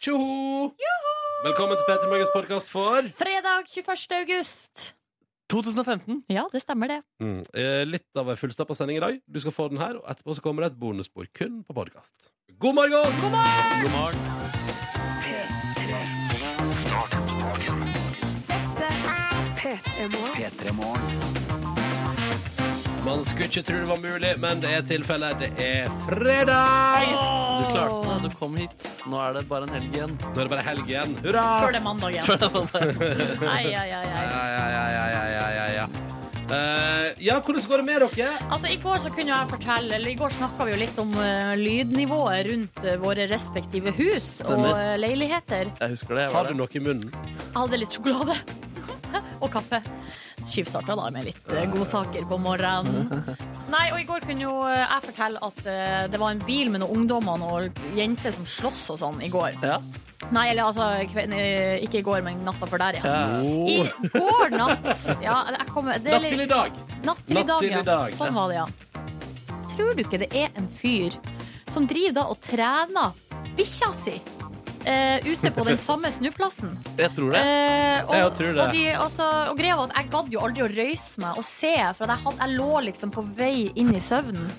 Tjoho! Velkommen til Petter Morgens podkast for Fredag 21. august. 2015. Ja, det stemmer, det. Mm. eh, Litt av ei fullstappa sending i dag. Du skal få den her, og etterpå så kommer det et bonusspor kun på podkast. God morgen! God morgen! God morgen. Man skulle ikke tro det var mulig, men det er tilfellet. Det er fredag! Du klarte det, du kom hit. Nå er det bare en helg igjen. Nå er det bare helg igjen. Hurra! Før det er mandag igjen. Ai, ai, ai, ai. Ja, ja, ja, ja, ja, ja, ja, ja. Eh, ja, hvordan går det med dere? Altså, I går så kunne jeg fortelle Eller i går snakka vi jo litt om eh, lydnivået rundt eh, våre respektive hus og Stemmer. eh, leiligheter. Jeg husker det. Jeg Har var du der. noe i munnen? Jeg hadde litt sjokolade og kaffe. Tjuvstarta da med litt eh, godsaker på morgenen. Nei, og I går kunne jo eh, jeg fortelle at eh, det var en bil med noen ungdommer og jenter som sloss og sånn i går. Ja. Nei, eller altså kve- eh, ikke i går, men natta før der, ja. Ja. I går natt ja, jeg kommer, det er Natt til litt, i dag. Natt til i Natt dag, til i ja. dag, Sånn var det, ja. Tror du ikke det er en fyr som driver da og trener bikkja si eh, ute på den samme snuplassen? Jeg tror det. Eh, og, Jeg tror det. Og, de, altså, og greia var at jeg gadd jo aldri å røyse meg og se, for at jeg, hadde, jeg lå liksom på vei inn i søvnen.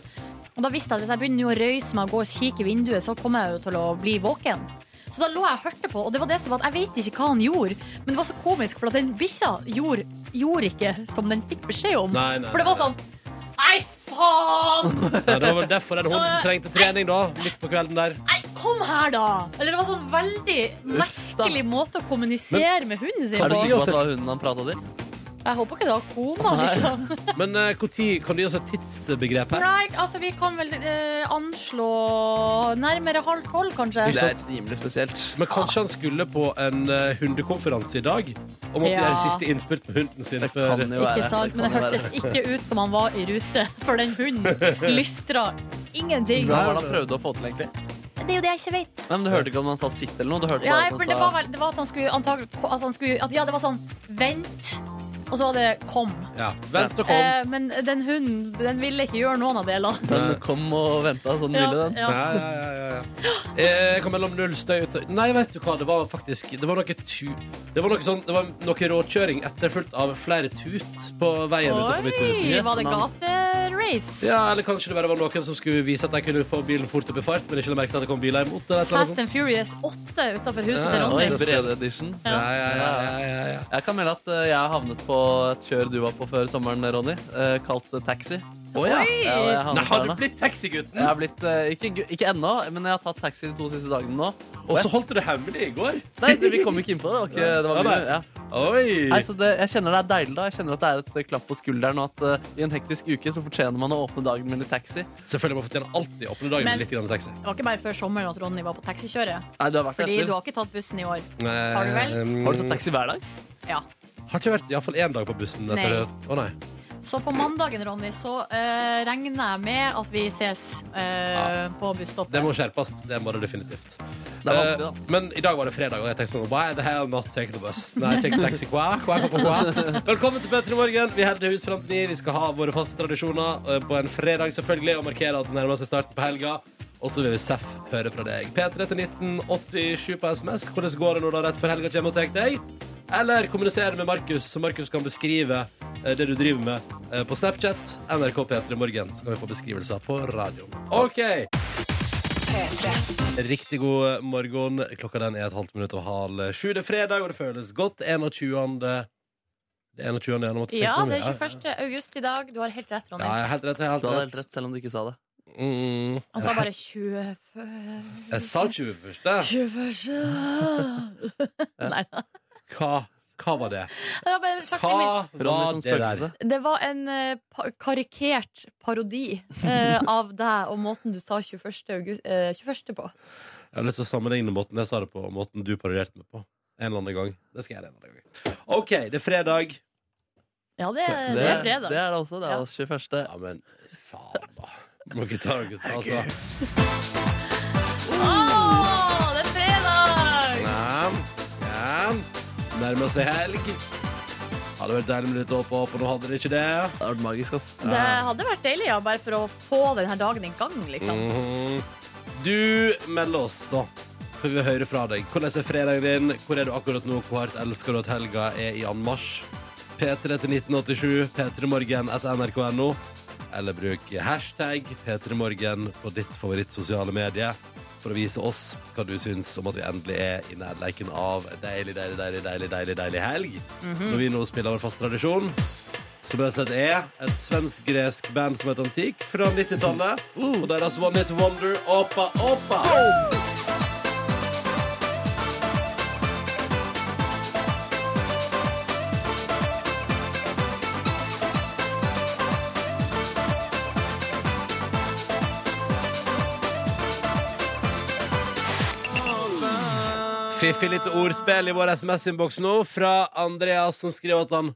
Og da visste jeg at hvis jeg begynner nå å røyse meg og gå og kikke i vinduet, så kommer jeg jo til å bli våken. Så da lå jeg og hørte på, og det var det som var at jeg vet ikke hva han gjorde, men det var så komisk, for at den bikkja gjorde, gjorde ikke som den fikk beskjed om. Nei, nei, for det var nei. sånn Nei, faen! Ja, det var derfor den hunden trengte trening da, midt på kvelden der. Nei, kom her, da! Eller det var sånn veldig Uff, da. merkelig måte å kommunisere med hunden sin Er du på. sikker på at det var hunden han prata til? Jeg håper ikke det var koma, liksom. Men eh, hvor tid kan du gi oss et tidsbegrep her? Nei, altså vi kan vel eh, anslå nærmere halv tolv, kanskje. Ikke Det sant? er rimelig spesielt. Men kanskje han skulle på en eh, hundekonferanse i dag og måtte Ja. gjøre siste innspurt med hunden sin Det før kan jo være. Ikke sant, Men det kan jo hørtes være. ikke ut som han var i rute, for den hunden lystra ingenting. Hva var det han prøvde å få til, egentlig? Det er jo det jeg ikke vet. Nei, men Du hørte ikke om han sa sitt eller noe? Du hørte Nei, bare at for han det var, sa vel, det var at han skulle antagelig altså han skulle, at, Ja, det var sånn vent, og så var det kom. Ja, Vent og kom. Eh, men den hunden den ville ikke gjøre noen av delene. Den kom og venta sånn Ja, ville, den. Ja, ja. ja, ja, ja, ja. Jeg kom mellom null støy ut Nei, vet du hva, det var faktisk Det var noe tu... Det var noe sånn Det var noe råkjøring etterfulgt av flere tut på veien utenfor mitt hus. Oi, var det Yes, gaterace? Ja, eller kanskje det bare var noen som skulle vise at de kunne få bilen fort opp i fart, men ikke la merke til at det kom biler imot. Eller et eller annet Fast and sånt. Furious 8 utafor huset Ja, til ja, Oi, Ronny. brede edition. Ja, ja, ja, ja, ja, ja. Jeg kan melde at eh, jeg har havnet på et kjør du var på før sommeren, Ronny. eh, Kalt eh, taxi. Å, ja. Oi! Ja, og jeg havnet Nei, har der du nå. blitt taxigutten? Jeg har blitt, eh, ikke, gu- ikke ennå, men jeg har tatt taxi de to siste dagene nå. Og så holdt du det hemmelig i går? Nei, det- vi kom ikke inn på det. Det var, ikke, det var Ja, mye, nei. ja. Nei, Oi! så det, jeg kjenner det er deilig da. Jeg kjenner at det er et eh, klapp på skulderen, og at eh, i en hektisk uke så fortjener man å åpne dagen med litt taxi. Selvfølgelig må fortjene alltid åpne dagen Men- med litt grann taxi. Det var ikke bare før sommeren at Ronny var på taxikjøret. Nei, du har vært Fordi etter. du har ikke tatt bussen i år. Har du vel? Har du tatt taxi hver dag? Eh, Ja. mm, Har ikke vært iallfall én dag på bussen etter Nei. det. Å nei. Så på mandagen, Ronny, så eh, regner jeg med at vi ses eh, på busstoppet. Det må skjerpes. Det må det definitivt. Det er vanskelig, da. Eh, Men i dag var det fredag, og jeg tenkte sånn Why the hell not take the bus? Nei, take the taxi. Hva? Hva? Hva? Hva? Velkommen til Petter i morgen. Vi holder hus fram til ni. Vi skal ha våre faste tradisjoner eh, på en fredag, selvfølgelig, og markere at det nærmer seg starten på helga. Og så vil vi seff høre fra deg. P3 til 1987 på SMS. Hvordan går det nå da rett før helga kommer og tar deg? Eller kommunisere med Markus, så Markus kan beskrive eh, det du driver med eh, på Snapchat. NRK P3 Morgen, så kan vi få beskrivelser på radioen. OK! Riktig god morgen. Klokka den er et halvt minutt over halv sju. Det er fredag, og det føles godt. 21. Det er 21. igjen, måtte jeg ja, tenke meg om. det er 21. august i dag. Du har helt rett, Ja, Ronny. jeg er helt rett. Jeg er Du hadde helt helt rett. rett, selv om du ikke sa det. Mm. Han sa bare 20 Jeg sa 21. 21. Nei da. Hva, hva var det? Det var bare en slags Hva Ronny var det som der? sånn spøkelse. Det var en eh, pa karikert parodi eh, av deg og måten du sa 21. August, eh, 21. på. Jeg har lyst til å sammenligne måten jeg sa det på, og måten du parodierte meg på. En eller annen gang. Det skal jeg gjøre en eller annen gang. OK, det er fredag. Ja, det, det, Det, er fredag. det er det også. Ja. Det er oss 21. Ja, men faen, da. Må ikke ta noe stas, altså. Å, det er fredag! Ja, ja. Nærmer seg helg. Hadde vært deilig med litt opp og opp, og nå hadde det ikke det. Det har vært magisk, ass. Det hadde vært deilig, ja, bare for å få denne dagen i gang, liksom. Mhm. Du melder oss, da, for vi vil høre fra deg. Hvordan er fredagen din? Hvor er du akkurat nå? Hvor hardt elsker du at helga er i anmarsj? P3 til 1987, p3morgen etter nrk.no. Eller bruk hashtag p3morgen på ditt favorittsosiale medie for å vise oss hva du syns om at vi endelig er i nærleiken av en deilig, deilig, deilig, deilig, deilig, deilig helg. Når vi nå spiller vår faste tradisjon, som rett og slett er E, et svensk-gresk band som heter Antik fra 90-tallet. Mm. Og deres One Hit Wonder, Opa Opa. Fiffig lite ordspill i vår SMS-innboks nå fra Andreas, som skriver at han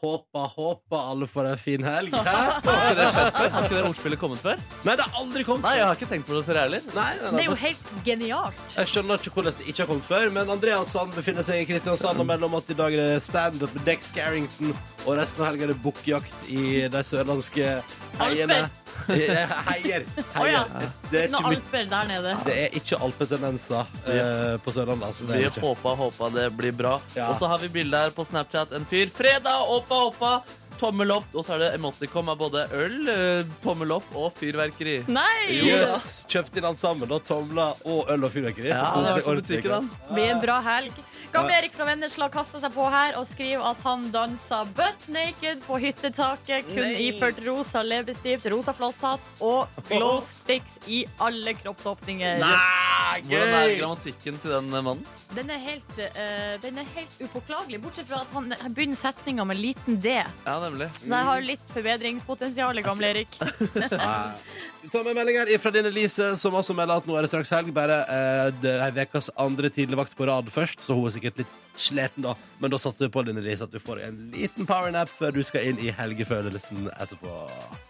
håper, håper alle får ei en fin helg. Hæ? Har ikke det ordspillet kommet før? Nei, det har aldri kommet Nei, jeg før. har ikke tenkt på det før, jeg heller. Nei, nei, Det nei, er jo helt genialt. Jeg skjønner ikke hvordan det ikke har kommet før, men Andreas han befinner seg i Kristiansand og melder om at i dag er det standup med Dex Carrington, og resten av helga er det bukkjakt i de sørlandske heiene. Eh, Heier. Å ja. heier. Det er ikke, Noen mye- alper der nede. det er ikke alpetendenser eh, på Sørlandet. Altså, det Vi er det ikke. håpa, håpa det blir bra. Ja. Og så har vi bilde her på Snapchat. En fyr. Fredag, oppa, oppa! Tommel opp. Og så er det emoticon av både øl, eh, tommel opp og fyrverkeri. Nei! Jøss! Kjøpt inn alt sammen. Da tomler og øl og fyrverkeri. Så Ja, det koselig, var på ordentlig. butikken, han. Det blir en bra helg. Gamle Erik fra Vennesla kasta seg på her og skriver at han dansa butt naked på hyttetaket. Kun iført rosa leppestift, rosa flosshatt og glow sticks i alle kroppsåpninger. Nei, Hvordan er gøy! grammatikken til den eh, mannen? Den er helt, eh, den er helt upåklagelig, bortsett fra at han han begynner setninga med liten D. Ja, nemlig. Så jeg har litt forbedringspotensial, gamle Erik. Vi tar med meldinger fra din Elise, som også melder at nå er det straks helg. Bare eh, det er ukas andre tidligvakt på rad først, så hun er sikkert litt sliten da. Men da satser vi på din Elise at du får en liten powernap før du skal inn i helgefølelsen etterpå.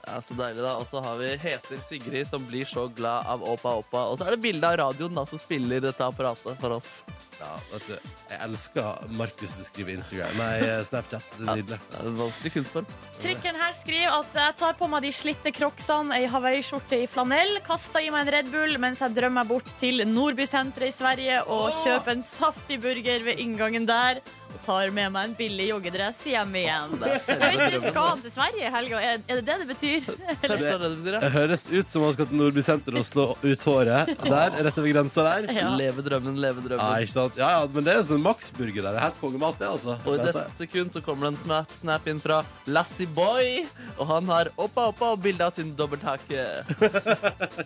Ja, Så deilig, da. Og så har vi heter Sigrid, som blir så glad av oppa, oppa. Og så er det bilde av radioen da, som spiller dette apparatet for oss. Ja, vet du, jeg elsker Markus beskriver Instagram. Nei, eh, Snapchat. Det er nydelig. Det er en vanskelig kunstform. Trykkeren her skriver at jeg tar på meg de slitte crocsene, ei hawaiiskjorte i flanell, kaster i meg en Red Bull mens jeg drømmer meg bort til Nordbysenteret i Sverige og kjøper en saftig burger ved inngangen der. Og tar med meg en billig joggedress hjem igjen. Det er Jeg vet selve ikke, Skal han til Sverige i helga? Er er det det det betyr? Kanskje det er det det betyr, ja. Det høres ut som han skal til Nordby senter og slå ut håret der, rett over grensa der. Ja. Leve drømmen, leve drømmen. Ja, ikke sant? Ja, ja, men det er sånn maksburger der. Det er helt kongemat, det, altså. Og i Det er så- neste sekund så kommer det en snap, snap inn fra Lassie Boy. Og han har oppa oppa og bilde av sin dobbelthake.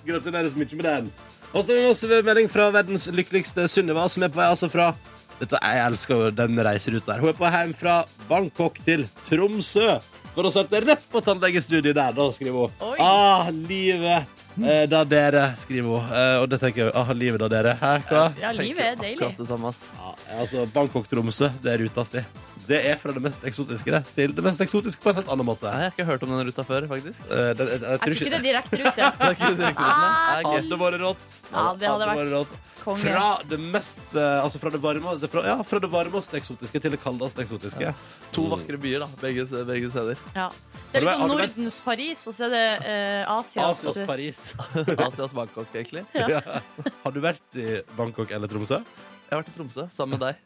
Gratulerer så mye med den. Og så har vi også en melding fra verdens lykkeligste Sunniva, som er på vei altså fra Dette, Jeg elsker jo den reiseruta her. Hun er på vei hjem fra Bangkok til Tromsø. For å sette rett på tannlegestudiet der, da, skriver hun. Oi. Ah, livet eh, da dere, skriver hun. Eh, og det tenker jeg ah, livet da dere. Hæ, hva? Ja, livet er deilig. Akkurat det samme, ass. Ja, altså, Bangkok-Tromsø, det er ruta si. Det er fra det mest eksotiske det, til det mest eksotiske på en helt annen måte. Nei, jeg har ikke hørt om den ruta før, faktisk. Eh, det, jeg, jeg, Jeg tror ikke det er direkterute. Det er ikke direkte Ah, ruten, ja. Nei, Hadde vært rått. Ja, det hadde vært rått. konge. Fra det mest eh, Altså fra det varme det fra, Ja, fra det varmeste eksotiske til det kaldeste eksotiske. ah. gøy. To vakre byer, da. Begge, begge steder. Ja. Det Har er liksom du vært- Nordens Paris, og så er det eh, Asias Asias Paris. Asias Bangkok, egentlig. Jeg Har du vært i Bangkok eller Tromsø? har vært i Tromsø sammen med deg.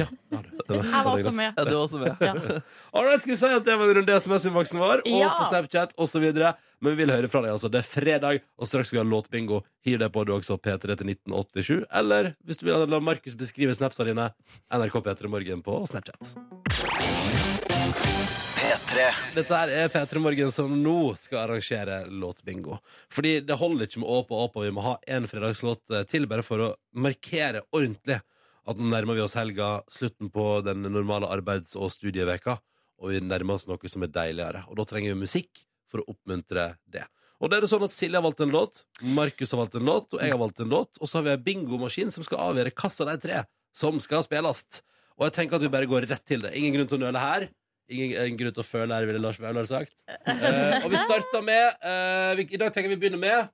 Ja, du. Det var- Jeg var også med. Ja, du også med. Ja. Alright, skal vi si at det var en runde i SMS-innboksen vår, og Ja. på Snapchat osv. Men vi vil høre fra deg, altså. Det er fredag, og straks skal vi ha låtbingo. Hiv deg på du også, P3 til 1987. Eller hvis du vil la Markus beskrive snapsene dine, NRK P3 Morgen på Snapchat. Dette her er P3 Morgen som nå skal arrangere låtbingo. Fordi det holder ikke med åp og åp, og vi må ha en fredagslåt eh, til bare for å markere ordentlig at nå nærmer vi oss helga, slutten på den normale arbeids- og studieveka, og vi nærmer oss noe som er deiligere. Og da trenger vi musikk for å oppmuntre det. Og da er det sånn at Silje har valgt en låt, Markus har valgt en låt, og jeg har valgt en låt, og så har vi en bingomaskin som skal avgjøre hvilken av de tre som skal spilles. Og jeg tenker at vi bare går rett til det. Ingen grunn til å nøle her. Ingen, ingen grunn til å føle her, ville Lars Vaular sagt. Eh, og vi starter med eh, vi, I dag tenker vi begynner med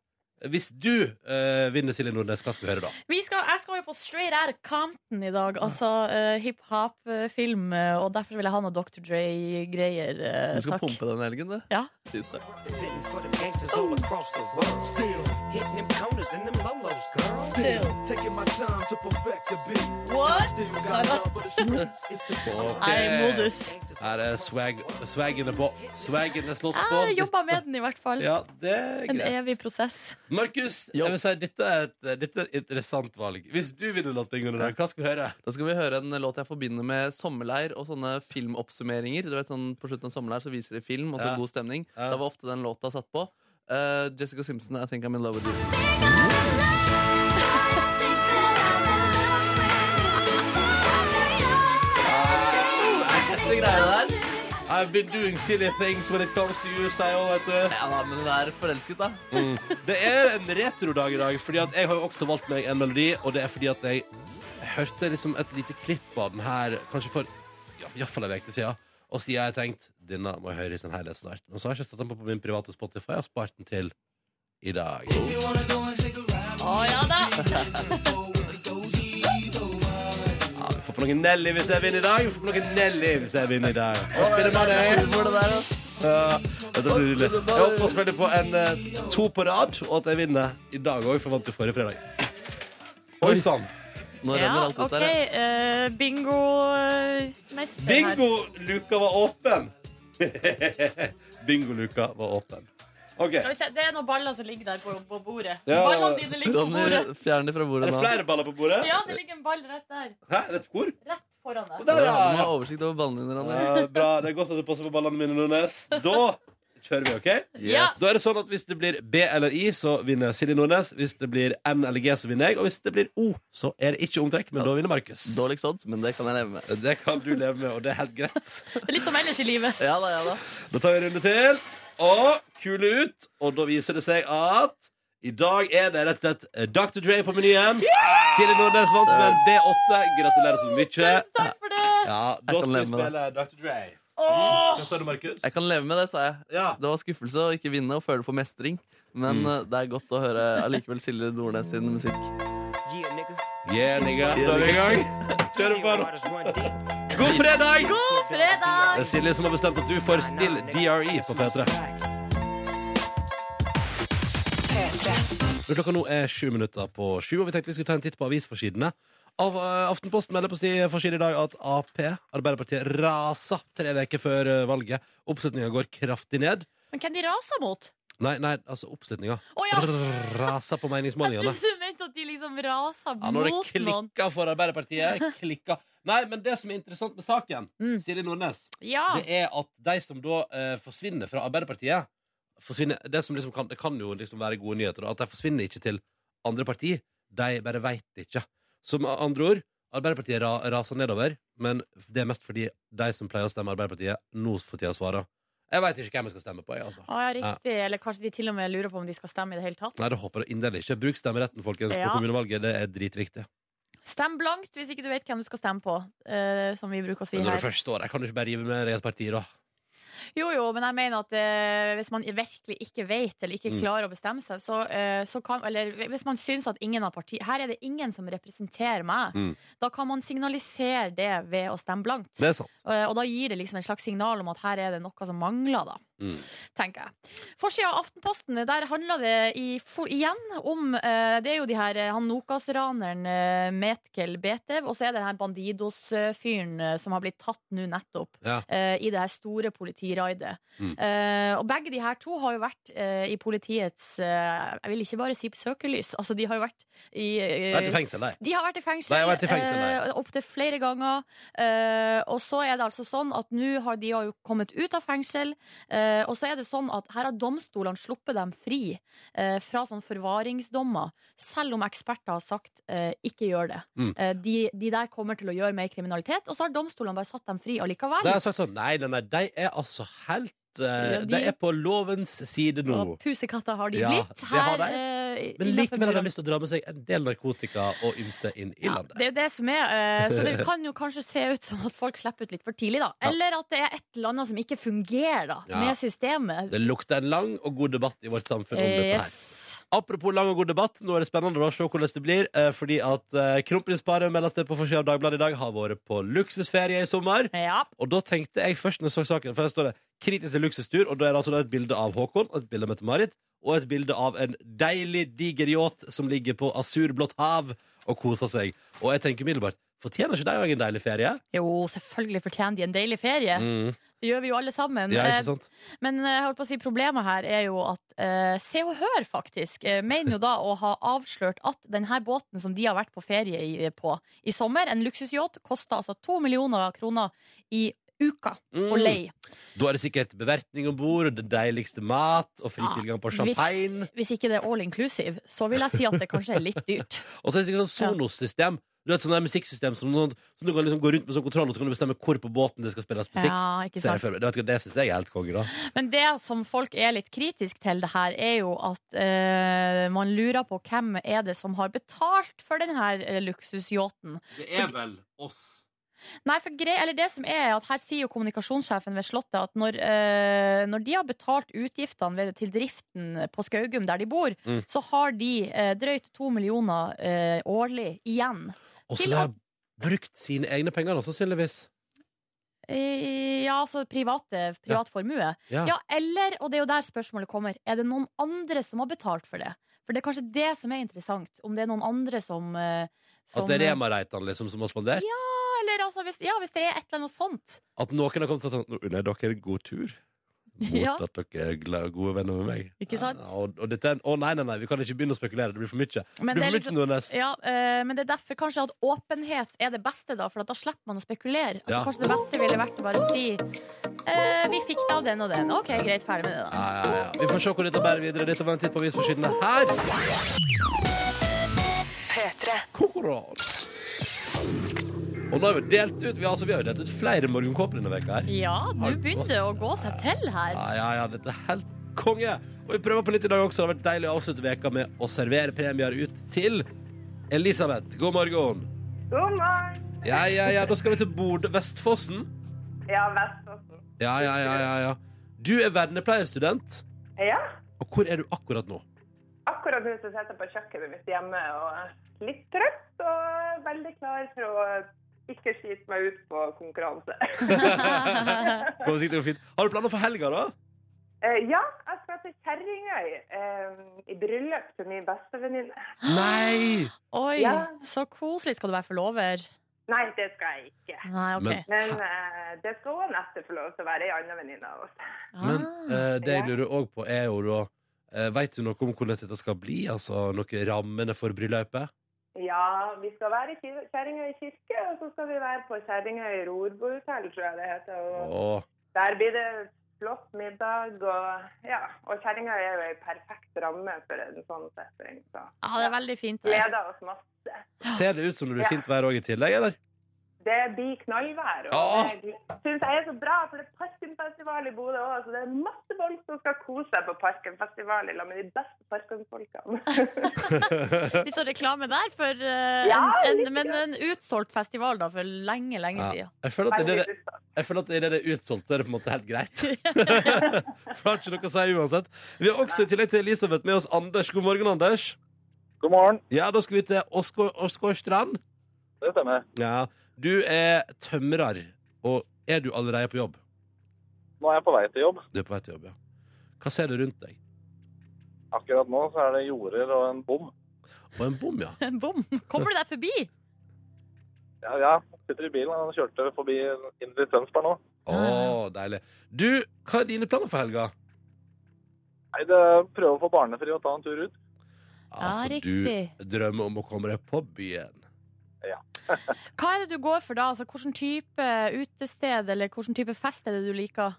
Hvis du eh, vinner Silje Nordnes, hva skal vi høre da? Vi skal, jeg skal jo på Straight Out Compton i dag, altså eh, hiphop-film. eh, og derfor vil jeg ha noe Dr. Dre-greier. eh, Du skal takk. pumpe den helgen, du. Ja. Sykt det. Sitting for the gangsters, all across the world. Still hitting them corners and them lolos, girl. Still. taking my time to perfect the beat. What? Still got love for the streets. It's the Ok. Nei, modus. Her er swag, swaggene på. Swaggene er slått på. Ah, Jeg jobba med den, i hvert fall. Ja, det er En greit. evig prosess. Markus, Ja. jeg vil si dette er, et, dette er et interessant valg. Hvis du vinner låtbingoen i dag, hva skal vi høre? Da skal vi høre en låt jeg forbinder med sommerleir og sånne filmoppsummeringer. Du vet sånn På slutten av sommerleir så viser de film, og så Ja. god stemning. Ja. Da var ofte den låta satt på. Eh, Jessica Simpson, I Think I'm In Love With You. Ekle greier der. I've Eh, been doing silly things when it comes to you, sier hun, vet du. Ja, da, men hun er forelsket, da. Det er en retrodag i dag, fordi at jeg har jo også valgt meg en melodi, og det er fordi at jeg hørte liksom et lite klipp av den her, kanskje for ja, i hvert fall en uke siden, og siden jeg har tenkt denne må jeg høre i sin helhet snart. Men så har jeg ikke stått den på på min private Spotify, jeg har spart den til i dag. Å ja da! Ja, vi får på noen Nelly hvis jeg vinner i dag. Vi får på noen Nelly hvis jeg vinner i dag. Opp i det med deg. Hvor det der, ass. Ja, dette blir nydelig. Jeg håper selvfølgelig på en eh, to på rad, og at jeg vinner i dag òg, for jeg vant jo forrige fredag. Oi sann! Nå Ja, renner alt ut OK. der. ja. eh, bingo eh, mester her. Bingoluka var åpen! Bingoluka var åpen. OK. Skal vi se, Det er noen baller som ligger der på, på bordet. Ja. Ballene dine ligger på bordet. Ronny, fjern det fra Er bordet det nå. flere baller på bordet? Ja, det ligger en ball rett der. Hæ? Er det et kor? Rett foran deg. Der, Du ja! har oversikt over ballene dine, Ronny. Ja, Bra. Det er godt at du passer på ballene mine, Nordnes. Da kjører vi, OK? Ja. Da er det sånn at Hvis det blir B eller I, så vinner Silje Nordnes. Hvis det blir N eller G, så vinner jeg. Og hvis det blir O, så er det ikke omtrekk, men da vinner Markus. Dårligst odds, men det kan jeg leve med. Det kan du leve med, og det er helt greit. Det er litt som ellers i livet. Ja da, ja da. Da tar vi en runde til. Og kule ut. Og da viser det seg at i dag er det rett og slett eh, Dr. Dre på menyen. Silje Nordnes vant med en B8. Gratulerer så mye. Takk for det! Ja, Jeg da kan skal vi leve med det. spille Dr. Dre. Hva sa du, Markus? Jeg kan leve med det, sa jeg. Ja. Mm. Det var skuffelse å ikke vinne og føle på mestring. Men eh, det er godt å høre allikevel Silje Nordnes sin musikk. Yeah, nigga. Yeah, nigga. Da er vi i gang. Kjører på. Riders one deep. God fredag! God fredag! Det er Silje som har bestemt at du får Still DRE E på P3. Klokka nå er sju minutter på sju, og vi tenkte vi skulle ta en titt på avisforsidene. Av, eh, Aftenposten melder på si- forsiden i dag at Ap, Arbeiderpartiet, rasa tre uker før eh, valget. Oppslutninga går kraftig ned. Men hvem de raser mot? Nei, nei, altså oppslutninga. Å ja! Rasa på Jeg meningsmålingene. trodde du mente at de liksom raser Ja, når det mot noen. klikka for Arbeiderpartiet, klikka Nei, men det som er interessant med saken, Mm. Silje Nordnes, Ja. det er at de som da eh, forsvinner fra Arbeiderpartiet forsvinner, det, som liksom kan, det kan jo liksom være gode nyheter, da, at de forsvinner ikke til andre parti. De bare veit ikke. Så med andre ord, Arbeiderpartiet ra, raser nedover, men det er mest fordi de som pleier å stemme Arbeiderpartiet, nå for tida svarer. Jeg veit ikke hvem jeg skal stemme på, jeg, altså. Å, ja, riktig. Eller kanskje de til og med lurer på om de skal stemme i det hele tatt. Nei, det håper jeg inderlig ikke. Bruk stemmeretten, folkens, Ja. på kommunevalget. Det er dritviktig. Stem blankt hvis ikke du vet hvem du skal stemme på, eh, som vi bruker å si Men når du her. først står der, kan du ikke bare rive med deg et parti, da. Jo, jo, men jeg mener at eh, hvis man virkelig ikke vet eller ikke Mm. klarer å bestemme seg, så, eh, så kan Eller hvis man syns at ingen av partiene Her er det ingen som representerer meg. Mm. Da kan man signalisere det ved å stemme blankt. Det er sant. Eh, Og da gir det liksom en slags signal om at her er det noe som mangler, da. Mm. Tenker jeg. Forsida av Aftenposten, eh, der handler det i, for, igjen om eh, Det er jo de her eh, han Nokas-raneren eh, Metkel Betev, og så er det den her Bandidos-fyren eh, som har blitt tatt nå nettopp Ja. eh, i det her store politiraidet. Mm. Eh, og begge de her to har jo vært eh, i politiets eh, Jeg vil ikke bare si søkelys, altså de har jo vært i Det er eh, til fengsel, nei. de har vært i fengsel, De har vært i fengsel, eh, opptil flere ganger. Eh, og så er det altså sånn at nå har de jo kommet ut av fengsel. Eh, og så er det sånn at her har domstolene sluppet dem fri eh, fra sånn forvaringsdommer, selv om eksperter har sagt eh, ikke gjør det. Mm. Eh, de, de der kommer til å gjøre mer kriminalitet. Og så har domstolene bare satt dem fri allikevel. Da har jeg sagt sånn Nei, nei, nei, de er altså helt eh, Ja, de- De er på lovens side nå. Og pusekatter har de Ja, blitt det her. har de. eh, Men innenfor likevel har murene. de lyst til å dra med seg en del narkotika og ymse inn i Ja, landet. det er jo det som er. eh, Så det kan jo kanskje se ut som at folk slipper ut litt for tidlig, da. Ja. Eller at det er et eller annet som ikke fungerer da, Ja. med systemet. Det lukter en lang og god debatt i vårt samfunn om Eh, dette her. Yes. Apropos lang og god debatt, nå er det spennende å se hvordan det blir. eh, Fordi at eh, kronprinsparet meldes det på forsida av Dagbladet i dag, har vært på luksusferie i sommer. Ja. Og da tenkte jeg først når jeg så saken, for her står det 'kritisk til luksustur', og da er det altså da et bilde av Håkon, og et bilde av Mette-Marit, og et bilde av en deilig, diger yacht som ligger på asurblått hav og koser seg. Og jeg tenker umiddelbart fortjener ikke de òg en deilig ferie? Jo, selvfølgelig fortjener de en deilig ferie. Det gjør vi jo alle sammen. Mm. Ja, Eh, ikke sant? Men eh, jeg holdt på å si problemet her er jo at eh, Se og Hør faktisk eh, mener jo da å ha avslørt at denne båten som de har vært på ferie i, eh, på i sommer, en luksusyacht, kosta altså to millioner kroner i uka å Mm. leie. Da er det sikkert bevertning om bord, det deiligste mat og fri Ja, tilgang på Ah, hvis- champagne. Hvis ikke det er all inclusive, så vil jeg si at det kanskje er litt dyrt. Og så er det sikkert sånn Sonos-system. Du vet, sånn der musikksystem som, sånn, som du kan liksom gå rundt med sånn kontroll, og så kan du bestemme hvor på båten det skal spilles musikk. Ja, ikke Ser jeg sant? for meg. det vet du hva, det syns jeg er helt konge, da. Men det som folk er litt kritisk til det her, er jo at eh, man lurer på hvem er det som har betalt for denne eh, luksusyachten. Det er vel oss. Nei, for grei, eller det som er at Her sier jo kommunikasjonssjefen ved Slottet at når, eh, når de har betalt utgiftene ved, til driften på Skaugum, der de bor, Mm. så har de eh, drøyt to millioner eh, årlig igjen. Og så Til de har brukt sine egne penger, da, sannsynligvis. Eh, ja, altså private, privat formue. Ja. Ja, eller, og det er jo der spørsmålet kommer, er det noen andre som har betalt for det? For det er kanskje det som er interessant, om det er noen andre som, eh, som At det er Rema Reitan liksom, som har spandert? Ja, eller altså, hvis, ja, hvis det er et eller annet sånt. At noen har kommet og sagt sånn Unner jeg dere en god tur? Mot Ja. at dere er gla- gode venner med meg. Ikke sant? Ja, og, og dette er en Å, nei, nei, nei, vi kan ikke begynne å spekulere. Det blir for mye. Det Men blir det for er mye, liksom Nordnes. ja, eh, men det er derfor kanskje at åpenhet er det beste, da, for at da slipper man å spekulere. Altså, Ja. Kanskje det beste ville vært å bare si eh, Vi fikk da den og den. OK, greit, ferdig med det, da. Ja, ja, ja. Vi får se hvor dette bærer videre. Dette var en titt på avisforsidene her. Konkurranse. Og nå har vi delt ut Vi, altså, vi har jo delt ut flere morgenkåper denne veka her. Ja, nå Har det begynner gått? det å gå seg til her. Ja, ja, ja, dette er helt konge. Og vi prøver på nytt i dag også. Det har vært deilig å avslutte veka med å servere premier ut til Elisabeth. God morgen. God morgen! Ja, ja, ja, da skal vi til Bodø Vestfossen. Ja, Vestfossen. Ja, ja, ja, ja, ja. Du er vernepleierstudent. Ja, Og hvor er du akkurat nå? akkurat nå så sitter jeg på kjøkkenet mitt hjemme og er litt trøtt og veldig klar for å ikke skite meg ut på konkurranse. Går det sikkert fint? Har du planer for helga, da? Eh, ja, jeg skal til Kjerringøy eh, i bryllup til min bestevenninne. Nei! Oi, Ja. så koselig. Skal du være forlover? Nei, det skal jeg ikke. Nei, OK. Men- Men eh, det skal også Nette få lov til å være ei anna venninne av oss. Men ah. eh, det jeg lurer òg på, er jo da eh, Veit du noe om hvordan dette skal bli? Altså noe rammene for bryllupet? Ja, vi skal være i Kjer- Kjerringøy kirke, og så skal vi være på Kjerringøy rorbohotell, tror jeg det heter. Og Åh, Der blir det flott middag, og, ja. og kjerringa er jo en perfekt ramme for en sånn setting. Så Ja, det er veldig fint. det. gleder oss masse. ser det ut som det blir fint vær òg i tillegg, eller? Det blir knallvær. Ja. Og det syns jeg er så bra, for det er Parkenfestival i Bodø òg, så det er masse folk som skal kose seg på Parkenfestival i lag med de beste Parkenfolkene. Litt sånn reklame der for eh, Ja, en, litt en, men en utsolgt festival da, for lenge, lenge Ja. Jeg føler at det, er det, jeg føler at det, er det det er utsolgt, så er det på en måte helt greit. siden. For det har ikke noe å si uansett. Vi har også i tillegg til Elisabeth med oss Anders. God morgen, Anders. God morgen. Ja, da skal vi til Åsgå- Åsgårdstrand. Det stemmer. Ja. Du er tømrer, og er du allerede på jobb? Nå er jeg på vei til jobb. Du er på vei til jobb, ja. Hva ser du rundt deg? Akkurat nå så er det jorder og en bom. Og en bom, ja. En bom. Kommer du deg forbi? Ja, ja. Sitter i bilen og kjørte forbi inn til Tønsberg nå. Å, deilig. Du, hva er dine planer for helga? Nei, det prøver å få barnefri og ta en tur ut. Ja, riktig. Altså, Du drømmer om å komme deg på byen. Hva er det du går for da? Altså, hvilken type utested eller hvilken type fest er det du liker?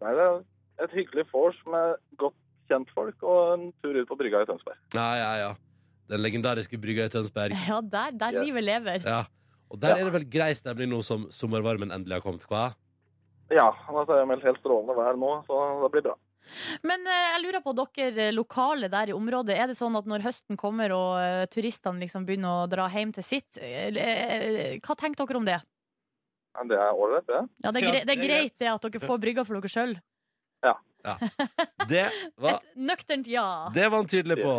Nei, det er et hyggelig vors med godt kjentfolk og en tur ut på brygga i Tønsberg. Ja, ja, ja. Den legendariske brygga i Tønsberg. Ja, der, der Ja. livet lever. Ja. Og der er det vel grei stemning nå som sommervarmen endelig har kommet, hva? Ja, nå er det meldt helt strålende vær nå, så det blir bra. Men eh, jeg lurer på dere lokale der i området. Er det sånn at når høsten kommer og eh, turistene liksom begynner å dra hjem til sitt, eh, eh, hva tenker dere om det? Men det er ålreit, det. Ja, Ja, det er, gre det er det er greit det at dere får brygga for dere sjøl. Ja. Det var, Et nøkternt ja. det var han tydelig på.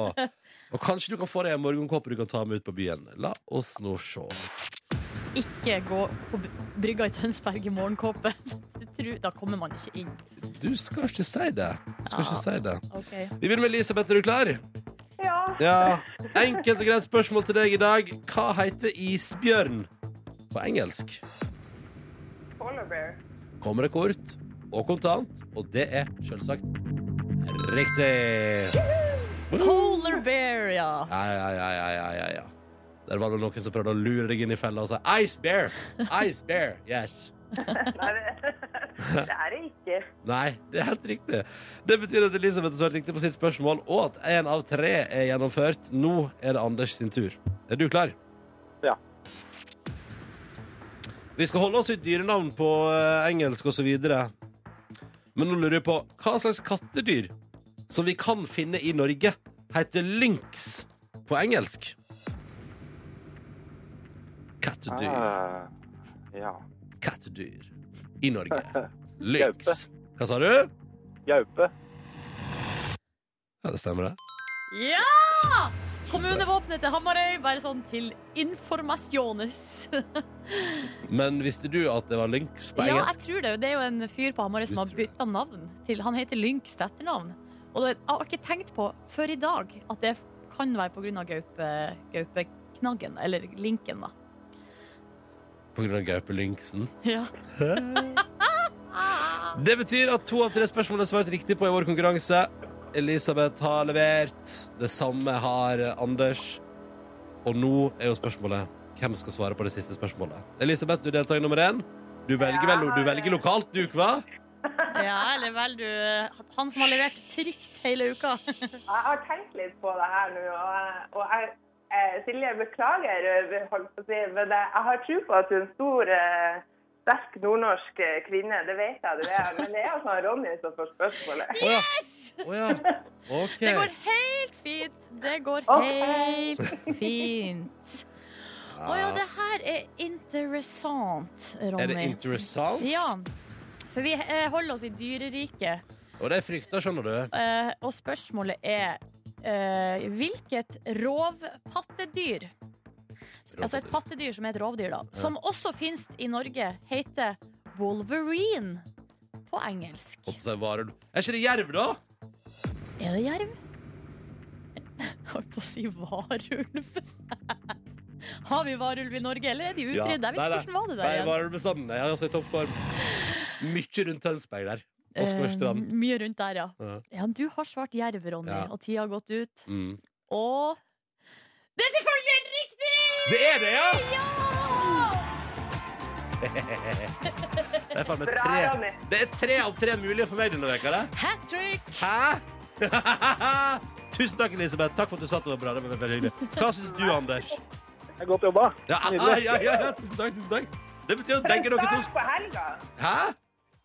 Og kanskje du kan få deg en morgenkåpe du kan ta med ut på byen. La oss nå se. Ikke gå på br- brygga i Tønsberg i morgenkåpe. Det tror- Da kommer man ikke inn. Du skal ikke si det. Du skal ikke si det. Ok. Vi begynner med Elisabeth. Er du klar? Ja, Ja. Enkelt og greit spørsmål til deg i dag. Hva heter isbjørn på engelsk? polar bear. Kommer det kort og kontant, og det er selvsagt riktig. Polar bear, ja. Ja, ja, ja, ja, ja, ja, ja. Der var det noen som prøvde å lure deg inn i fella og sa Ice bear! Ice bear! Yes. Nei, det, det er det ikke. Nei, det er helt riktig. Det betyr at Elisabeth har svart riktig på sitt spørsmål, og at én av tre er gjennomført. Nå er det Anders sin tur. Er du klar? Ja. Vi skal holde oss i dyrenavn på eh, engelsk osv. Men nå lurer jeg på hva slags kattedyr som vi kan finne i Norge, heter lynx på engelsk? Kattedyr. Ah, ja. Kattedyr i Norge. Lynx. Hva sa du? Gaupe. Ja, det stemmer det. Ja! Kommunevåpenet til Hamarøy, bare sånn til informasjones. Men visste du at det var lynx på Ja, jeg engelsk? tror det. Det er jo en fyr på Hamarøy som Du har tror det. bytta navn til Han heter Lynx til etternavn. Og det- jeg har ikke tenkt på før i dag at det kan være pga. gaupe, gaupeknaggen, eller linken, da. På grunn av gaupelynksen. Ja. Det betyr at to av tre spørsmål er svart riktig på i vår konkurranse. Elisabeth har levert. Det samme har Anders. Og nå er jo spørsmålet hvem skal svare på det siste spørsmålet. Elisabeth, du er deltaker nummer én. Du velger, vel, du velger lokalt, du, hva? ja, eller vel, du Han som har levert trygt hele uka. Jeg har tenkt litt på det her nå, og, jeg- og jeg, eh, Silje, beklager, eh, holdt på å si, men jeg, jeg har tro på at du er en stor, eh, sterk nordnorsk eh, kvinne. Det vet jeg du er, men det er altså Ronny som får spørsmålet. Å ja. Å ja. OK. Det går helt fint. Det går Ok. helt fint. Å ja, det her er interessant, Ronny. Ah. Er det interessant? Ja, for vi eh, holder oss i dyreriket. Og det er frykta, skjønner du. eh, Og spørsmålet er eh, hvilket rovpattedyr Altså et pattedyr som er et rovdyr, da. Som også finnes i Norge, heter wolverine på engelsk. Håper seg varer du. Er ikke det jerv, da? Er det jerv? Jeg holdt på å si varulv. Har vi varulv i Norge, eller er de Ja. utrydda? Nei, Jeg nei. vet ikke hvordan var det der Nei, igjen. varulvbestanden er altså i toppform. Mye rundt Tønsberg der. Åsgårdstrand. Eh, mye rundt der, ja. Ja. ja. Du har svart jerv, Ronny, Ja. og tida har gått ut. Mm. Og Det er selvfølgelig helt riktig! Det er det, ja! Ja! Det er, faen meg Bra, tre. Ronny. det er tre av tre mulige for meg denne veka, det. Hat trick! Hæ? Tusen takk, Elisabeth. Takk for at du satt over bra. Det var veldig hyggelig. Hva syns du, Anders? Det er Godt jobba. Ja, ja, Nydelig. ja, ja, tusen takk, tusen takk. Det betyr at For en begge dere start to på helga! Hæ?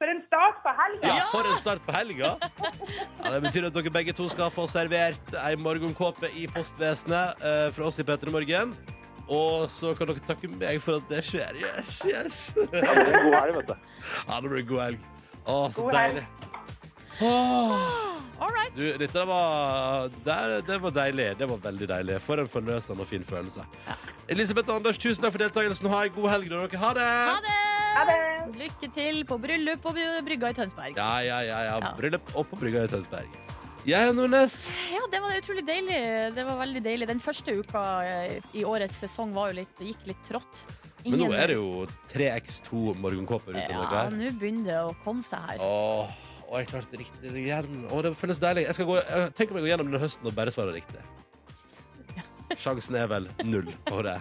For en start på helga! Ja, for en start på helga. Ja, det betyr at dere begge to skal få servert ei morgenkåpe i postvesenet eh, fra oss i P3 Morgen. Og så kan dere takke meg for at det skjer. Yes, yes. Ja, det blir en god helg, vet du. Ja, det blir en god helg. Å, så God helg. deilig. Åh. All right. Du, dette var, der, det var deilig. Det var veldig deilig. For en forløsende og fin følelse. Elisabeth og Anders, tusen takk for deltakelsen. Ha en god helg, da, dere. Ha det! Ha det! Ha det! Lykke til på bryllup og brygga i Tønsberg. Ja. Ja, ja, ja, ja. Ja. Bryllup opp på brygga i Tønsberg. Jeg er Nordnes. det var utrolig deilig. Det var veldig deilig. Den første uka eh, i årets sesong var jo litt, gikk litt trått. Men nå er det jo 3x2 morgenkåper ute og Ja, går. nå begynner det å komme seg her. Åh, åh, jeg klarte det riktig igjen. Åh, det føles deilig. Jeg skal gå, jeg, tenk om jeg går gjennom denne høsten og bare svarer riktig. Sjansen er vel null på det,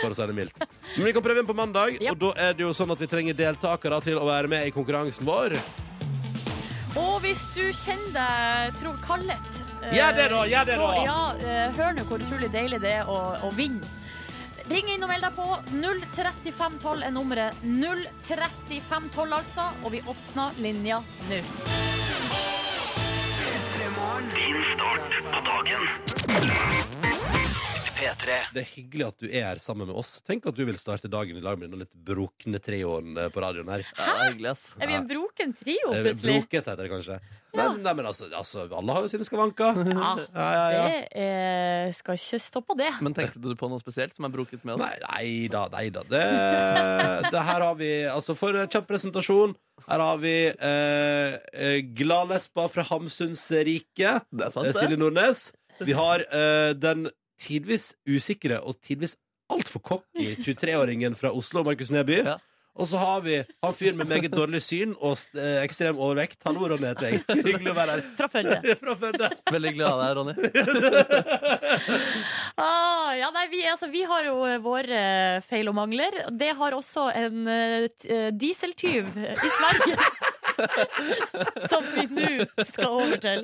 for å si det mildt. Men vi kan prøve inn på mandag, Ja. og da er det jo sånn at vi trenger deltakere til å være med i konkurransen vår. Og hvis du kjenner deg Trond Kallet eh, Gjør det da, gjør det så, da! ja, eh, Hør nå hvor utrolig deilig det er å, å vinne Ring inn og meld deg på 03512 er nummeret 03512 altså Og vi åpner linja nå P3 Morgen. Din start på dagen. P3. Det er hyggelig at du er her sammen med oss. Tenk at du vil starte dagen i lag med den litt brukne trioen eh, på radioen her. Ja, det er hyggelig, ass. Er vi en broken trio, Eh, plutselig? Broket heter det kanskje. Nei, nei, men altså, altså, alle har jo sine skavanker. Ja, Ja, ja, ja. Det eh, skal ikke stå på det. Men tenkte du på noe spesielt som er bruket Altså. med oss? Nei, nei da, nei da. Det, det her har vi Altså, for en kjapp presentasjon, her har vi eh, eh, Gladlesba fra Hamsuns rike. Det er eh, sant, Silje det. Nordnes. Vi har eh, den tidvis usikre og tidvis altfor cocky 23-åringen fra Oslo, Markus Neby. Ja. Og så har vi han fyren med meget dårlig syn og eh, ekstrem overvekt. Hallo, Ronny heter jeg. Hyggelig å være her. Fra Førde. Fra Førde. Veldig glad i deg, Ronny. Ah, ja, nei, vi, altså, vi har jo eh, våre eh, feil og mangler. Det har også en eh, t- eh, dieseltyv i Sverige. Som vi nå skal over til.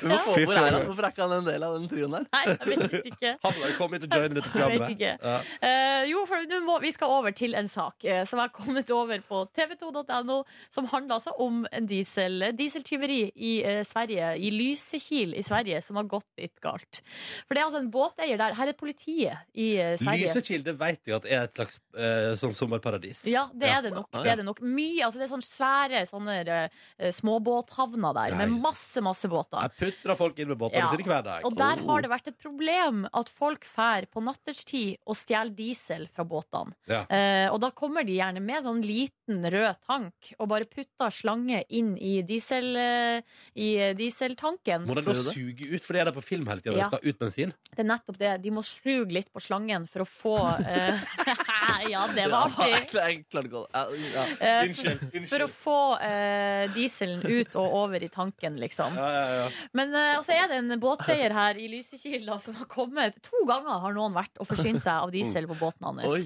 Vi må få, Fy hvor er han? faen. Hvorfor er ikke han en del av den trioen her? Nei, jeg vet ikke. Han har kommet hit og joinet dette programmet. Jeg vet ikke. Ja. Eh, jo, for nå må, vi skal over til en sak eh, som er kommet over på tv2.no, som handler altså om en diesel, eh, dieseltyveri i eh, Sverige, i Lysekil i Sverige, som har gått litt galt. For det er altså en båteier der. Her er politiet i eh, Sverige. Lysekilde vet jeg at er et slags eh, sånn sommerparadis. Ja, det Ja. er det nok. Ja, ja. Det er det nok. Mye, altså det er sånne svære sånne eh, småbåthavner der, med Nei. oh. masse, masse båter. Jeg putrer folk inn med båtene Ja. sine hver dag. Og der har det vært et problem at folk fær på natterstid og stjeler diesel fra båtene. Ja. Eh, og da kommer de gjerne med sånn liten rød tank og bare putter slange inn i, diesel, eh, i eh, dieseltanken. Må den da suge ut, for det er det på film hele tiden Ja. Det skal ut bensin. Det er nettopp det. De må sluge litt på slangen for å få eh, Ja, det Ja, var artig. jeg klar- jeg klarte ikke å ja, ja. Eh, For å få eh, dieselen ut og over i tanken, liksom. Ja, ja, ja. Men eh, også er det en båteier her i Lysekil da, som har kommet To ganger har noen vært og forsynt seg av diesel på båten hans. Oi.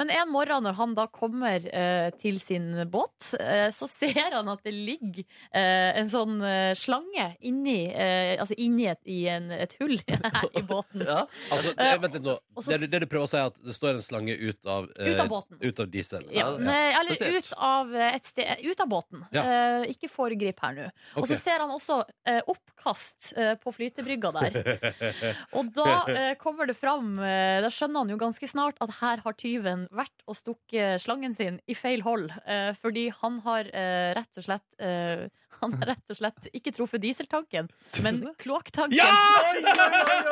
Men en morgen når han da kommer eh, til sin båt, eh, så ser han at det ligger eh, en sånn eh, slange inni, eh, altså inni et, i en, et hull i båten. Ja. Altså, det, vent litt nå. Eh, Og så- Det, du- det du prøver å si, er at det står en slange ut av, eh, Ut av båten. Ut av diesel. Ja, Ja, nei, eller spesielt. ut av, eh, et sted, ut av båten. Ja. Eh, ikke foregrip her nå. Og så Ok. ser han også eh, oppkast eh, på flytebrygga der. og da eh, kommer det fram eh, Da skjønner han jo ganske snart at her har tyven vært og stukket slangen sin i feil hold. Eh, fordi han har eh, rett og slett eh, Han har rett og slett ikke truffet dieseltanken, men kloakktanken. Ja!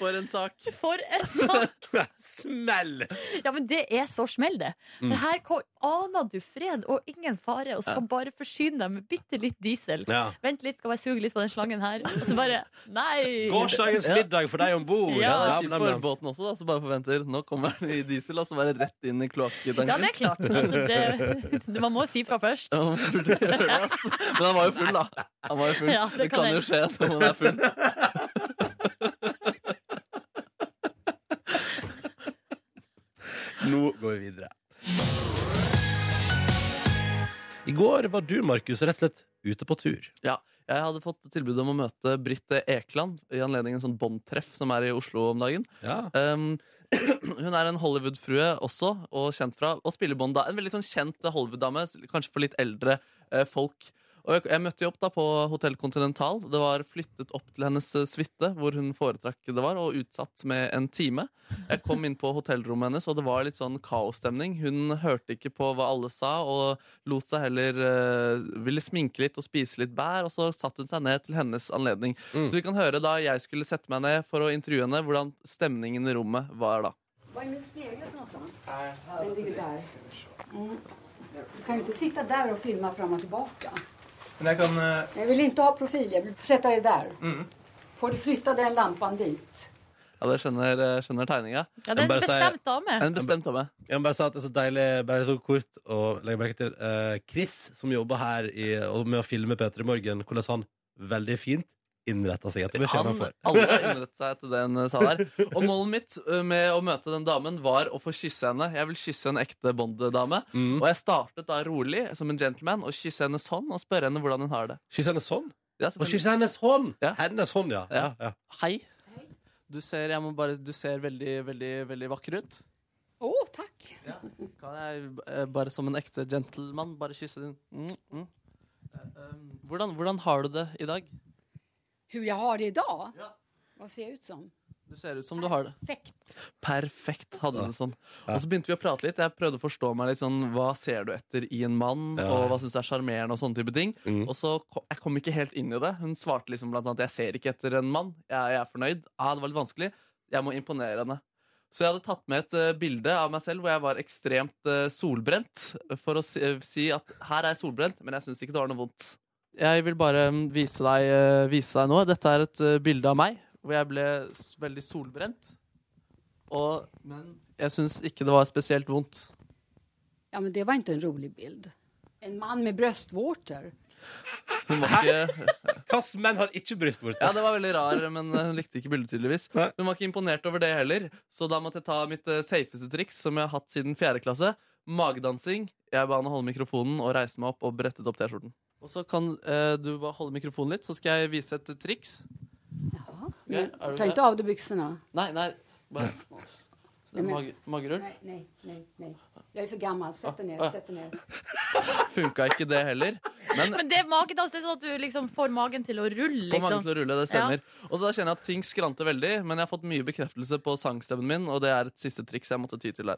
For en sak. For en sånn Smell! Ja, men det er så smell, det. Mm. For her ko- aner du fred og ingen fare, og skal bare forsyne deg med bitte litt diesel. Ja. Vent litt, skal bare suge litt på den slangen her. Og så bare Nei! Gårsdagens Ja. middag for deg om bord. Ja, det Ja, er kjipt for båten også, da, så bare forventer. Nå kommer den i diesel, og så bare rett inn i kloakketanken. Ja, det er klart. Altså, det, det, man må si fra først. Ja, man burde gjøre det, ass. Men han var jo full, da. Han var jo full. Ja, det, det kan, kan jo skje når man er full. Nå går vi videre. I går var du, Markus, rett og slett ute på tur. Jeg hadde fått tilbud om å møte Britt Ekeland i anledning en sånn båndtreff som er i Oslo om dagen. Ja. Um, hun er en Hollywood-frue også, og kjent fra å spille Bond. da. En veldig sånn kjent Hollywood-dame, s- kanskje for litt eldre eh, folk. Og jeg, jeg møtte jo opp da på Hotell Continental. Det var flyttet opp til hennes eh, suite, hvor hun foretrakk det var, og utsatt med en time. Jeg kom inn på hotellrommet hennes, og det var litt sånn kaosstemning. Hun hørte ikke på hva alle sa, og lot seg heller eh, ville sminke litt og spise litt bær, og så satte hun seg ned til hennes anledning. Så vi kan høre da jeg skulle sette meg ned for å intervjue henne, hvordan stemningen i rommet var da. Var är min spegel någonstans? Den ligger där. Mm. Du kan ju inte sitta där och filma fram och tillbaka. Men jeg kan eh, Jag vill inte ha profil, jag vill sätta dig där. Får du flytta den lampan dit? Ja, dere skjønner, eh, skjønner tegninga. Ja, Jeg det er må en bare si- bestemt dame. En bestemt dame. Jeg må bare si at det er så deilig, bare så kort, å legge merke til eh, Chris, som jobber her i, og med å filme Peter i morgen, hvordan han veldig fint innretta seg etter beskjeden Han, han får. alle innrettet seg etter det hun sa der. Og målet mitt eh, med å møte den damen var å få kysse henne. Jeg vil kysse en ekte Bond-dame. Mm. Og jeg startet da rolig som en gentleman og kysse hennes hånd og spørre henne hvordan hun har det. Kysse hennes hånd! Ja, Og selvfølgelig. kysse hennes hånd! Ja. Hennes hånd, ja. Ja. ja. Hei. Du ser, jeg må bare, du ser veldig, veldig, veldig vakker ut. Åh, tack! Kan Kan jeg jeg eh, bare som en ekte gentleman bare kysse din mm, mm. Eh, um, hvordan, hvordan har du det i dag? Hur jag har det idag? Vad ser jag ut som? Du ser ut som du har det. Perfekt. Perfekt, hadde hun det sånn. Og så begynte vi å prate litt. Jeg prøvde å forstå meg litt sånn Hva ser du etter i en mann, Ja. og hva syns du er sjarmerende, og sånne type ting. Mm. Og så kom, jeg kom ikke helt inn i det. Hun svarte liksom blant annet 'Jeg ser ikke etter en mann. Jeg, jeg er fornøyd'. Ah, det var litt vanskelig. Jeg må imponere henne. Så jeg hadde tatt med et eh, bilde av meg selv hvor jeg var ekstremt eh, solbrent, for å si, si at her er jeg solbrent, men jeg syns ikke det var noe vondt. Jeg vil bare mm, vise deg, eh, vise deg noe. Dette er et eh, bilde av meg hvor jeg ble s- veldig solbrent. Og, men jeg syns ikke det var spesielt vondt. Ja, men det var inte en rolig bild. En man med bröstvårtor. Hun var ikke Hvilke menn har ikke brystvorte? Ja, det var veldig rar, men eh, hun likte ikke bildet tydeligvis. Nei. Hun var ikke imponert over det heller, så da måtte jeg ta mitt eh, safeste triks, som jeg har hatt siden fjerde klasse. Magedansing. Jeg ba henne holde mikrofonen og reise meg opp og brettet opp T-skjorten. Og så kan eh, du bare holde mikrofonen litt, så skal jeg vise et eh, triks. Jaha. Ja, Men, är du ta med? inte av dig byxorna. Nei, nei. Bare. Det Nei, er men- mag magerull. Nej, nej, nej, nej. Jag är för gammal. Sätt dig ner, sätt dig ner. Funka ikke det heller. Men Men det er magedans. Det er sånn at du liksom får magen til å rulle. få mange Liksom. til å rulle, det Ja. stemmer. Og da kjenner jeg at ting skranter veldig, men jeg har fått mye bekreftelse på sangstemmen min, og det er et siste triks jeg måtte ty til der.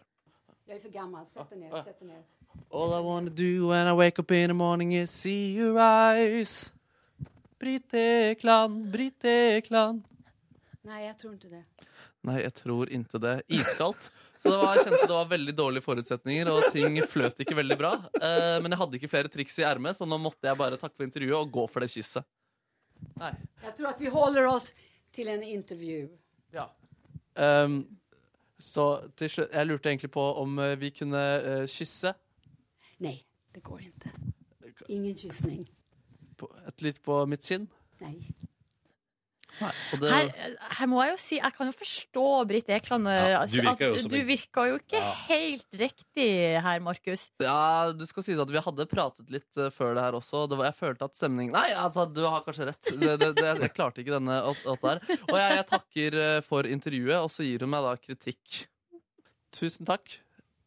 Jag är för gammal. Sätt dig ner, sätt dig ner. All I wanna do when I wake up in the morning is see your eyes. Britt Ekland, Britt Ekland. Nej, jag tror inte det. Nei, jeg tror ikke det. Iskaldt. Så det var, jeg kjente det var veldig dårlige forutsetninger, og ting fløt ikke veldig bra. Eh, men jeg hadde ikke flere triks i ermet, så nå måtte jeg bare takke for intervjuet og gå for det kysset. Nei. Jag tror att vi håller oss till en intervju. Ja. Ehm, så til slutt Jeg lurte egentlig på om eh, vi kunne eh, kysse Nej, det går inte. Ingen kyssning. på, et litt på mitt kinn. Nej. Og det, Her, her må jeg jo si Jeg kan jo forstå Britt Ekland. Ja, du altså, virker jo at som du en- virka jo ikke Ja. helt riktig her, Markus. ja, det skal sies at vi hadde pratet litt eh, før det her også. og Det var, jeg følte at stemningen Nei, altså, du har kanskje rett. Det, det, det, jeg klarte ikke denne alt, alt der. Og jeg, jeg takker eh, for intervjuet, og så gir hun meg da kritikk. Tusen takk.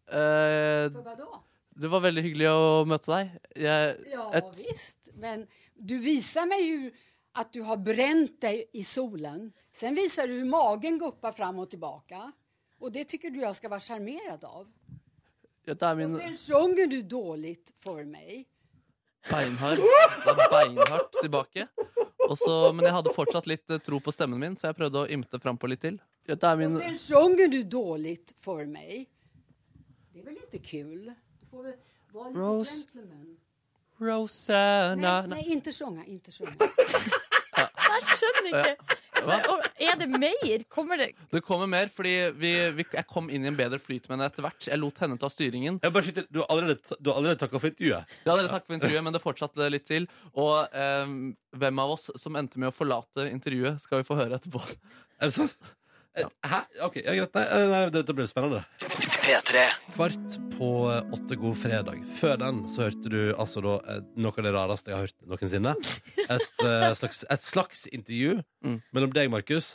Eh, För vadå? det var veldig hyggelig å møte deg. Jeg, Ja, ett- visst. Men du visar mig hur att du har bränt dig i solen. Sen visar du hur magen guppar fram och tillbaka. Och det tycker du jag ska vara charmerad av. ja, det er min Och sen sjunger du dåligt för mig. Beinhard. Det er beinhardt tilbake. Og så- men jeg hadde fortsatt litt eh, tro på stemmen min, så jeg prøvde å ymte frampå litt til. ja, det er min Och sen sjunger du dåligt för mig. Det är väl inte kul? Du får väl vara lite Rose. gentleman. Rosanna Nej, nej, inte sjunga, inte sjunga. Jeg skjønner ikke. Altså, og er det mer? Kommer det Det kommer mer, fordi vi, vi, jeg kom inn i en bedre flyt med henne etter hvert. Jeg lot henne ta styringen. Jeg bare skyter, du har allerede, ta- du har allerede takka for intervjuet. Ja, dere takk for intervjuet, men det fortsatte litt til. Og eh, hvem av oss som endte med å forlate intervjuet, skal vi få høre etterpå. Er det sant? Eh, Hæ? OK, ja, greit. Nei, eh, nei, nei, dette ble spennende. Kvart på åtte god fredag. Før den så hørte du altså da eh, noe av det rareste jeg har hørt noensinne. Et, eh, slags, et slags intervju Mm. mellom deg, Markus,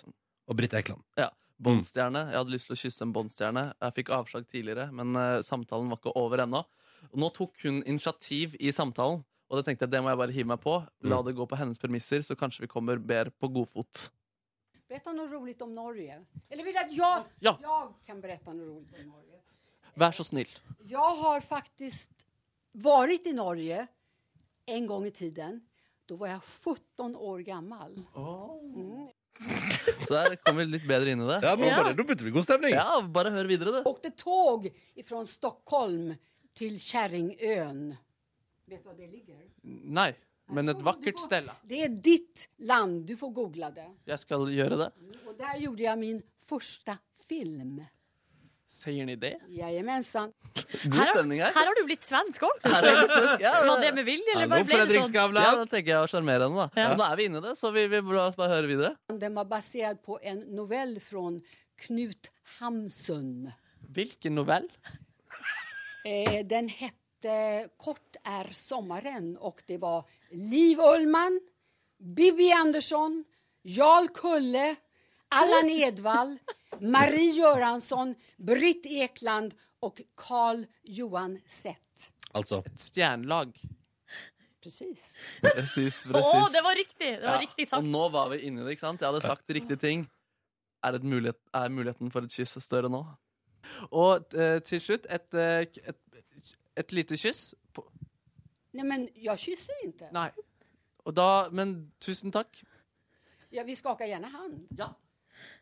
og Britt Ekland. Båndstjerne. Jeg hadde lyst til å kysse en båndstjerne. Jeg fikk avslag tidligere, men eh, samtalen var ikke over ennå. Nå tok hun initiativ i samtalen, og det tenkte jeg det må jeg bare hive meg på. La det gå på hennes premisser, så kanskje vi kommer bedre på godfot. Berätta något roligt om Norge. Eller vill du att jag, Ja. jag kan berätta något roligt om Norge? Vær så snill. Jag har faktiskt varit i Norge en gång i tiden. Då var jeg 17 år gammal. Så der kom vi litt bedre inn i det. Ja, Nå, Ja. Bare, nå begynte det å bli god stemning. Ja, bare hør videre, du. Åkte tåg ifrån Stockholm till Kärringön. Vet du var det ligger? Nei, men et Du vakkert får- stelle. Det är ditt land, du får googla det. Jeg skal gjøre det. Och där gjorde jag min första film. Sier ni det? Jajamensan. God her har, stemning her her. har du blitt svensk òg. Her er det svensk, ja, Var det- det med vilje, eller Hallo, bare ble det Fredrik sånn? Skavlan. Ja, da tenker jeg å sjarmere henne, da. Men Nå er vi inne i det, så vi, vi la oss bare høre videre. Den var baserad på en novell från Knut Hamsun. Hvilken novell? Eh, den hette Kort är sommaren och det var Liv Ullman, Bibi Andersson, Jarl Kulle, Allan Edwall, Marie Göransson, Britt Ekland och Carl Johan Sett. Altså, Et stjernelag. Precis. Presis, Å, det var riktig! Det var riktig Og sagt. nå var vi inne i det, ikke sant? Jeg hadde sagt riktige ting. er, et mulighet, er muligheten for et kyss større nå? Og eh, til slutt et, eh, k- et, et lite kyss. På, Nej, men jag kysser inte. nei. Og da, men tusen takk. Ja, vi skakar gärna hand. Ja.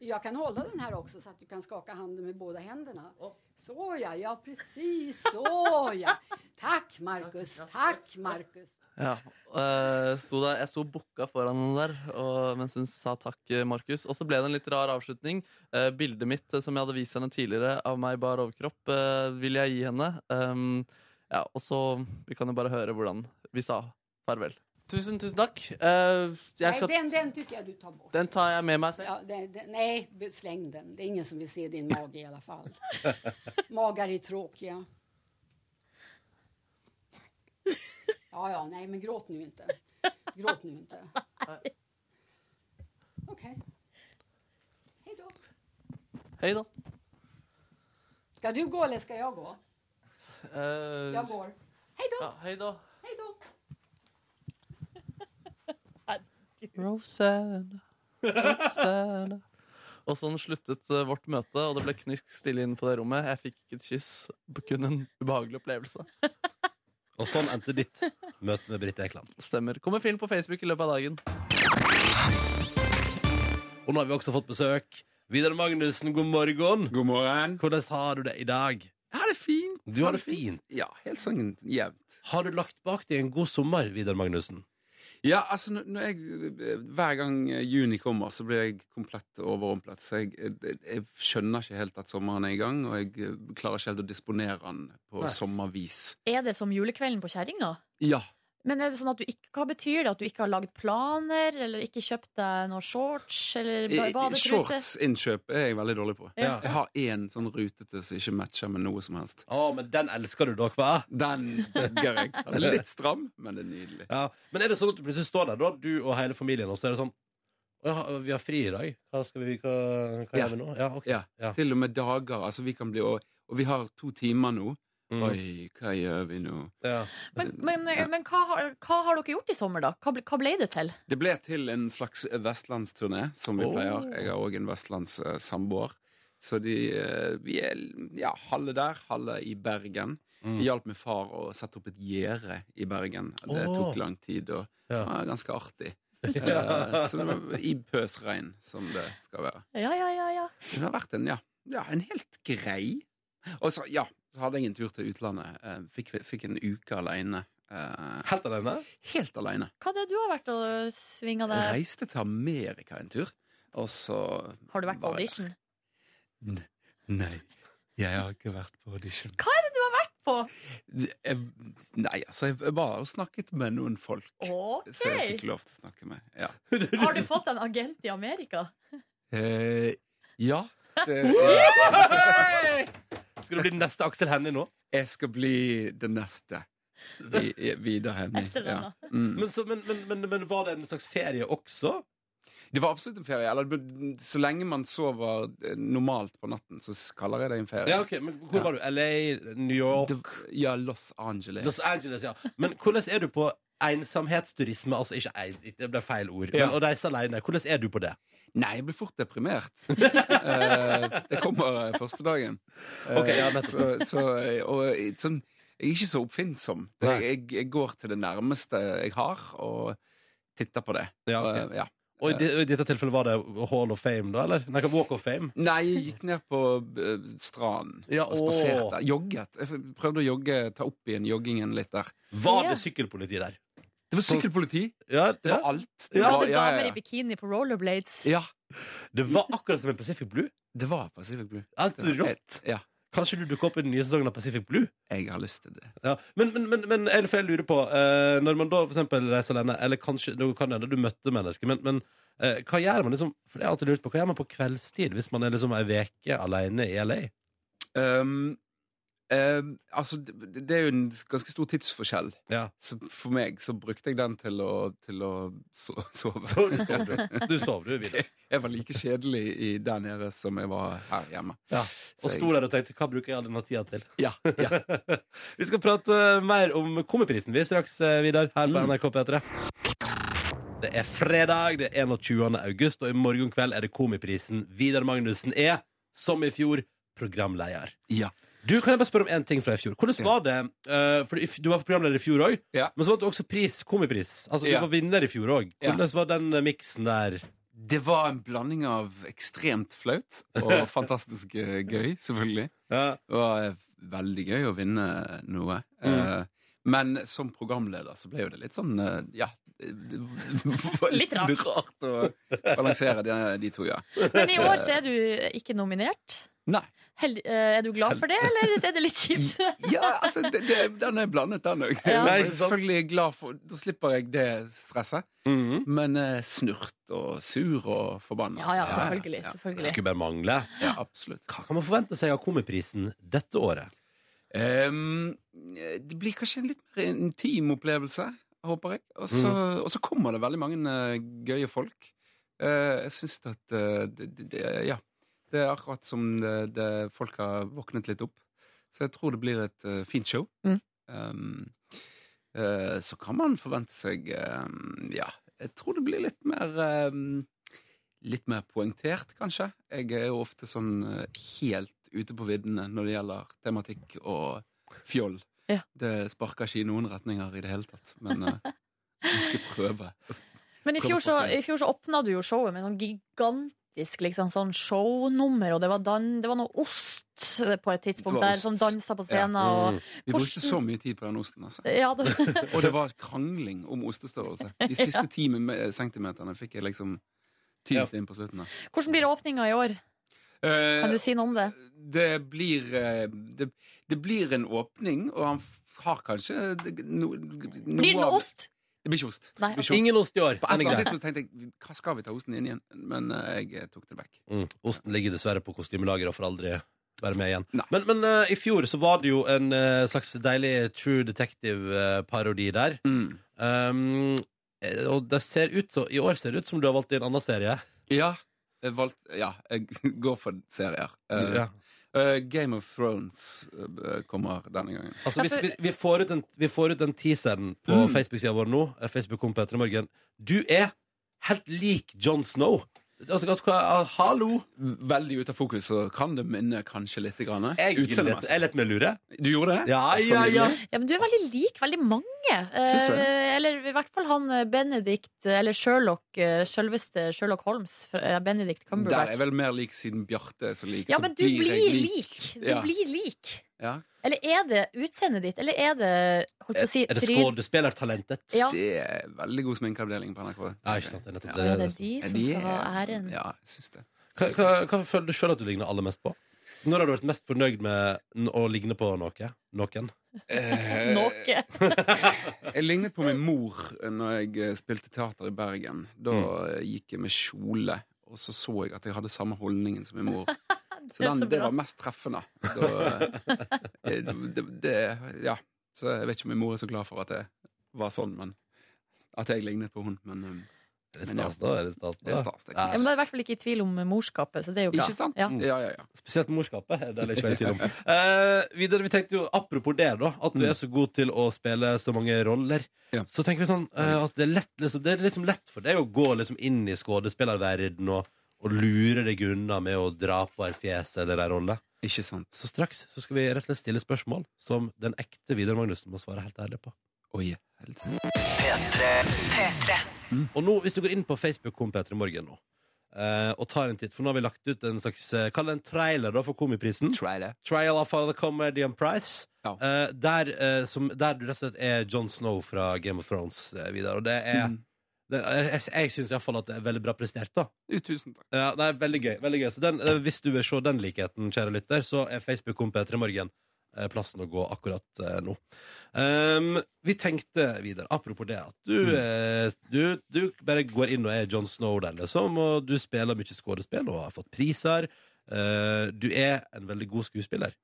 Jag kan hålla den här också så att du kan skaka handen med båda händerna. Så ja, ja precis så ja. Tack Marcus, tack Marcus. Ja. eh, sto der, jeg sto bukka foran henne der og, mens hun sa takk, eh, Markus. Og så ble det en litt rar avslutning. Eh, bildet mitt eh, som jeg hadde vist henne tidligere av meg i bar overkropp, eh, vil jeg gi henne. Um, ja, og så Vi kan jo bare høre hvordan vi sa farvel. Tusen, tusen takk. Eh, jeg Nej, skal, den, den tycker jag du tar bort. den tar jeg med meg selv. Ja, den, den, nej, be- släng den. Det är ingen som vill se din mage i alla fall. Magar är tråkiga. Ja, ja, nej, men gråt nu inte. Gråt nu inte. Okej. Hej då. Hei, da. Ska du gå eller ska jag gå? Eh, Jag går. Hej då, ja, hei, da. hej då. Rosanna, Rosanna. Og sånn sluttet eh, vårt møte, og det ble knysk stille inne på det rommet. Jeg fikk ikke et kyss, kun en ubehagelig opplevelse. Og sånn endte ditt møte med Britt Ekland. Stemmer. Kommer film på Facebook i løpet av dagen. Og nå har vi også fått besøk. Vidar Magnussen, god morgen. God morgen. Hvordan har du det i dag? Ja, det er fint. Du har det fint. Ja, helt sånn jevnt. Har du lagt bak deg en god sommer, Vidar Magnussen? Ja, altså, når når jeg, eh, hver gang juni kommer, så blir jeg komplett overrumplet. Så jeg, jeg, jeg skjønner ikke helt at sommeren er i gang, og jeg eh, klarer ikke helt å disponere den på sommervis. Er det som julekvelden på kjerringa? Ja. Men er det sånn at du ikke, hva betyr det? At du ikke har lagd planer, eller ikke kjøpt deg noen shorts, eller ba- I- i- badetruse? Shortsinnkjøp er jeg veldig dårlig på. Ja. Jeg har én sånn rutete som ikke matcher med noe som helst. Å, men den elsker du dere, hva? Den digger jeg. Den er litt stram, men det er nydelig. Ja. Men er det sånn at du plutselig står der, da, du og hele familien, og så er det sånn «Å ja, vi har fri i dag. Hva skal vi Hva, hva Ja. gjør vi nå? Ja, ok. Ja. Ja. Til og med dager. Altså, vi kan bli Og, og vi har to timer nå. Mm. Oi, hva gjør vi nå? Ja. Men, men, men hva, har- hva har dere gjort i sommer, da? Hva ble, hva ble det til? Det ble til en slags vestlandsturné, som vi Oh. pleier. Jeg har òg en vestlandssamboer. Så de, eh, vi er ja, halve der, halve i Bergen. Mm. Vi hjalp med far å sette opp et gjerde i Bergen. Det Åh. tok lang tid, og Ja. det var ganske artig. Ja. Eh, Så det var I pøsregn, som det skal være. Ja, ja, ja. ja. Så det har vært en, ja, ja, en helt grei Og så, ja, så hadde jeg en tur til utlandet. eh, Fikk, fikk en uke aleine. eh, Helt alene? Helt aleine. Hva er det du har vært og svinga deg? Reiste til Amerika en tur, og så Har du vært på var jeg- audition? Nei. Jeg har ikke vært på audition. Hva er det du har vært på? Jeg, nei, altså, jeg var og snakket med noen folk. Så jeg Ok! fikk lov til å snakke med. Ja. Har du fått en agent i Amerika? Eh, ja. Det, Skal du bli den neste Aksel Hennie nå? jeg skal bli det neste. Vi- Vidar Henning. Etter Ja. denne. Mm. Men, så, men, men, men, men var det en slags ferie også? Det var absolutt en ferie. Eller, det ble- så lenge man sover eh, normalt på natten, så kaller jeg det en ferie. Ja, ok, men Hvor Ja. var du? LA? New York? Det, ja, Los Angeles. Los Angeles, ja. Men hvordan er du på ensomhetsturisme? Altså ikke en, det ble feil ord. Ja. Men å reise alene, hvordan er du på det? Nei, jeg ble fort deprimert. Eh, det kommer eh, første dagen. Eh, Ok, ja, så, så, eh, og eh, sånn, jeg er ikke så oppfinnsom. Det, Nei. jeg, jeg går til det nærmeste jeg har, og titter på det. Ja, ok. Eh, ja. Og i, di- og i dette tilfellet var det Hall of Fame, da? eller? Nei, Walk of Fame. Nei, jeg gikk ned på eh, stranden Ja, og spaserte. åh. Jogget. Jeg prøvde å jogge, ta opp igjen joggingen litt der. Var Ja. det sykkelpoliti der? Det var sykkelpoliti! Ja, Det var alt. Du Det var, hadde damer i bikini på rollerblades. ja. det var akkurat som en Pacific Blue. Det var Pacific Blue. Helt Det var rått. helt- Ja, Kanskje du dukker opp i den nye sesongen av Pacific Blue? jeg har lyst til det. Ja. Men, men, men, men eller, for jeg lurer på eh, Når man da for eksempel reiser alene, eller kanskje nå kan det hende du møtte mennesker, men, men eh, hva gjør man liksom For det har jeg alltid lurt på, hva gjør man på kveldstid hvis man er liksom ei veke alene i LA? Um, um, altså, det, det er jo en ganske stor tidsforskjell. Ja. Så for meg så brukte jeg den til å, til å so sove. Så du sov, du. Du sov, du, Vidar. Jeg var like kjedelig i der nede som jeg var her hjemme. Ja, Så Og sto der og tenkte 'hva bruker jeg all denne tida til'? Ja, ja. Vi eh, Mm. skal prate mer om Komiprisen vi straks, eh, Vidar, her på NRK P3. Det er fredag, det er 21. august, og i morgen kveld er det Komiprisen. Vidar Magnussen er, som i fjor, programleder. Ja. Du, Kan jeg bare spørre om én ting fra i fjor? Hvordan Ja. var det eh, For du- du var programleder i fjor òg, Ja. men så vant du også pris, komipris. Altså, Du Ja. var vinner i fjor òg. Ja. Hvordan var den eh, miksen der? Det var en blanding av ekstremt flaut og fantastisk eh, gøy, selvfølgelig. Det var eh, veldig gøy å vinne noe. Mm. Eh, Men som programleder så ble jo det litt sånn eh, Ja. Det det var Litt rart. rart å balansere de, de to, ja. Men i år så er du ikke nominert. Nei. Hel eh, er du glad for det, eller er det litt kjipt? Ja, altså, det, det, den er blandet, den òg. Ja. Nei, ikke sant? Selvfølgelig er jeg glad for Da slipper jeg det stresset. Mhm. Men eh, snurt og sur og forbanna. Ja, ja, selvfølgelig. Ja, selvfølgelig. Skulle bare mangle. ja, absolutt. Hva kan man forvente seg av Komiprisen dette året? Ehm, det blir kanskje en litt mer intim opplevelse, håper jeg. Og så, og så kommer det veldig mange eh, gøye folk. Eh, jeg syns at eh, det, det, det, Ja. Det er akkurat som det, det, folk har våknet litt opp. Så jeg tror det blir et eh, fint show. Mm. Ehm, eh, så kan man forvente seg ehm, Ja, jeg tror det blir litt mer ehm, Litt mer poengtert, kanskje. Jeg er jo ofte sånn eh, helt ute på viddene når det gjelder tematikk og fjoll. Ja. Det sparker ikke i noen retninger i det hele tatt, men eh, jeg skal prøve. Men i Prøv å fjor, så, snakke. i fjor så åpna du jo showet med sånn gigantisk liksom, sånn shownummer, og det var, dan, det var noe ost på et tidspunkt Det var der ost. som dansa på Ja. Mm. scenen. Og, Vi brukte Hvordan- så mye tid på den osten, altså. ja, det, Og det var krangling om ostestørrelse. De siste ti me- centimeterne fikk jeg liksom tynt inn på slutten. der. hvordan blir åpninga i år? Eh, Kan du si noe om det? det blir eh, det, det blir en åpning, og han f- har kanskje det- no, Blir det noe noe av- ost? Det blir ikke ost. Nei, Det blir ikke ost. Ingen ost i år. På Den et eller er annet grei. tidspunkt tenkte jeg hva skal vi ta osten inn igjen, men eh, jeg tok det vekk. Mm. Osten ligger dessverre på kostymelageret og får aldri være med igjen. Nei. Men, men eh, i fjor så var det jo en eh, slags deilig True Detective-parodi der. Mm. Um, eh, og det ser ut så, i år ser det ut som du har valgt en annen serie. Ja. Jeg valgte, ja, jeg går for serier. Eh, Ja. eh, Game of Thrones eh, kommer denne gangen. Altså, Ja, for- vi, vi, vi, får ut den, vi får ut den teaseren på Facebook-sida vår nå. eh, Facebook-kom Peter i morgen. Du er helt lik John Snow. Altså, altså, hva- ah, hallo! Veldig ute av fokus, så kan det minne kanskje litt. Grann, Jeg lett, Utseendemessig. jeg lett med lure. Du gjorde det? Ja, ja, Familie. ja. Ja, men du er veldig lik veldig mange. Syns du det? Eh, eller i hvert fall han eh, Benedict, eh, eller Sherlock, eh, selveste Sherlock Holmes. fra- eh, Benedict Der er Cumberbatch. jeg vel mer lik siden Bjarte er så lik. Ja, så men du jeg blir lik. Du Ja. blir lik. Ja. Eller er det utseendet ditt, eller er det holdt på å si, Er det tryn- skuespillertalentet? Ja. Det er veldig god sminkeavdeling på NRK. Ja, ikke sant. Det er nettopp Ja, det det. er de som De skal ha er- æren. Ja, jeg syns det. Hva, hva, hva føler du sjøl at du ligner aller mest på? Når har du vært mest fornøyd med n- å ligne på noe? Noen? Eh, Noe. jeg lignet på min mor eh, når jeg eh, spilte teater i Bergen. Da eh, gikk jeg med kjole, og så så jeg at jeg hadde samme holdningen som min mor. Så er så den, det bra. var mest treffende. Da, eh, det, det, ja. Så jeg vet ikke om min mor er så glad for at det var sånn, men at jeg lignet på hun. Men eh, Er det Men ja. stas, da? Er det stas, det er da? stas. det Ja. Jeg må i hvert fall ikke i tvil om morskapet, så det er jo bra. Ikke sant? Mm. Ja. Ja, ja, ja. Spesielt morskapet. Det er det ikke veldig tvil om. Eh, videre, vi tenkte jo, Apropos det, da at du er så god til å spille så mange roller. Mm. Ja. Så tenker vi sånn eh, at det er, lett, liksom, det er liksom lett for deg å gå liksom inn i skuespillerverdenen og, og lure deg unna med å dra på et fjes eller ei rolle. Ikke sant? Så straks så skal vi rett og slett stille spørsmål som den ekte Vidar Magnussen må svare helt ærlig på. Oi, helse. Og nå, hvis du går inn på Facebook kom Petra Morgen nå eh, og tar en titt, for nå har vi lagt ut en slags eh, Kall det en trailer da for Komiprisen. Try det. Trial of the Comedy and Price. Ja. Eh, der, eh, som, der du rett og slett er John Snow fra Game of Thrones, eh, Vidar. Og det er Mm. det, Jeg, jeg syns iallfall at det er veldig bra prestert, da. Jo, Tusen takk. Ja, det er veldig gøy. veldig gøy Så den, eh, Hvis du vil se den likheten, kjære lytter, så er Facebook kom Petra Morgen eh, plassen å gå akkurat eh, nå. Ehm, vi tenkte, Vidar, apropos det, at du, eh, du, du bare går inn og er John Snow der, liksom, og du spiller mye skuespill og har fått priser. Eh, du er en veldig god skuespiller.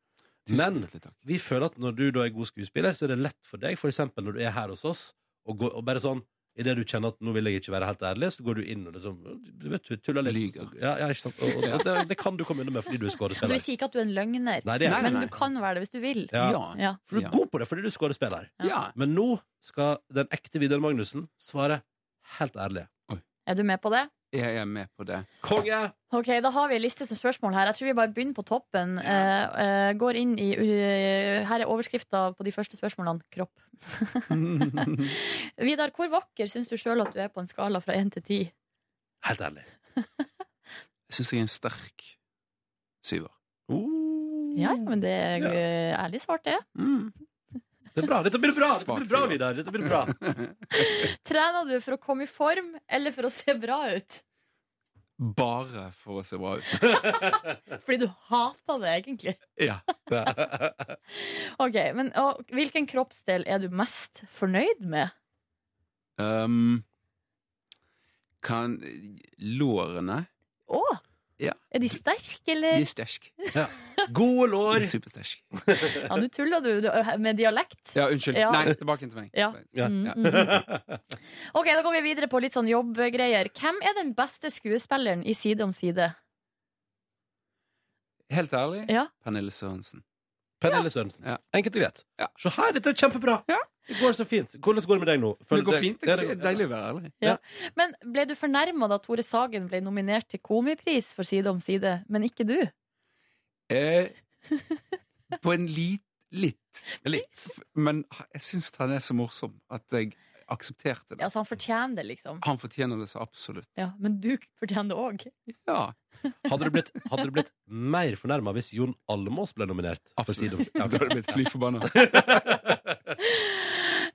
Tusen Men- hjertelig takk. Vi føler at når du da er god skuespiller, så er det lett for deg, for eksempel når du er her hos oss, og, går, og bare sånn Idet du kjenner at nå vil jeg ikke være helt ærlig, så går du inn og liksom du vet, du tuller litt. Lyger. Ja, ja, ikke sant? Og, og, og det, det kan du komme unna med fordi du er Altså, vi skuespiller. sier ikke at du er en løgner, Nei, det er men Nei, du kan være det hvis du vil. Ja. Ja. For du er god på det fordi du er skuespiller. Ja. Men nå skal den ekte Vidar Magnussen svare Helt ærlig. Er du med på det? Jeg er med på det. Konge! Ok, Da har vi en liste som spørsmål her. Jeg tror vi bare begynner på toppen. Eh, eh, går inn i eh, Her er overskrifta på de første spørsmålene. Kropp. Vidar, hvor vakker syns du sjøl at du er på en skala fra én til ti? Helt ærlig. Jeg syns jeg er en sterk syver. Uh. Ja, ja, men det er eh, ærlig svart, det. Mm. Det er bra. Dette blir bra, Dette blir bra Svak, Vidar. Dette blir bra. Trener du for å komme i form eller for å se bra ut? Bare for å se bra ut. Fordi du hater det, egentlig. Ja. Ok, men og, Hvilken kroppsdel er du mest fornøyd med? Um, kan Lårene Å! Ja. Er de sterke, De eller? er sterke. Gode De lår. er Supersterke. Ja, nå tuller du du- med dialekt. Ja, unnskyld. Ja. Nei, tilbake til meg. Ja. Ja. Mm, mm, mm. Ok, Da går vi videre på litt sånn jobbgreier. Hvem er den beste skuespilleren i Side om side? Helt ærlig, Ja. Pernille Sørensen. Pernille Sørensen. Ja. Enkelt og greit. Ja. Se her, dette er kjempebra! Det går så fint. Hvordan går det med deg nå? Men Føler det går deg- fint. Ja, Det er deilig å være ærlig. Men Ble du fornærma da Tore Sagen ble nominert til Komipris for Side om side, men ikke du? Eh, på en lit, litt, litt. Men jeg syns han er så morsom at jeg aksepterte Ja, så det. Altså, Han fortjener det, liksom. Han fortjener det så absolutt. Ja, Men du fortjener det òg. Ja, Hadde du blitt, hadde du blitt mer fornærma hvis Jon Almås ble nominert? for Side om Side? absolutt. Da Ja, ok. hadde jeg blitt fly forbanna.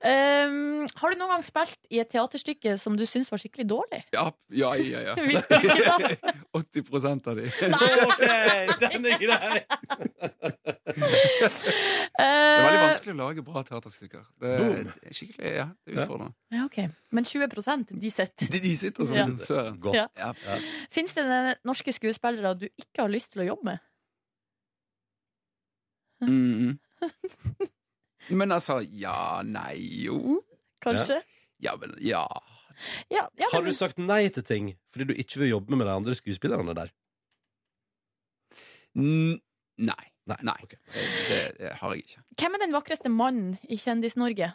Um, har du noen gang spilt i et teaterstykke som du syns var skikkelig dårlig? Ja, ja, ja. ja. Hvilket da? 80 av de. Ok, den er grei! Det er veldig Eh, vanskelig å lage bra teaterstykker. Det er, Boom. det er skikkelig, ja, det er utfordrende. ja, ok. Men 20 de sitter. De, de sitter som Ja. en søren. Godt. Ja. Ja, absolutt. Fins det noen norske skuespillere du ikke har lyst til å jobbe med? Mm, mm. Men altså, ja, nei, jo. Kanskje? Ja, men ja. Ja, ja, Har men, du sagt nei til ting fordi du ikke vil jobbe med de andre skuespillerne der? N nei. Nei, Nei. ok. Det, det har jeg ikke. hvem er den vakreste mannen i Kjendis-Norge?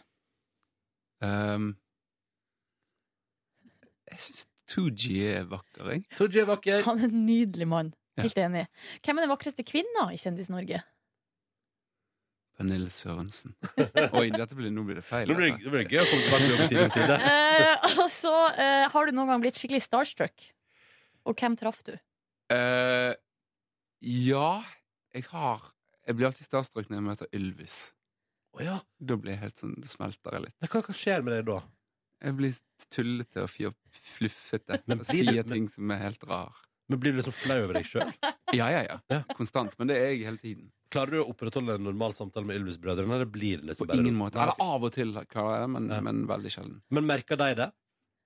Um, jeg syns Tooji er vakker, jeg. Tooji er vakker. Han er en nydelig mann. Ja. Helt enig. Hvem er den vakreste kvinna i Kjendis-Norge? Pernille Sørensen. Oi, dette blir, nå blir det feil. Nå blir det, dette. nå blir det gøy å komme tilbake med side om side. Eh, og så eh, har du noen gang blitt skikkelig starstruck. Og hvem traff du? Eh, ja, jeg har Jeg blir alltid starstruck når jeg møter Ylvis. Å ja. Da blir jeg helt sånn, det smelter jeg litt. Hva, hva skjer med deg da? Jeg blir tullete og fjo- fluffete Men og blir du- sier ting som er helt rar. Men Blir du liksom flau over deg sjøl? Ja, ja, ja. Ja. Konstant. Men det er jeg hele tiden. Klarer du å opprettholde en normal samtale med Ylvis-brødrene? eller blir det På liksom bare- ingen måte. Nei, Eller ok. av og til klarer jeg det, men, Ja. men veldig sjelden. Men merker de det?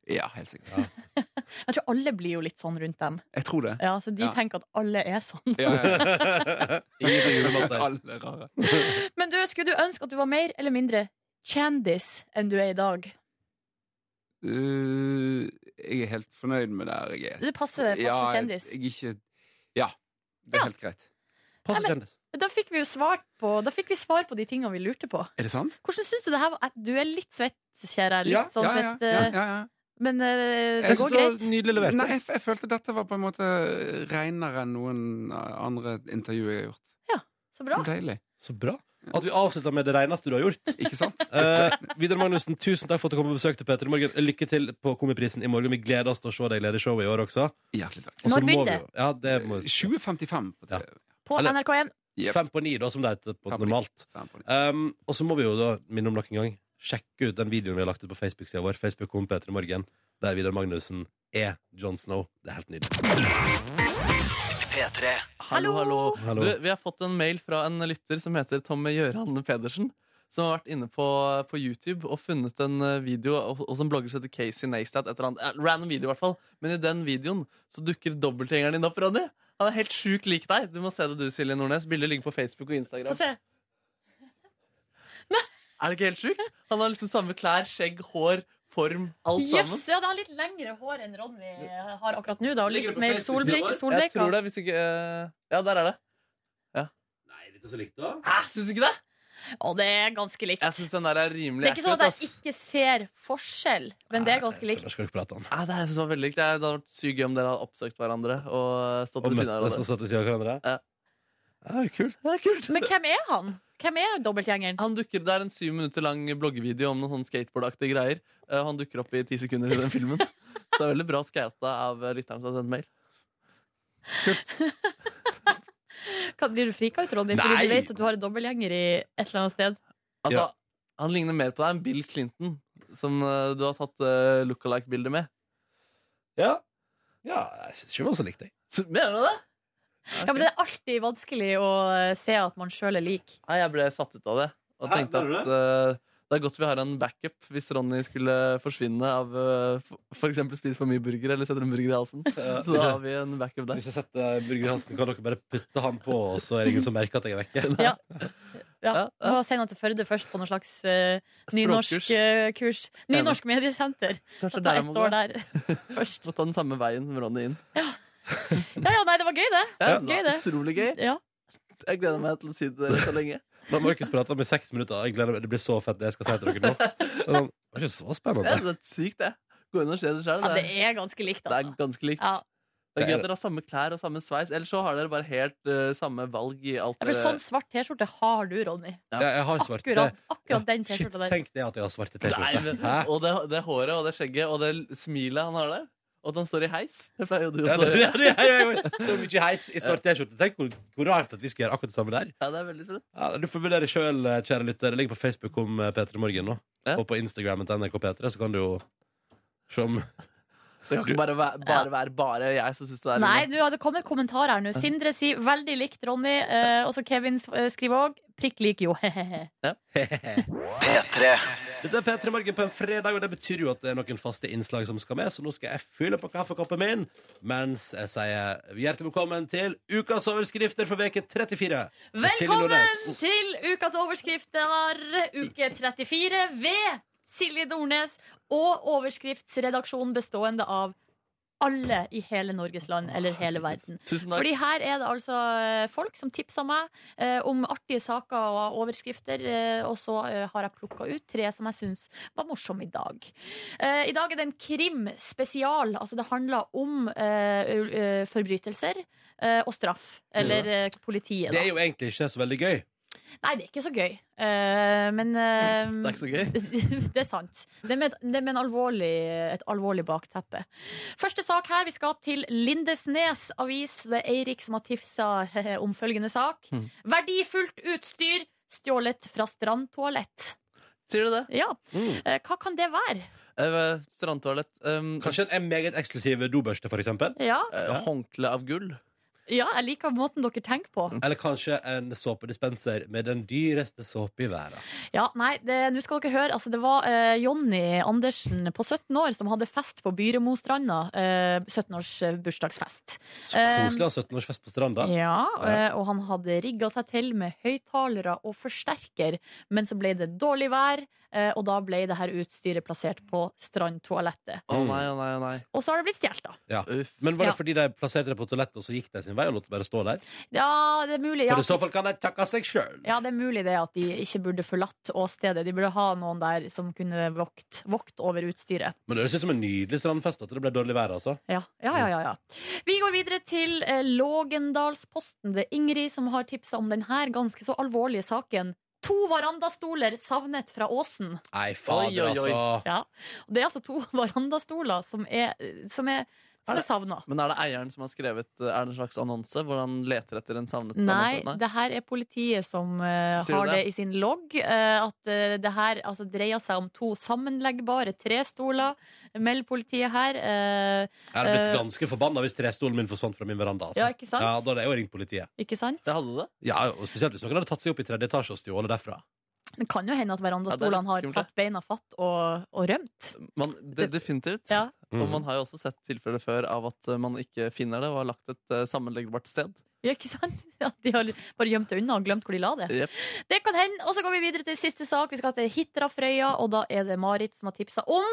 Ja, helt sikkert. Jeg tror alle blir jo litt sånn rundt dem. Jeg tror det. Ja, så de Ja. tenker at alle er sånn. Ja, ja, Ingenting er ja. unormalt der. Alle er rare. Men du, skulle du ønske at du var mer eller mindre kjendis enn du er i dag? Uh, jeg er helt fornøyd med der jeg er. Du passer, passer Ja, jeg, eh, kjendis. jeg er ikke Ja. Det Ja. er helt greit. Passe Nei, kjendis. Da fikk vi jo svart på, da fikk vi svar på de tingene vi lurte på. Er det sant? Hvordan syns du det her var? at Du er litt svett, kjære. Litt ja, sånn ja, ja, svett. ja, eh, ja, ja. Men eh, det Jeg går synes det greit. Nydelig levert. Nei, jeg, f- jeg følte dette var på en måte renere enn noen andre intervjuer jeg har gjort. Så bra. Deilig. Så bra. At vi avslutter med det reneste du har gjort. Ikke sant? Eh, Vidar Magnussen, tusen takk for at du kom på besøk til Peter i morgen. Lykke til på Komiprisen i morgen. Vi gleder oss til å se deg lede showet i år også. Hjertelig takk. Og så Når må vi begynner jo- Ja, det må vi 2055 på Ja. TV. På Eller- NRK1. Jep. Fem på ni, da, som det heter på Fem på ni. normalt. Fan på det. Um, og så må vi jo da minne om nok en gang sjekke ut den videoen vi har lagt ut på Facebook-sida vår. Facebook kom Peter i morgen, der Vidar Magnussen er John Snow. Det er helt nydelig. Hallo, hallo. Hallo. Hallo. Du, vi har fått en mail fra en lytter som heter Tomme Gjøran Pedersen. Som har vært inne på, på YouTube og funnet en eh, video og, og som blogger som heter Casey Neistat. Et eller annet, eh, random video, i hvert fall. Men i den videoen så dukker dobbeltgjengeren din opp, Ronny. Han er helt sjukt lik deg. Du må se det, du, Silje Nordnes. Bildet ligger på Facebook og Få Instagram. se. Er det ikke helt sjukt? Han har liksom samme klær, skjegg, hår, form, alt Jøss! sammen. ja, det har litt lengre hår enn Ronny har akkurat nå, da. Og Ligger det litt på mer Facebook-sida solblek- vår? Jeg solbleka. tror det, hvis ikke eh, Ja, der er det. Nei, dette er så likt, da. Hæ, syns du ikke det? Og det er ganske likt. Jeg syns den der er rimelig Det er ikke sånn at accurate, jeg ass. ikke ser forskjell, men det er ganske Jeg likt. skjønner ikke hva du prater om. Nei, det, jeg synes det var veldig likt. Det hadde vært sykt gøy om dere hadde oppsøkt hverandre og stått Og ved siden av møttes og hverandre. satt ved siden av hverandre. Ja. Ja, kult. Det er kult. Men hvem er han? Hvem er dobbeltgjengeren? Han dukker, Det er en syv minutter lang bloggevideo om noen sånne skateboardaktige greier. Eh, Han dukker opp i ti sekunder i den filmen. Så det er veldig bra skata av eh, lytteren som har sendt mail. Kan- Blir du frika ut, Ronny, fordi Nei! du vet at du har en dobbeltgjenger i et eller annet sted? Altså, Ja. Han ligner mer på deg enn Bill Clinton, som eh, du har tatt uh, look-alike-bilde med. Ja. ja, jeg syns ikke det var så likt, jeg. Så, mener du det? Ja, men Det er alltid vanskelig å eh, se at man sjøl er lik. Nei, jeg ble satt ut av det. Og Hæ, tenkte mener du at eh, det er godt vi har en backup hvis Ronny skulle forsvinne av uh, f.eks. spise for mye burger eller setter en burger i halsen. Så da har vi en backup der. Hvis jeg setter Burger Hansen, kan dere bare putte han på, og så er det ingen som merker at jeg er vekke? Ja. Ja, Ja. ja. Må sende han til Førde først på noe slags eh, nynorsk Språkkurs. eh, kurs. Nynorsk mediesenter. Kanskje Ta der jeg må ett gå. år der. Først må ta den samme veien som Ronny inn. Ja, ja, nei, det var gøy, det. Ja, Gøy, det. Utrolig gøy. Ja. Jeg gleder meg til å si det dere så lenge. La Markus prate om i seks minutter. Jeg gleder meg. Det blir så fett, det jeg skal si til dere nå. Det er sånn, det var ikke så Ja, spennende. det er sykt, det. Gå inn og se det sjøl. Ja, det Det, er ganske likt, er- det er altså. ganske likt. Ja. Det er Det gøy er at dere har samme klær og samme sveis, ellers så har dere bare helt eh, samme valg i alt Ja, For dere- sånn svart T-skjorte har du, Ronny. Jeg, jeg har svarte Akkurat, akkurat den Shit, T-skjorta der. tenk det at jeg har svarte Nei, T-skjorter. men- Hæ? Og det, det håret og det skjegget og det l- smilet han har der. Og at han står i heis. Det pleier jo du Ja, også det, å ja, gjøre. det, ja, ja, ja. det er mye heis i svarte T-skjorte. Tenk hvor, hvor rart at vi skal gjøre akkurat det samme der. Ja, det er veldig sprøtt. Ja, du får vurdere sjøl, kjære lytter. Det ligger på Facebook om P3 Morgen nå. Ja. Og på Instagrammen til NRK P3, så kan du jo se om Det kan ikke bare være bare, være bare jeg som syns det er Nei, du hadde kommet kommentar her nå. Sindre sier veldig likt Ronny, eh, og så Kevin eh, skriver òg prikk lik jo. Hehehe. Dette er P3 Morgen på en fredag, og det betyr jo at det er noen faste innslag som skal med. Så nå skal jeg fylle på kaffekoppen min mens jeg sier hjertelig velkommen til ukas overskrifter for veke 34. med Silje Velkommen Nordnes. til ukas overskrifter, uke 34, ved Silje Nordnes og overskriftsredaksjonen bestående av alle i hele Norges land, eller hele verden. Tusen takk. Fordi her er det altså eh, folk som tipsa meg eh, om artige saker og overskrifter, eh, og så eh, har jeg plukka ut tre som jeg syns var morsomme i dag. Eh, I dag er det en krimspesial. Altså det handler om eh, u- eh, forbrytelser eh, og straff. Eller eh, politiet, Det da. er jo egentlig ikke så veldig gøy. Nei, det er ikke så gøy. Eh, men eh, Det er ikke så gøy. det er sant. Det er med, et- det er med en alvorlig, et alvorlig bakteppe. Første sak her, vi skal til Lindesnes avis. Det er Eirik som har tipsa om følgende sak. Mm. Verdifullt utstyr stjålet fra strandtoalett. Sier du det? Ja, Hmm. eh, hva kan det være? Eh, Strandtoalett. Um, Kanskje en meget eksklusiv dobørste, for eksempel. Ja, eh, Håndkle av gull. ja jeg liker måten dere tenker på. Eller kanskje en såpedispenser med den dyreste såpe i verden. Ja, nei, det- nå skal dere høre. Altså, det var eh, Jonny Andersen på 17 år som hadde fest på Byremostranda. Eh, 17års bursdagsfest. Så Eh, koselig å ha 17-årsfest på stranda. Ja, eh, og han hadde rigga seg til med høyttalere og forsterker, men så ble det dårlig vær, eh, og da ble det her utstyret plassert på strandtoalettet. Mm. Å nei, å nei, å nei. Og så har det blitt stjålet, da. Uff. Men var det Ja. fordi de plasserte det på toalettet, og så gikk de sin vei og lot det bare stå der? Ja, det er mulig. Ja. For i så fall kan de takke seg sjøl. Ja, det er mulig det at de ikke burde forlatt åstedet. De burde ha noen der som kunne vokt, vokt over utstyret. Men det høres ut som en nydelig strandfest at det ble dårlig vær, altså. Ja, ja, ja, ja, ja. Vi går videre til eh, Lågendalsposten. Det er Ingrid som har tipsa om denne ganske så alvorlige saken. To verandastoler savnet fra Åsen. Nei, Oi, oi, fader, oi. altså. Ja. Og det er altså to verandastoler som er, som er, som er savna. Men er det eieren som har skrevet eh, Er det en slags annonse hvor han leter etter en savnet? Nei, annonse? det her er politiet som eh, Sier du har det? det? i sin logg. eh, at eh, det her altså, dreier seg om to sammenleggbare trestoler. Meld politiet her. eh, Jeg hadde blitt Eh, ganske forbanna hvis trestolen min forsvant fra min veranda. Altså. Ja, ikke sant? Ja, Da hadde jeg jo ringt politiet. ikke sant? Det hadde det? Ja, og Spesielt hvis noen hadde tatt seg opp i tredje etasje og stjålet derfra. Det kan jo hende at verandastolene Ja, det Mm. er har litt skummelt, tatt beina fatt og, og rømt. Man, det definitivt. Ja. Mm. Og man har jo også sett tilfeller før av at eh, man ikke finner det og har lagt et eh, sammenleggbart sted. Ja, ikke sant? Ja, de har bare gjemt det unna og glemt hvor de la det. Jep. Det kan hende. Og så går vi videre til siste sak. Vi skal til Hitra Frøya, og da er det Marit som har tipsa om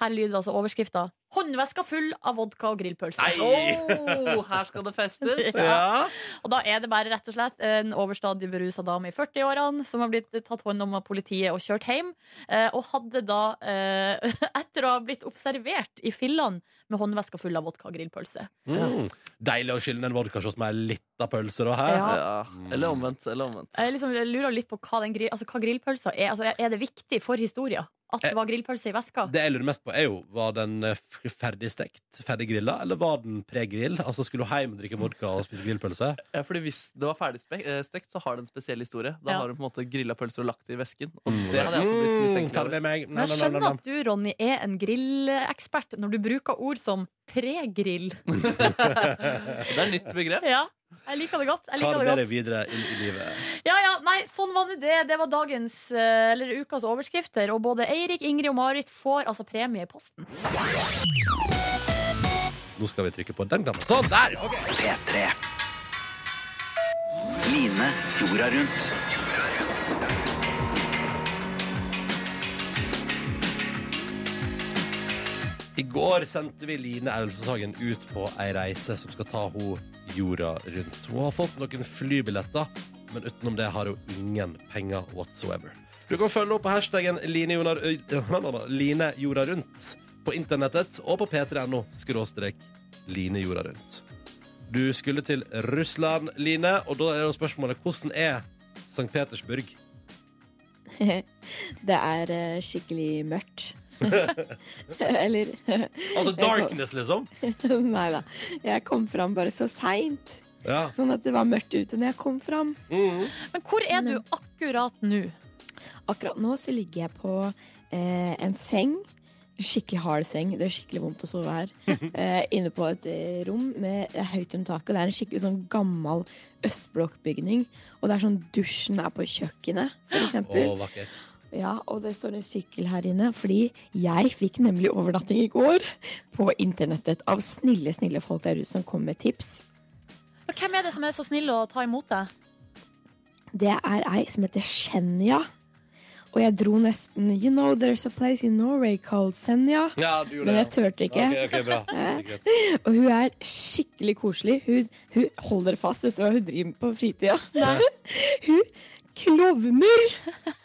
Her lyder altså overskrifta 'Håndveska full av vodka og grillpølse'. Oh, her skal det festes! Ja. Og da er det bare rett og slett en overstadig berusa dame i 40-årene som har blitt tatt hånd om av politiet og kjørt hjem. Eh, og hadde da, eh, etter å ha blitt observert i fillene med håndveska full av vodka og grillpølse Mm. Deilig å skylle en vodkashot med ei lita pølse, da. Her. Ja. Ja. Eller omvendt. Eller omvendt. Jeg liksom lurer litt på hva, den, grill- altså, hva grillpølsa er. Altså, er det viktig for historia at det var grillpølse i veska? Eh, Det jeg lurer mest på, er jo var den eh, f- ferdig stekt, ferdig grilla, eller var den pre-grill? Altså, skulle du hjem og drikke vodka og spise grillpølse? Ja, fordi Hvis det var ferdigstekt, så har det en spesiell historie. Da Ja. har du på en måte grilla pølser og lagt det i vesken. Og det hadde jeg også blitt Mm, mistenkt ta det over. med meg. Nei, Men jeg nei, nei, skjønner nei, at du, Ronny, er en grillekspert når du bruker ord som pre-grill. Det er et nytt begrep. Ja, jeg liker det godt. nei. Jeg Ta det liker det med godt. deg videre inn i livet. Ja, ja, nei, sånn var nå det. Det var dagens, eh, eller ukas overskrifter. Og både Eirik, Ingrid og Marit får altså premie i posten. Nå skal vi trykke på den knappen. Sånn, der! ok. P3. Line jorda rundt. I går sendte vi Line Elvsåshagen ut på ei reise som skal ta hun jorda rundt. Hun har fått noen flybilletter, men utenom det har hun ingen penger whatsoever. Du kan følge henne på hashtaggen Line, Jonar, Øy- Line jorda rundt på internettet og på p3.no skråstrek Line jorda rundt. Du skulle til Russland, Line, og da er jo spørsmålet hvordan er St. Petersburg? Det er eh, skikkelig mørkt. Eller Altså darkness, liksom? Nei da. Jeg kom fram bare så seint. Ja. Sånn at det var mørkt ute når jeg kom fram. Mm. Men hvor er du akkurat nå? Akkurat nå så ligger jeg på eh, en seng. Skikkelig hard seng. Det er skikkelig vondt å sove her. Eh, inne på et eh, rom med eh, høyt under taket. Det er en skikkelig sånn gammel østblokkbygning. Og det er sånn dusjen er på kjøkkenet, for Å, eksempel. vakkert. Ja, og det står en sykkel her inne, fordi jeg fikk nemlig overnatting i går på internettet av snille, snille folk der ute som kom med tips. Og Hvem er det som er så snill å ta imot deg? Det er ei som heter Shenya. Og jeg dro nesten You know there's a place in Norway called Senja. Ja, du gjorde Men det. jeg turte ikke. Ok, ok, bra. Sikkert. Og hun er skikkelig koselig. Hun, hun holder dere fast, vet du hva hun driver med på fritida? Hun klovner!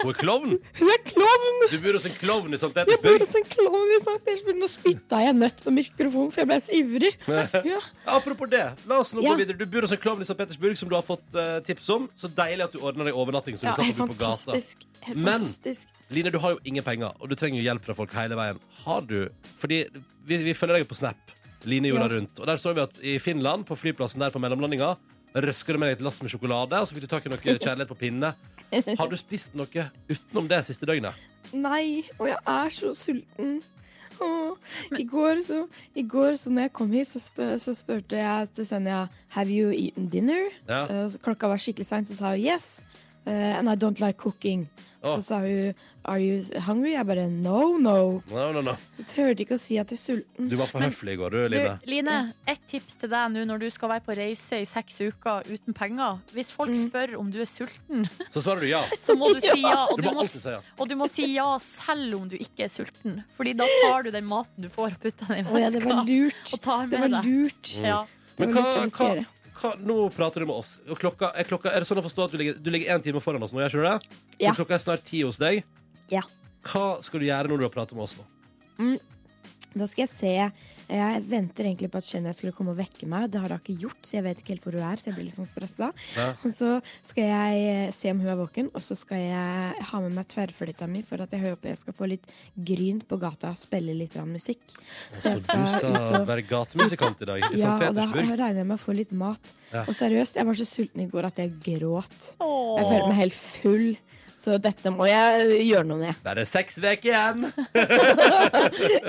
Hun er klovn! Hun er klovn! Du bor hos en klovn i St. Jeg bor Petersburg. som klovn i Sankt Petersburg. Nå spytta jeg nøtt på mikrofonen, for jeg ble så ivrig. Ja. Apropos det, la oss nå Ja. gå videre. Du bor hos en klovn i St. Petersburg som du har fått eh, tips om. Så deilig at du ordner deg overnatting. Så du Ja, slapp helt å bo på gata. fantastisk. Helt Men- fantastisk. Line, du har jo ingen penger, og du trenger jo hjelp fra folk hele veien. Har du Fordi vi, vi følger deg på Snap. Line jorda Ja. rundt. Og der står vi at i Finland, på flyplassen der på mellomlandinga, røsker du med deg et lass med sjokolade, og så fikk du tak i noe kjærlighet på pinne. Har du spist noe utenom det siste døgnet? Nei, og jeg er så sulten. Åh, I går, så, I går så når jeg kom hit, så, spør, så spurte jeg til Senja Have you eaten dinner? Ja. Eh, så klokka var skikkelig seint, så sa hun yes. eh, and I don't like cooking. Åh. Så sa hun Are you hungry? Jeg bare no, no. No, no, no. Så turte ikke å si at jeg er sulten. Du var for høflig i går, du, Du, Line. Line, ett tips til deg nå når du skal være på reise i seks uker uten penger. Hvis folk Mm. spør om du er sulten, Så svarer du ja. så må du si ja. Og Du du må må, alltid si ja. og du må si ja selv om du ikke er sulten. Fordi da tar du den maten du får, og putter den i Å ja, det veska. var lurt. Og tar med Det var deg. lurt. Ja. Det Men var hva, lurt å hva, risikere. hva, nå prater du med oss. Og klokka, er, klokka, er det sånn å forstå at du ligger, du ligger en time foran oss nå? Gjør ikke du det? For Ja. Klokka er snart ti hos deg. Ja. Hva skal du gjøre når du har pratet med oss nå? Da skal jeg se Jeg venter egentlig på at Shenya skulle komme og vekke meg. Det har hun ikke gjort, så jeg vet ikke helt hvor hun er. Så jeg blir litt sånn stressa. Ja. Og så skal jeg eh, se om hun er våken, og så skal jeg ha med meg tverrfløyta mi for at jeg håper jeg skal få litt gryn på gata og spille litt grann musikk. Så Altså, du skal være gatemusikant i dag i Ja, St. og da Petersburg? regner jeg med å få litt mat. Ja. Og seriøst, jeg var så sulten i går at jeg gråt. Jeg følte Åh. meg helt full. Så dette må jeg gjøre noe med. Der er seks uker igjen!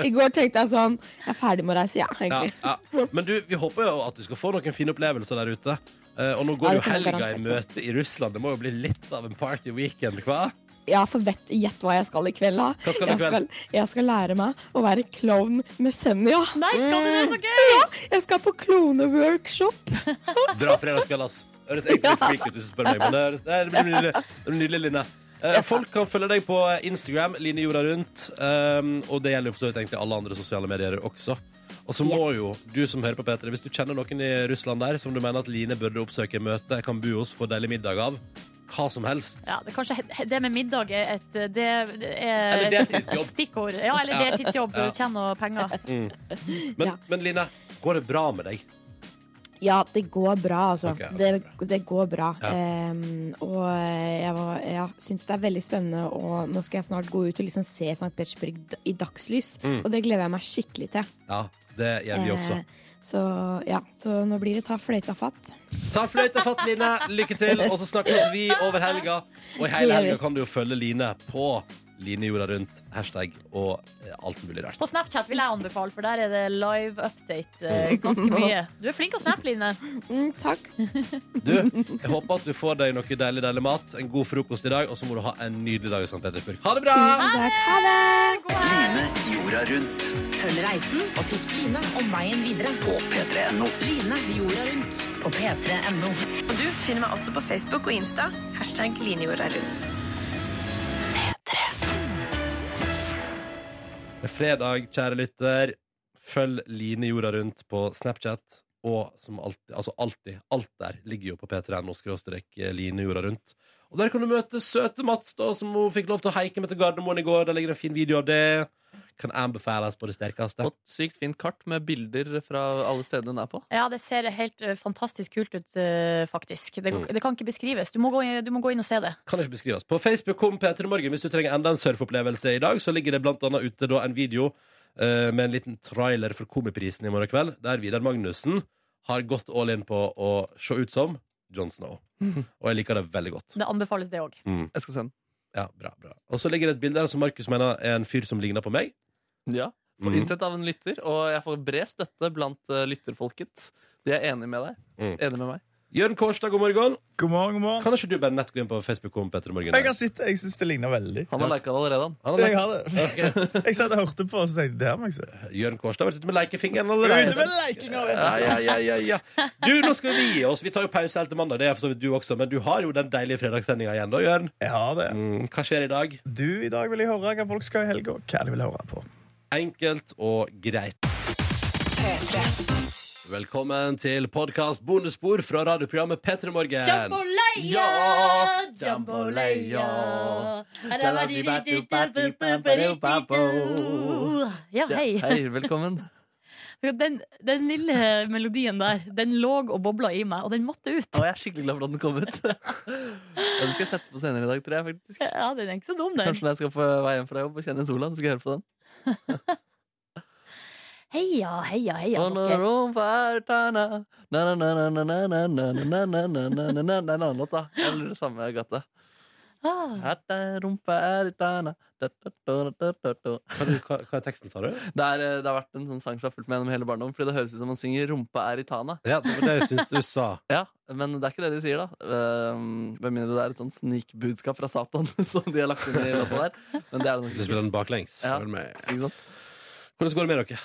I går tenkte jeg sånn Jeg er ferdig med å reise, ja, Ja, egentlig. ja. Men du, vi håper jo at du skal få noen fine opplevelser der ute. Eh, og nå går Ja, jo det kan jeg helga i garantert møte i Russland. Det må jo bli litt av en party weekend, hva? Ja, for vet, gjett hva jeg skal i kveld, da. Hva skal du i jeg, skal, kveld? jeg skal lære meg å være klovn med Senja. Nei, skal du det? Så gøy! Jeg skal på klovneworkshop. Bra fredagskveld, ass. Høres egentlig litt freak ut hvis du spør meg, men det, er- det, blir nydelig. det blir nydelig, Line. Eh, Eh, Folk kan følge deg på eh, Instagram, Line Jorda Rundt. ehm, og det gjelder jo for så vidt egentlig alle andre sosiale medier også. Og så må jo du som hører på P3, hvis du kjenner noen i Russland der som du mener at Line burde oppsøke møte, kan bo hos, få deilig middag av, hva som helst. Ja, det, er kanskje det med middag er et eh, det er Eller et deltidsjobb. stikkord. Ja, eller Ja. deltidsjobb. Ja. Tjene noe penger. Mm. Men, men Line, går det bra med deg? Ja, det går bra, altså. Ok, ok, det, det går bra. Ja. Ehm, og jeg var, ja, syns det er veldig spennende, og nå skal jeg snart gå ut og liksom se St. Petersburg d- i dagslys. Mm. Og det gleder jeg meg skikkelig til. Ja, det gjør vi også. Eh, så ja, så nå blir det ta fløyta fatt. Ta fløyta fatt, Line. Lykke til. Og så snakkes vi over helga. Og i Det hele gjør helga vi. kan du jo følge Line på Line jorda rundt, hashtag og eh, alt mulig rart. På Snapchat vil jeg anbefale, for der er det live update Mm. eh, ganske mye. Du er flink å snappe, Line. takk. Du, jeg håper at du får deg noe deilig, deilig mat, en god frokost i dag, og så må du ha en nydelig dag i St. Petersburg. Ha det bra! Ha det! Line jorda rundt. Følg reisen og tips Line om veien videre. På p3.no. Line jorda rundt på p3.no. Og du finner meg også på Facebook og Insta. Hashtag linjorda rundt. Det er fredag, kjære lytter. Følg Line jorda rundt på Snapchat. Og som alltid, altså alltid, alt der ligger jo på p3.no skråstrek eh, Line jorda rundt. Og der kan du møte søte Mats, da, som hun fikk lov til å haike med til Gardermoen i går. Der ligger det en fin video av det. Kan anbefales på det sterkeste. Og et sykt fint kart med bilder fra alle stedene hun er på. Ja, det ser helt eh, fantastisk kult ut, eh, faktisk. Det, Mm. det kan ikke beskrives. Du må, gå, i- du må gå inn og se det. Kan ikke beskrives. På Facebook kom P3 Morgen. Hvis du trenger enda en surfopplevelse i dag, så ligger det blant annet ute da en video eh, med en liten trailer for Komiprisen i morgen kveld, der Vidar Magnussen har gått all in på å se ut som John Snow. Og jeg liker det veldig godt. Det anbefales, det òg. Jeg skal se den. Ja, bra, bra. Og så ligger det et bilde der som Markus mener er en fyr som ligner på meg. Ja. Får Mhm. Innsett av en lytter, og jeg får bred støtte blant eh, lytterfolket. De er enige med deg. Mm. Enige med meg. Jørn Kårstad, god morgen. God morgen, god morgen. Kan ikke du bare nett gå inn på Facebook om Petter Morgen? Jeg har sett det. Jeg syns det ligner veldig. Han har liket det allerede, han. har Jeg har liket- det. jeg satt og hørte på, og så tenkte jeg det her må jeg se. Jørn Kårstad har vært ute med lekefingeren allerede. Ute med leikinga! Ja, ja, ja, ja, ja. Du, nå skal vi gi oss. Vi tar jo pause helt til mandag, det er for så vidt du også, men du har jo den deilige fredagssendinga igjen, da, Jørn. Jeg har det. Mm, hva skjer i dag? Du, i dag vil jeg høre hva folk skal i helga. Hva de vil høre på. Enkelt og greit. Velkommen til podkast bonusspor fra radioprogrammet P3 Morgen. Jambolaya! Jambolaya. Ja, hei. velkommen. Den, den lille melodien der, den lå og bobla i meg, og den måtte ut. Og jeg er skikkelig glad for at den kom ut. Den skal jeg sette på senere i dag, tror jeg. faktisk. Ja, den er ikke så dum, den. Kanskje når jeg skal på vei hjem fra jobb og kjenne sola, så skal jeg høre på den. Heia, heia, heia. On the dere. roof are tana. Na, na, na, na, na, na, na, na, na, na, na, na, na, na. Det er en annen låt, da. Eller det samme gata. Ah. At the roof are tana. Da, da, da, da, da, da. Hva, hva er teksten, sa du? Det, er, eh, det har vært en sånn sang som jeg har fulgt med gjennom hele barndommen. Fordi det høres ut som man synger 'rumpa er i tana'. Ja, det var det jeg syns du sa. Ja, Men det er ikke det de sier, da. Ehm, Med mindre det er et sånt snikbudskap fra Satan som de har lagt inn i låta der. Men det er det nok Du spiller den baklengs. Ja, for meg. ikke sant? Hvordan går det med dere?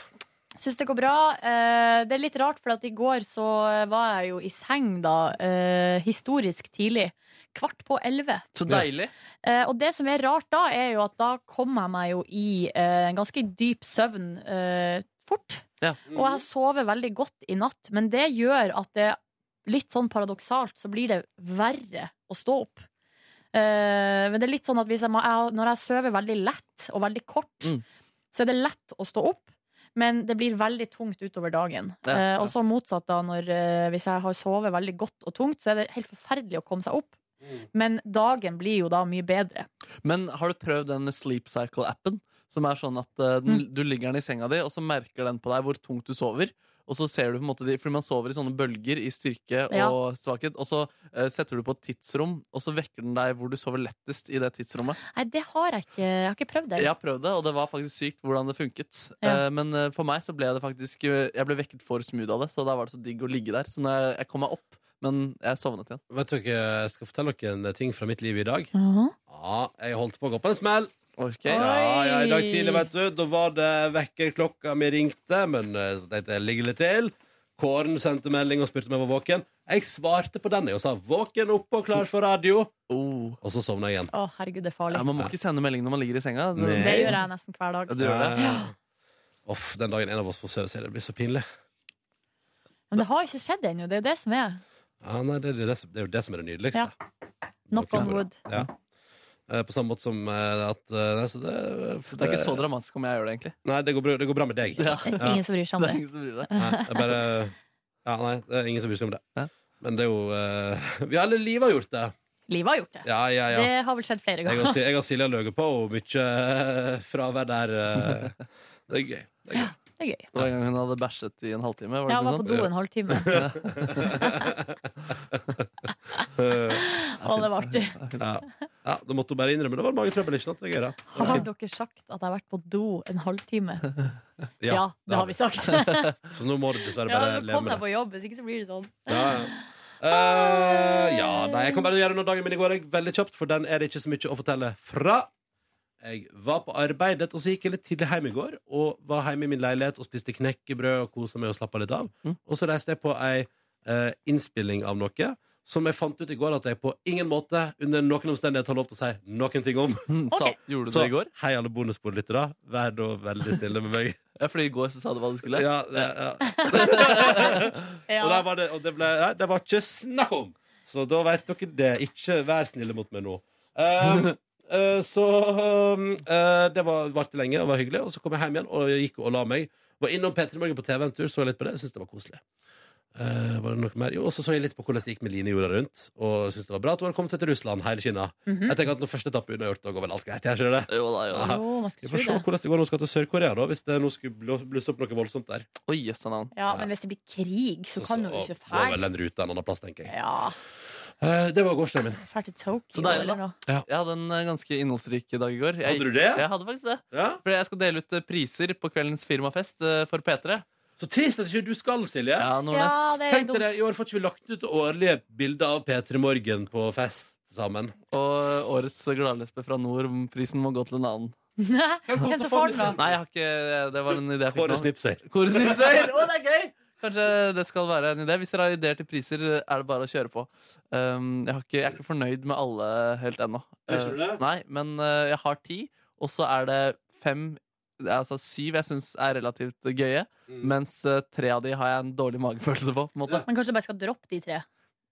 Syns det går bra. Eh, Det er litt rart, for at i går så var jeg jo i seng, da. eh, Historisk tidlig. Kvart på elleve. Så deilig. Eh, Og det som er rart da, er jo at da kom jeg meg jo i eh, en ganske dyp søvn eh, fort. Ja. Og jeg har sovet veldig godt i natt, men det gjør at det litt sånn paradoksalt så blir det verre å stå opp. Eh, men det er litt sånn at hvis jeg må, jeg, når jeg sover veldig lett og veldig kort, Mm. så er det lett å stå opp. Men det blir veldig tungt utover dagen. Ja, Eh, ja. og så motsatt, da, når, eh, hvis jeg har sovet veldig godt og tungt, så er det helt forferdelig å komme seg opp. Men dagen blir jo da mye bedre. Men har du prøvd den Sleep Cycle-appen? Som er sånn at eh, den, Mm. Du ligger den i senga di, og så merker den på deg hvor tungt du sover. Og så ser du på en måte de, Fordi man sover i sånne bølger i styrke og Ja. svakhet. Og så eh, setter du på et tidsrom, og så vekker den deg hvor du sover lettest i det tidsrommet. Nei, det har jeg ikke. Jeg har ikke prøvd det. Jeg har prøvd det, og det var faktisk sykt hvordan det funket. Ja. Eh, Men eh, for meg så ble det faktisk eh, Jeg ble vekket for smooth av det, så da var det så digg å ligge der. Så når jeg, jeg kom meg opp, men jeg sovnet igjen. Vet dere, Jeg skal fortelle dere en ting fra mitt liv i dag. Ja, jeg holdt på å gå på en smell. Ja, ja, I dag tidlig, vet du, da var det vekkerklokka mi ringte, men eh, tenkte jeg ligger litt til. Kåren sendte melding og spurte om jeg var våken. Jeg svarte på den jeg, og sa 'våken, oppe og klar for radio'. Og så sovna jeg igjen. Å, herregud, det er farlig. Oh. Ja, man må ikke sende melding når man ligger i senga. Nei. Det gjør jeg nesten hver dag. Ja, du gjør det? Ja. Eh, Uff, den dagen en av oss får sove seg, det blir så pinlig. Men det har jo ikke skjedd ennå. Det er jo det som er. Ja, nei, det, det, det, det er jo det som er det nydeligste. Ja. Knock on wood. Ja. Eh, På samme måte som eh, at eh, nei, så det, Det er ikke så dramatisk om jeg gjør det, egentlig. Nei, det går, bra, det går bra med deg. Ja. Det er ingen som bryr seg om Det er det. ingen som bryr seg. Nei, jeg bare, ja, nei, det er ingen som bryr seg om det. Men det er jo eh, Vi har alle livet har gjort det. Livet har gjort det. Ja, ja, ja. Det har vel skjedd flere Jeg og, Si- ganger. jeg og Silje har løyet på og mye eh, fravær der. eh. Det er gøy. Det er gøy. Det var en gang hun hadde bæsjet i en halvtime. Var det Ja, jeg var på ikke sånn? noe do sånt? en halvtime. Å, det var artig. Ja. ja, Det måtte hun bare innrømme. Det var magetrøbbel, ikke sant? Det er gøy, det. Har dere sagt at jeg har vært på do en halvtime? Ja, det har vi sagt. så nå må du dessverre Ja, bare nå leve kom med jeg det. på jobb, hvis ikke så blir det sånn. Ja, ja. Eh, ja, nei, jeg kan bare gjøre noe dagen min i går jeg. veldig kjapt, for den er det ikke så mye å fortelle fra. Jeg var på arbeidet, og så gikk jeg litt tidlig hjem i går. Og var hjemme i min leilighet og spiste knekkebrød og kosa meg og slappa litt av. Mm. Og så reiste jeg på ei eh, innspilling av noe som jeg fant ut i går at jeg på ingen måte under noen omstendighet har lov til å si noen ting om. Mm, sa- Ok. gjorde du så, det i går? Hei, alle bonusbordlyttere. Vær da veldig snille med meg. Ja, fordi i går så sa du hva du skulle. Ja, det, ja. Og, der var det, og det, ble, nei, det var ikke snakk om! Så da vet dere det. Ikke vær snille mot meg nå. Um, eh, så um, eh, det var- varte lenge og var hyggelig. Og så kom jeg hjem igjen og gikk og la meg. Var innom P3 Morgen på TV en tur, så litt på det. Syns det var koselig. Eh, var det noe mer? Jo, Og så så jeg litt på hvordan det gikk med Line jorda rundt. Og syntes det var bra at hun hadde kommet seg til Russland, hele Kina. Mhm. Jeg tenker at når første etappe unnagjort, da går vel alt greit? Jeg skjønner det. Jo da, jo da. Jo, man Vi skulle får se tro det. hvordan det går når hun skal til Sør-Korea, da, hvis det nå skulle blå- blusse opp noe voldsomt der. Oi, jøss a navn. Ja, men hvis det blir krig, så kan hun jo ikke Må vel fære. en rute en annen plass, tenker jeg. Ja, Eh, det var gårsdagen min. fære til Tokyo Så deilig, eller da. noe. Jeg hadde en eh, ganske innholdsrik dag i går. Jeg, Hadde du det? Jeg hadde faktisk det. Ja. Fordi jeg skal dele ut eh, priser på kveldens firmafest eh, for P3. Så trist at ikke du skal, Silje. Ja, Nordnes. Ja, det er Tenk dumt. dere, I år får ikke vi lagt ut årlige bilder av P3 Morgen på fest sammen. Og årets gladlesbe fra nord, prisen må gå til en annen. Hvem som får den, da? Nei, jeg har ikke, det var en idé jeg fikk Kåre nå. Snipser. Kåre Snipser! Å, det er gøy! Kanskje det skal være en idé. Hvis dere har ideer til priser, er det bare å kjøre på. Um, jeg, har ikke, jeg er ikke fornøyd med alle helt ennå. Er ikke du Uh, det? nei, men uh, jeg har ti, og så er det fem det er Altså syv jeg syns er relativt gøye, Mm. mens uh, tre av de har jeg en dårlig magefølelse på. på en måte Men kanskje du bare skal droppe de tre?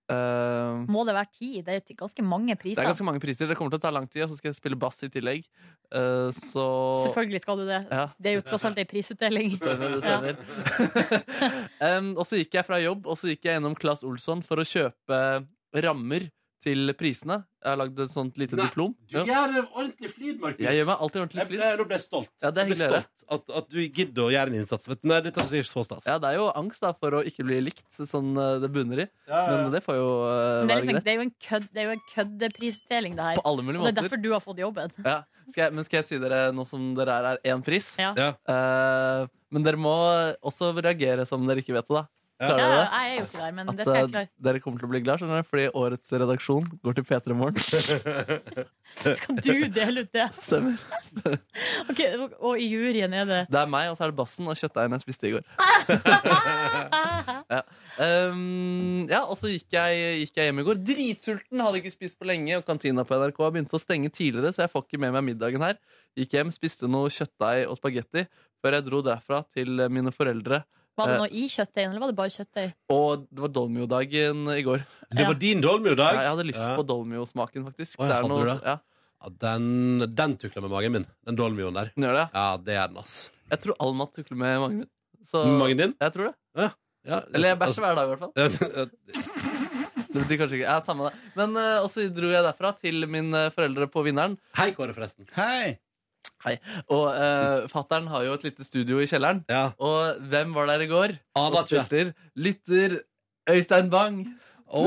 Uh, Må det være ti? Det er ganske mange det priser. er ganske mange priser. Det kommer til å ta lang tid, og så skal jeg spille bass i tillegg. Uh, så Selvfølgelig skal du det. Ja. Det er jo tross alt ei prisutdeling. Det stemmer, det Ja. stemmer. um, og så gikk jeg fra jobb og så gikk jeg gjennom Claes Olsson for å kjøpe rammer til prisene. Jeg har lagd et sånt lite diplom. Du Ja. gjør det ordentlig flid, Markus. Jeg gjør meg alltid ordentlig Jeg- flid. jeg- Nå ble jeg stolt. Ja, det Jeg er ble hyggelig å høre. stolt at, at du gidder å gjøre en innsats. Vet du, nei, dette synes jeg ikke er så stas. Ja, det er jo angst da, for å ikke bli likt, sånn eh, det bunner i. Ja, ja. Men det får jo eh, Men det, er være liksom, en- greit. det er jo en kødd- det er jo en køddeprisutdeling, det her. På alle mulige Og det er måter. derfor du har fått jobben. Ja. Skal jeg, men skal jeg si dere, nå som dere er her, én pris? Ja. Eh, men dere må også reagere som dere ikke vet det, da. Ja, Klarer dere det? jeg er jo ikke der, men det At skal jeg eh, klare. dere kommer til å bli glad, skjønner du, fordi årets redaksjon går til P3 Morgen. Skal Du deler ut det. Stemmer. Ok, og i juryen er det Det er meg, og så er det bassen og kjøttdeigen jeg spiste i går. ja. Um, ja, og så gikk jeg, gikk jeg hjem i går. Dritsulten, hadde ikke spist på lenge. Og kantina på NRK har begynt å stenge tidligere, så jeg får ikke med meg middagen her. Gikk hjem, spiste noe kjøttdeig og spagetti før jeg dro derfra til mine foreldre. Var det Eh, noe i kjøttdeigen, eller var det bare kjøttdeig? og det var dolmiodagen i går. Det var din dolmiodag? Ja, jeg hadde lyst Ja. på dolmiosmaken, faktisk. Å, ja, det er hadde noe, du det? Ja. Ja, den den tukler med magen min. Den dolmioen der. Gjør det? Ja, det gjør den, ass. Jeg tror all mat tukler med magen min. Så, Magen din? Jeg tror det. Ja. Ja, Eller jeg altså- bæsjer hver dag, i hvert fall. Det betyr kanskje ikke, ja, samme det Men eh, også dro jeg derfra til mine foreldre på vinneren Hei Kåre forresten Hei Og uh, fatteren har jo et lite studio i kjelleren Og hvem var der i går? Aner Og ikke. spilte Lytter Øystein Bang Åh,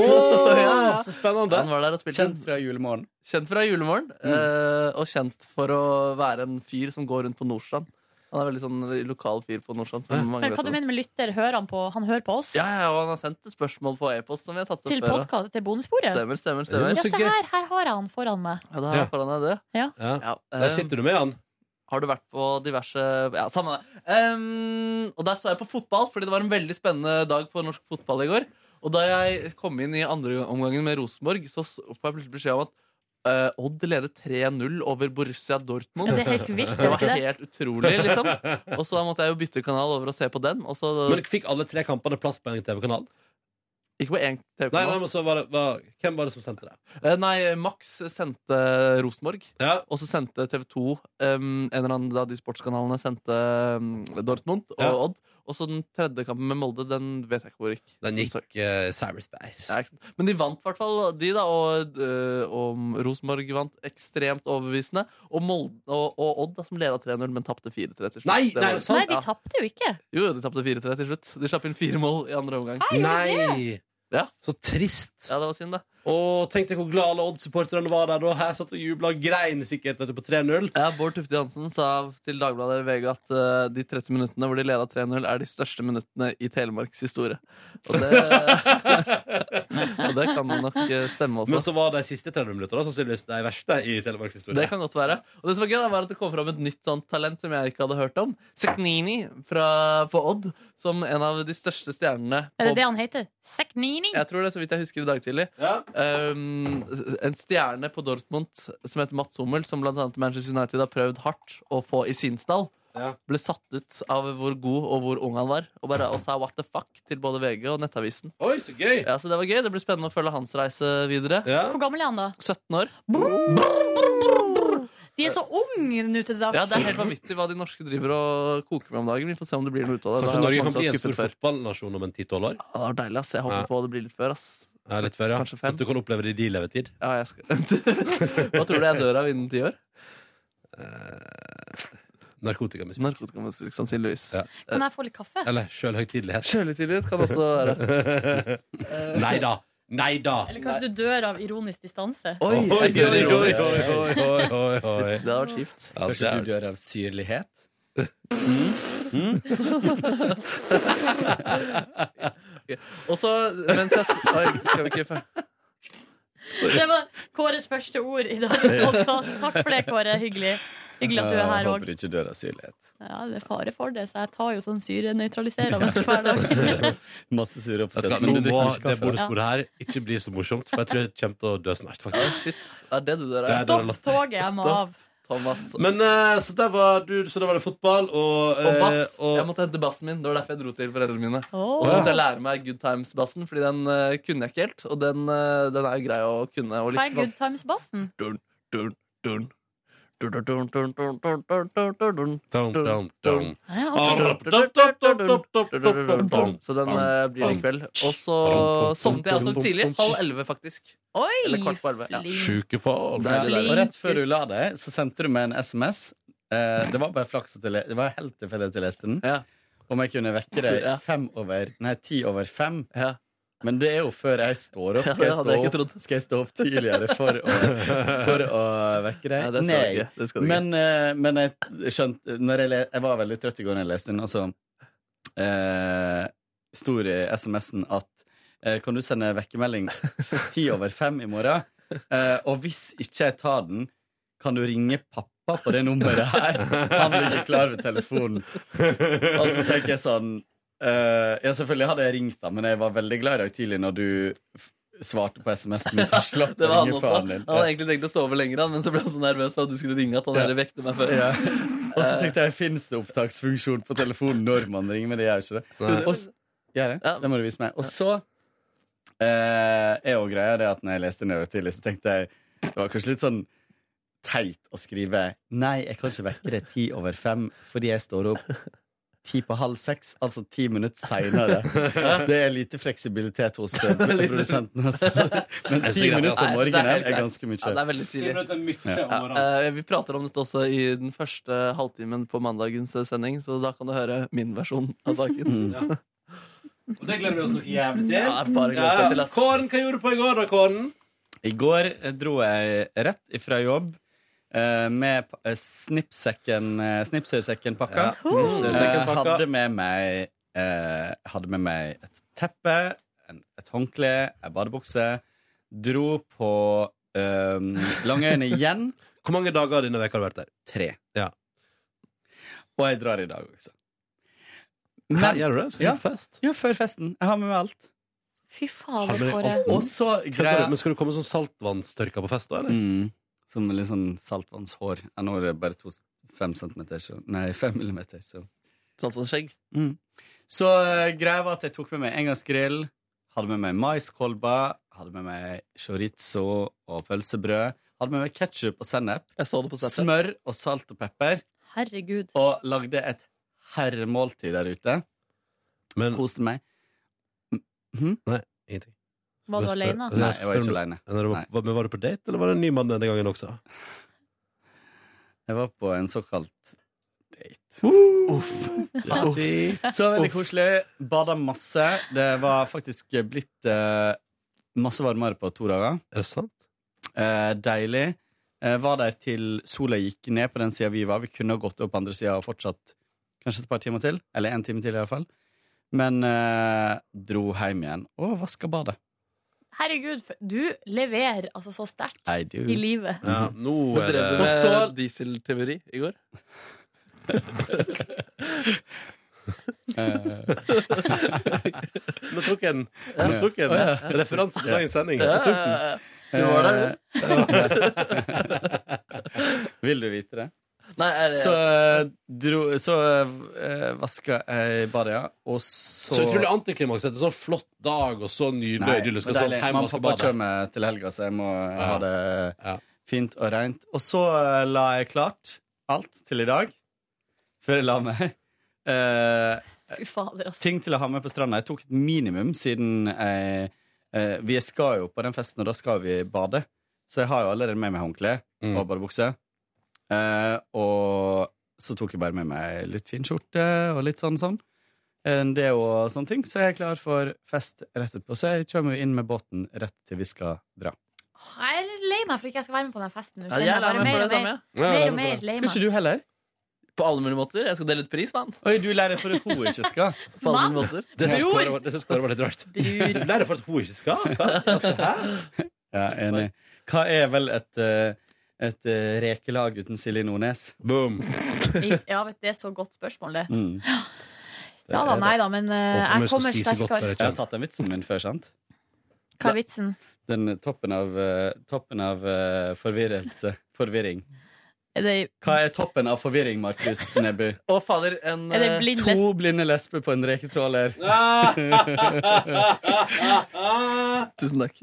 så spennende. Han var der og spilte Kjent fra julemorgen Kjent fra julemorgen eh, Og kjent for å være en fyr som går rundt på Nordstrand Han er veldig sånn lokal fyr på Nordstrand som mange Men vet hva du om. mener med lytter? Hører han på? Han hører på oss? Ja, ja, og han har sendt spørsmål på e-post som vi har tatt opp Til før, da. podkast? Til bonusbordet? Stemmer, stemmer, stemmer Ja, se her, her har jeg han foran meg. Ja, da har jeg foran deg det. eh, Ja. Der sitter du med han. Har du vært på diverse Ja, samme det. Ehm, og der så jeg på fotball, fordi det var en veldig spennende dag for norsk fotball i går. Og da jeg kom inn i andre omgangen med Rosenborg, så s- får jeg plutselig beskjed om at eh, Odd leder 3-0 over Borussia Dortmund. Ja, det er helt vilt, Det var det er det. helt utrolig, liksom. Og så måtte jeg jo bytte kanal over og se på den. Og så, Men fikk alle tre kampene plass på en TV-kanal? Ikke på én Nei, TV-kanal. nei, men så var det, var, hvem var det som sendte det? Eh, Nei, Max sendte Rosenborg, og så sendte TV 2 En eller annen av de sportskanalene sendte um, Dortmund og Ja. Odd. Og så den tredje kampen med Molde, den vet jeg ikke hvor gikk. Den gikk uh, cyberspace. Ja, ikke sant. Men de vant i hvert fall, de, da. Og, eh, og Rosenborg vant ekstremt overbevisende. Og, Molde, og, og Odd, da, som leda 3-0, men tapte 4-3 til slutt. Nei, Det nei, er var- sånn. det sant? Nei, de Ja. tapte jo ikke. Jo, jo, de tapte 4-3 til slutt. De slapp inn fire mål i andre omgang. Hei, gjorde Ja. Så trist. Ja, det var synd, det. Og tenk deg hvor glad alle Odd-supporterne var der da. Her satt og jubla grein sikkert etterpå 3-0. Ja, Bård Tufte Johansen sa til Dagbladet eller VG at eh, de 30 minuttene hvor de leda 3-0, er de største minuttene i Telemarks historie. Og det, og det kan nok eh, stemme også. Men så var de siste 30 minuttene sannsynligvis de verste i Telemarks historie. Det kan godt være. Og det som var gøy, da, var at det kom fram et nytt sånt talent som jeg ikke hadde hørt om. Seknini fra, på Odd, som en av de største stjernene Er det på det han heter? Seknini? jeg tror det, så vidt jeg husker i dag tidlig. Um, en stjerne på Dortmund som heter Mats Hummel, som bl.a. Manchester United har prøvd hardt å få i sin stall, ble satt ut av hvor god og hvor ung han var, og, bare, og sa what the fuck til både VG og Nettavisen. Oi, så gøy! Ja, så Det var gøy. Det blir spennende å følge hans reise videre. Hvor gammel er han da? 17 år. De er så unge nå til dags. Ja, Det er helt vanvittig hva de norske driver og koker med om dagen. Vi får se om det blir noe ut av det. Det Kanskje har vært Norge mange kan som bli har en stor skuffet før. fotballnasjon om en 10-12 år? Ja, det var deilig, ass. Jeg håper Ja. på det blir litt før, ass. Ja, litt før, ja. Kanskje Så fem. at du kan oppleve det i din levetid. Ja, jeg skal. Hva tror du jeg dør av innen ti år? Narkotikamisbruk. Narkotikamisbruk, sannsynligvis. Kan jeg få litt kaffe? Eller selvhøytidelighet. Selvhøytidelighet kan også være. Nei da. Nei da. Eller kanskje du dør av ironisk distanse? Oi, oi, oi, oi, oi, oi, oi, oi, oi. Det hadde vært kjipt. Kanskje du dør av syrlighet? Ok. Og så, mens jeg s- Oi, skal vi ikke fe- Det var Kåres første ord i dagens podcast. Takk for det, Kåre. Hyggelig. Hyggelig at du er her Jeg òg. Håper du ikke dør av syrlighet. Ja, det er fare for det, så jeg tar jo sånn syrenøytraliserende hver dag. Masse syre Vet du oppstøt. hva, men Nå du må drikker ikke det kaffe. bordesporet her ikke bli så morsomt, for jeg tror jeg kommer til å dø snart, faktisk. Shit, er det du dør av? Det er døra lott. Toget jeg må av. Thomas. Men eh, så der var du, så da var det fotball og Og eh, bass. og- Jeg måtte hente bassen min. Det var derfor jeg dro til foreldrene mine. Åh. Og så måtte jeg lære meg Good Times-bassen, Fordi den eh, kunne jeg ikke helt. Og den, eh, den er jo grei å kunne. Og Hva er litt Good Times-bassen? Dun, dun, dun. Dun, dun, dun, dun, dun, dun, dun, dun, dun, dun. Dum, dum, dum. Så den eh, blir det i kveld. Og så sovnet jeg altså tidlig. Halv elleve, faktisk. Eller kvart på elleve. Ja. Sjuke folk. Deilig, deilig. Flink Og rett før du la deg, så sendte du meg en SMS. Eh, det var bare flaks at jeg le- Det var helt tilfeldig at jeg leste den. Om jeg kunne vekke deg Ja. fem over Nei, ti over fem. Men det er jo før jeg står opp. Ja, Skal jeg det hadde stå jeg ikke opp, skal jeg stå opp tidligere for å, for å vekke deg? Nei, det skal du ikke. Det skal du Men, eh, men jeg skjønte når jeg, le, jeg var veldig trøtt i går da jeg leste den, og så eh, sto det i SMS-en at eh, kan du sende vekkemelding ti over fem i morgen? Eh, og hvis ikke jeg tar den, kan du ringe pappa på det nummeret her? Han ligger klar ved telefonen. Og så tenker jeg sånn eh, Ja, selvfølgelig hadde jeg ringt, da, men jeg var veldig glad i dag tidlig når du f- svarte på SMS-en min. Så slapp Det jeg var han ringe også. faren Han din. hadde egentlig tenkt å sove lenger, han, men så ble han så nervøs for at du skulle ringe at han Ja. heller vekte meg før. Ja. Og så tenkte jeg, fins det opptaksfunksjon på telefonen når man ringer? Men det gjør ikke det. Nei. Og, s- gjør det? det må du vise meg. Og så eh, er jo greia det at når jeg leste nedover tidlig, så tenkte jeg det var kanskje litt sånn teit å skrive Nei, jeg kan ikke vekke deg ti over fem fordi jeg står opp ti på halv seks, altså ti minutter seinere. Det er lite fleksibilitet hos eh, produsenten. Altså. Men Jeg synes ti det er minutter om greit. Jeg synes morgenen det er helt ganske greit. mye. Ja, det er veldig tidlig. Ti minutter er mye om morgenen. Ja, eh, vi prater om dette også i den første halvtimen på mandagens eh, sending, så da kan du høre min versjon av saken. Mm. Ja. Og det gleder vi oss noe jævlig til. Ja, bare gleder seg til, ass. Kåren, hva gjorde du på i går, da, Kåren? I går eh, dro jeg rett ifra jobb eh, med pa- eh, snippsekken, eh, snipsøysekken-pakka. Ja, Mm, snipsøysekken-pakka. Eh, hadde, med meg, eh, hadde med meg et teppe, en, et håndkle, ei badebukse. Dro på eh, Langøyene igjen. Hvor mange dager denne veka har du vært der? Tre. Ja. Og jeg drar i dag også. Hæ, gjør du det? Skal du ja, på fest? Ja, før festen. Jeg har med meg alt. Fy Har du fader, med deg Kåre. alt? Og så Kødder Mm. du? greier Men skal du komme sånn saltvannstørka på fest da, eller? Mm. Som litt sånn saltvannshår. Jeg når bare to, fem centimeter, så Nei, fem millimeter, så Saltvannsskjegg. Mm. Så eh, greia var at jeg tok med meg engangsgrill, hadde med meg maiskolber, hadde med meg chorizo og pølsebrød, hadde med meg ketsjup og sennep, Snapchat. smør og salt og pepper, Herregud. og lagde et herremåltid der ute. Koste meg. Nei, ingenting. Var du Bare spør- alene? Altså, Nei, jeg var spør om ikke du- alene. Når du var- Nei. var- Men var du på date, eller var det en ny mann denne gangen også? Jeg var på en såkalt date. Ja. Uff. Så veldig koselig. Bada masse. Det var faktisk blitt eh, masse varmere på to dager. Er det sant? Eh, deilig. Eh, var der til sola gikk ned på den sida vi var. Vi kunne ha gått opp på andre sida og fortsatt kanskje et par timer til. Eller en time til, iallfall. Men eh, dro hjem igjen og vaska badet. Herregud, for- du leverer altså så sterkt I do. i livet. Ja, nå Men er drev Mhm. det du med Og så- dieselteori i går? Eh, Nå tok jeg den. Ja. Nå tok jeg den. Ja, ja. Referanse til dagens sending. Ja, Eh, ja, ja. Jeg tok den. Du var der, jo. Vil du vite det? Nei, er det- Så eh, dro Så eh, vaska jeg badet, ja. Og så Så utrolig antiklimaks etter sånn flott dag og så nydelig og idyllisk. og men sånn, deilig. hjem og Mamma og skal pappa bade. kommer til helga, så jeg må ha det fint og rent. Og så eh, la jeg klart alt til i dag, før jeg la meg. Eh, Fy fader, altså. ting til å ha med på stranda. Jeg tok et minimum, siden jeg, eh, vi skal jo på den festen, og da skal vi bade. Så jeg har jo allerede med meg håndkle og badebukse. Eh, og så tok jeg bare med meg litt fin skjorte og litt sånn sånn. En deo og sånne ting. Så jeg er klar for fest rett etterpå. Så jeg kommer jo inn med båten rett til vi skal dra. Jeg er litt lei meg for ikke jeg skal være med på den festen. Nå Ja, kjenner jeg jeg er lei bare meg mer for og det mer, samme, ja. mer, Ja, og mer lei Skal meg. ikke du heller? På alle mulige måter. Jeg skal dele ut pris, mann. Oi, du lærer for at hun ikke skal. På alle mulige måter. Det synes Bror! Kåre var- det synes Kåre var litt rart. Du lærer for at hun ikke skal. Ja, enig. Hva er vel et, eh, et eh, rekelag uten Silje Nordnes? Boom. Ja, vet du, Det er så godt spørsmål, det. Mm. Det Ja da, er nei det. da, men eh, jeg kommer sterkere. Jeg har tatt den vitsen min før, sant? Hva er vitsen? Den toppen av, eh, toppen av eh, forvirrelse. Forvirring. Er det, Hva er toppen av forvirring, Markus Neby? Å, fader, en Er det eh, blind to- To blinde lesber på en reketråler. Tusen takk.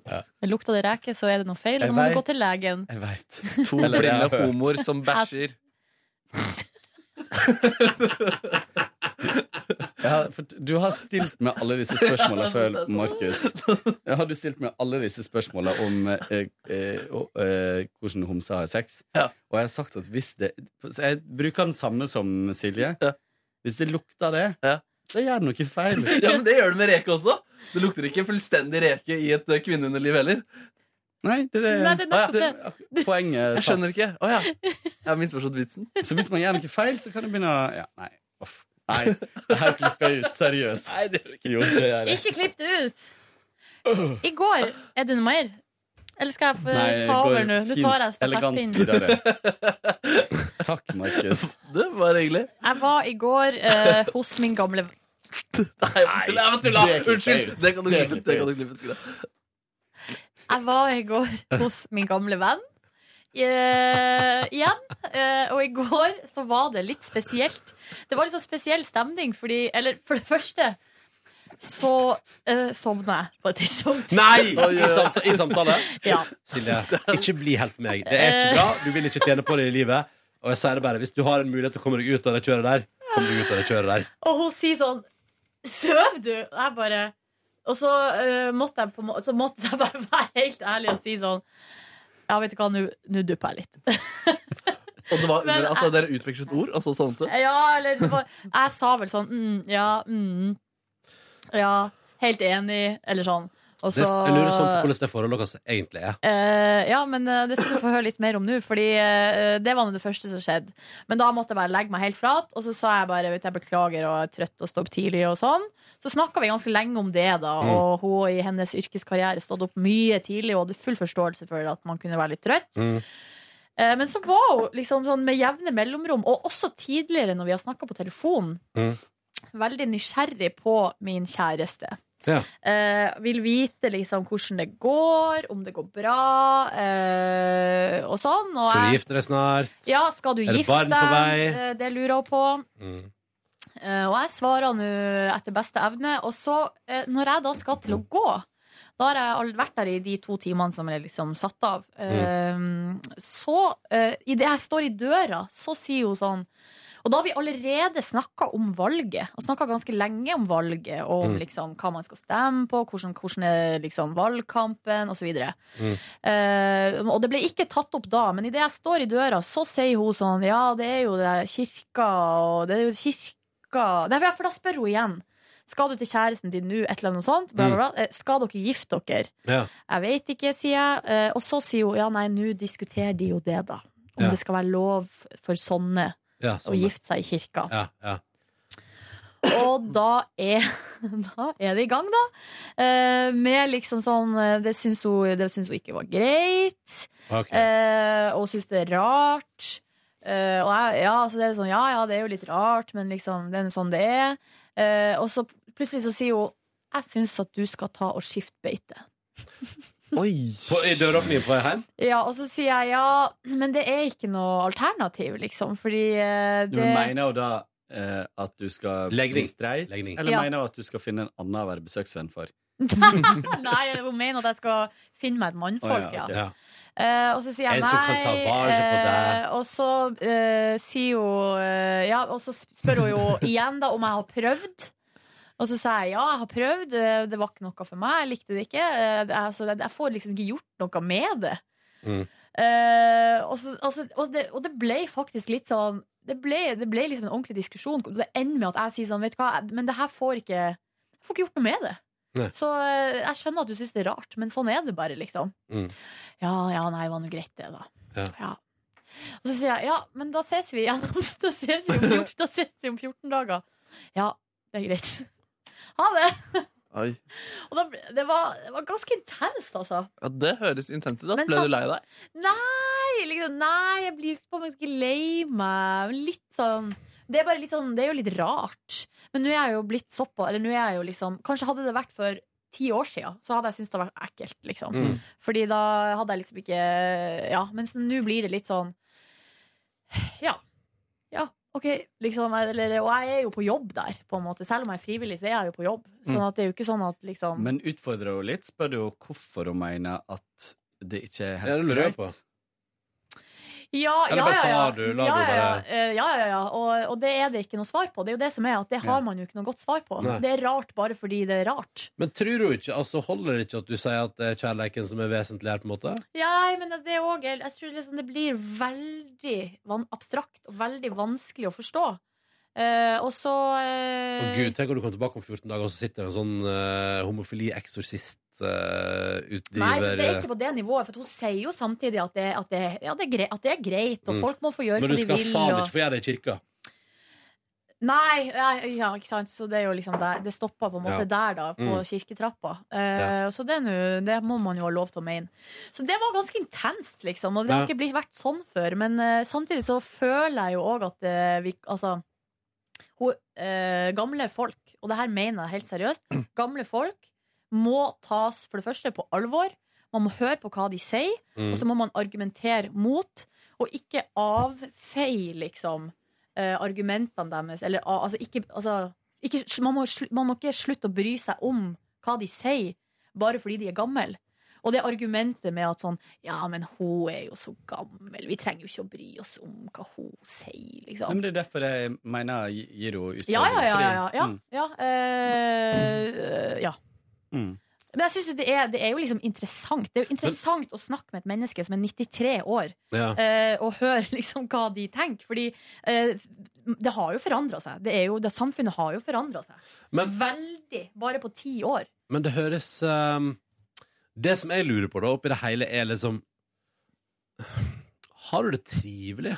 lukta det reke, så er det noe feil. Jeg Da må vet. du gå til legen. Jeg veit. To Eller det blinde jeg har hørt. homoer som bæsjer. Ja, for du har stilt meg alle disse spørsmåla før, Markus. Har du stilt meg alle disse spørsmåla om eh, eh, og, eh, hvordan homser har sex? Og jeg har sagt at hvis det så Jeg bruker den samme som Silje. Hvis det lukter det, da gjør det noe feil. Ja, men Det gjør det med reke også. Det lukter ikke fullstendig reke i et eh, kvinneunderliv heller. Nei, det er Nei, det er nettopp Ah, ja. Poenget er Jeg tatt. skjønner ikke. Å ja. Jeg har misforstått vitsen. Så hvis man gjør noe feil, så kan det begynne å ja, Nei, off. Nei, det her klipper jeg ut. Seriøst. Nei, det gjør det ikke. Jo, det gjør jeg. Ikke klipp det ut! I går Er du noe mer? Eller skal jeg få Nei, ta går over nå? Nå fint, tar jeg elegant stafettpinnen. videre. Takk, Markus. Det var hyggelig. Jeg var i går eh, hos min gamle Nei, jeg må tulle. Jeg det må klipper tulle. Unnskyld. jeg ut. Det kan du Det klippe ut. Det klipper jeg kan du klippe ut. Jeg var i går hos min gamle venn eh, igjen. Eh, og i går så var det litt spesielt. Det var litt sånn spesiell stemning, fordi Eller for det første så eh, sovna jeg på et tidspunkt. Nei! I, samta I samtale? Ja. Silje, ikke bli helt meg. Det er ikke bra. Du vil ikke tjene på det i livet. Og jeg sier det bare, hvis du har en mulighet til å komme deg ut av det kjøret der, kom deg ut av det kjøret der. Og hun sier sånn Søv du? Og jeg bare Og så, eh, måtte jeg på, må- så måtte jeg bare være helt ærlig og si sånn Ja, vet du hva, nå nå dupper jeg litt. Og det var Men under, altså, dere utvekslet ord, og så sånt. Ja, eller det var, Jeg sa vel sånn mm, Ja, mm, ja helt enig, eller sånn. Og Det, så jeg lurer sånn på hvordan det forholdet deres egentlig er. Eh, ja, men eh, det skal du få høre litt mer om nå, Fordi eh, det var nå det første som skjedde. Men da måtte jeg bare legge meg helt flat, og så sa jeg bare vet du, jeg beklager og er trøtt og står opp tidlig og sånn. Så snakka vi ganske lenge om det, da, Mm. og hun i hennes yrkeskarriere stått opp mye tidlig og hadde full forståelse for at man kunne være litt trøtt. Eh, men så var hun liksom sånn med jevne mellomrom, og også tidligere når vi har snakka på telefon, veldig nysgjerrig på min kjæreste. Ja. Eh, vil vite liksom hvordan det går, om det går bra, eh, og sånn. Og Skal du jeg- gifte deg snart? Ja, skal du Er det gifte barn deg? på vei? Eh, Det lurer hun på. Mm. Eh, Og jeg svarer nå etter beste evne. Og så, eh, når jeg da skal til å gå da har jeg all- vært der i de to timene som er liksom satt av. Mm. Så, idet jeg står i døra, så sier hun sånn Og da har vi allerede snakka om valget, og snakka ganske lenge om valget, og om Mm. liksom, hva man skal stemme på, hvordan, hvordan er liksom, valgkampen, osv. Mm. Eh, og det ble ikke tatt opp da, men idet jeg står i døra, så sier hun sånn Ja, det er jo det der kirka og Det er jo kirka Nei, for- for da spør hun igjen. Skal du til kjæresten din nå? Et eller annet sånt. Bla, bla, bla. Mm. Eh, Skal dere gifte dere? Ja. Jeg vet ikke, sier jeg. Eh, Og så sier hun ja, nei, nå diskuterer de jo det, da. Om Ja. det skal være lov for sånne Ja, å sånn. gifte seg i kirka. Ja, ja. Og da er, da er det i gang, da. Eh, med liksom sånn eh, Det syns hun, det syns hun ikke var greit. Ok. Eh, og syns det er rart. Eh, og jeg, ja, så det er sånn, ja, ja, det er jo litt rart, men liksom, det er jo sånn det er. Eh, og så plutselig så sier hun jeg syns at du skal ta og skifte beite. Oi. På, I døråpningen på vei hjem? Ja, Og så sier jeg ja, men det er ikke noe alternativ, liksom, fordi eh, Du det mener jo da eh, at du skal Legning. bli streit, eller Ja. mener du at du skal finne en annen å være besøksvenn for? Nei, hun mener at jeg skal finne meg et mannfolk, Å, ja, ok. ja. Eh, og så sier jeg En som kan ta nei, vare på deg. eh, og så eh, sier hun eh, Ja, og så spør hun jo igjen da om jeg har prøvd. Og så sa jeg ja, jeg har prøvd, eh, det var ikke noe for meg, jeg likte det ikke. eh, det er- så det- jeg får liksom ikke gjort noe med det. Mm. Eh, og, så, altså, og, det, og det ble faktisk litt sånn det ble, det ble liksom en ordentlig diskusjon. Det ender med at jeg sier sånn, vet du hva, men det her får ikke Jeg får ikke gjort noe med det. Nei. Så eh, jeg skjønner at du syns det er rart, men sånn er det bare, liksom. Mm. Ja, ja, nei, var nå greit, det, da. Ja. Og så sier jeg ja, men da ses vi igjen. da, ses vi om 14, da ses vi om 14 dager. Ja, det er greit. Ha det! Oi. Og da, ble- det, var, det var ganske intenst, altså. Ja, det høres intenst ut. da. Men Ble sam- du lei deg? Nei, liksom, nei, jeg blir på en måte ikke lei meg. Men Litt sånn det er, bare litt sånn, det er jo litt rart. Men nå er jeg jo blitt såpass Eller nå er jeg jo liksom Kanskje hadde det vært for ti år siden, så hadde jeg syntes det hadde vært ekkelt, liksom. Mm. Fordi da hadde jeg liksom ikke Ja, men så nå blir det litt sånn Ja. Ja, OK, liksom. Eller, og jeg er jo på jobb der, på en måte. Selv om jeg er frivillig, så er jeg jo på jobb. Sånn Mm. at det er jo ikke sånn at liksom Men utfordrer hun litt, spør du henne hvorfor hun mener at det ikke er Ja, det helt lurer jeg greit. på. Ja, Eller ja, bare ja, ja. tar du, lar ja, du ja, ja. bare- Eh, ja, ja, ja. Og, og det er det ikke noe svar på. Det er jo det som er at det har Ja. man jo ikke noe godt svar på. Nei. Det er rart bare fordi det er rart. Men tror du ikke, altså holder det ikke at du sier at det er kjærleiken som er vesentlig her, på en måte? Ja, men det er òg Jeg tror liksom det blir veldig van abstrakt og veldig vanskelig å forstå. Eh, og så Å eh, gud, tenk om du kommer tilbake om 14 dager, og så sitter det en sånn eh, homofili-eksorsist-utgiver Nei, for det eh, er ikke på det nivået. For at hun sier jo samtidig at det, at det, ja, det, er, greit, at det er greit, og Mm. folk må få gjøre Men hva du de skal vil. faen og- ikke få gjøre det i kirka. Nei, nei, ja, ikke sant. Så det er jo liksom der, det stoppa på en måte Ja. der, da, på Mm. kirketrappa. Eh, Så det, er nå- det må man jo ha lov til å mene. Så det var ganske intenst, liksom. Og det har Ja. ikke blitt vært sånn før. Men eh, samtidig så føler jeg jo òg at eh, vi Altså, ho, eh, gamle folk, og det her mener jeg helt seriøst, gamle folk må tas for det første på alvor. Man må høre på hva de sier, Mm. og så må man argumentere mot, og ikke avfeie liksom eh, argumentene deres. Eller a- altså ikke altså, ikke, man, må, slu- man må ikke slutte å bry seg om hva de sier, bare fordi de er gamle. Og det argumentet med at sånn Ja, men hun er jo så gammel, vi trenger jo ikke å bry oss om hva hun sier, Nei, liksom. Men det er derfor jeg mener jeg gir henne utfordring. Ja, ja, ja. ja, ja, Mm. ja, eh, eh, ja. Mm. Men jeg synes jo det, er, det er jo liksom interessant. Det er jo interessant å snakke med et menneske som er 93 år, Ja. eh, og høre liksom hva de tenker. Fordi eh, det har jo forandra seg. Det er jo, det, samfunnet har jo forandra seg. Men, Veldig. Bare på ti år. men det høres ehm, Det som jeg lurer på da, oppi det hele, er liksom Har du det trivelig?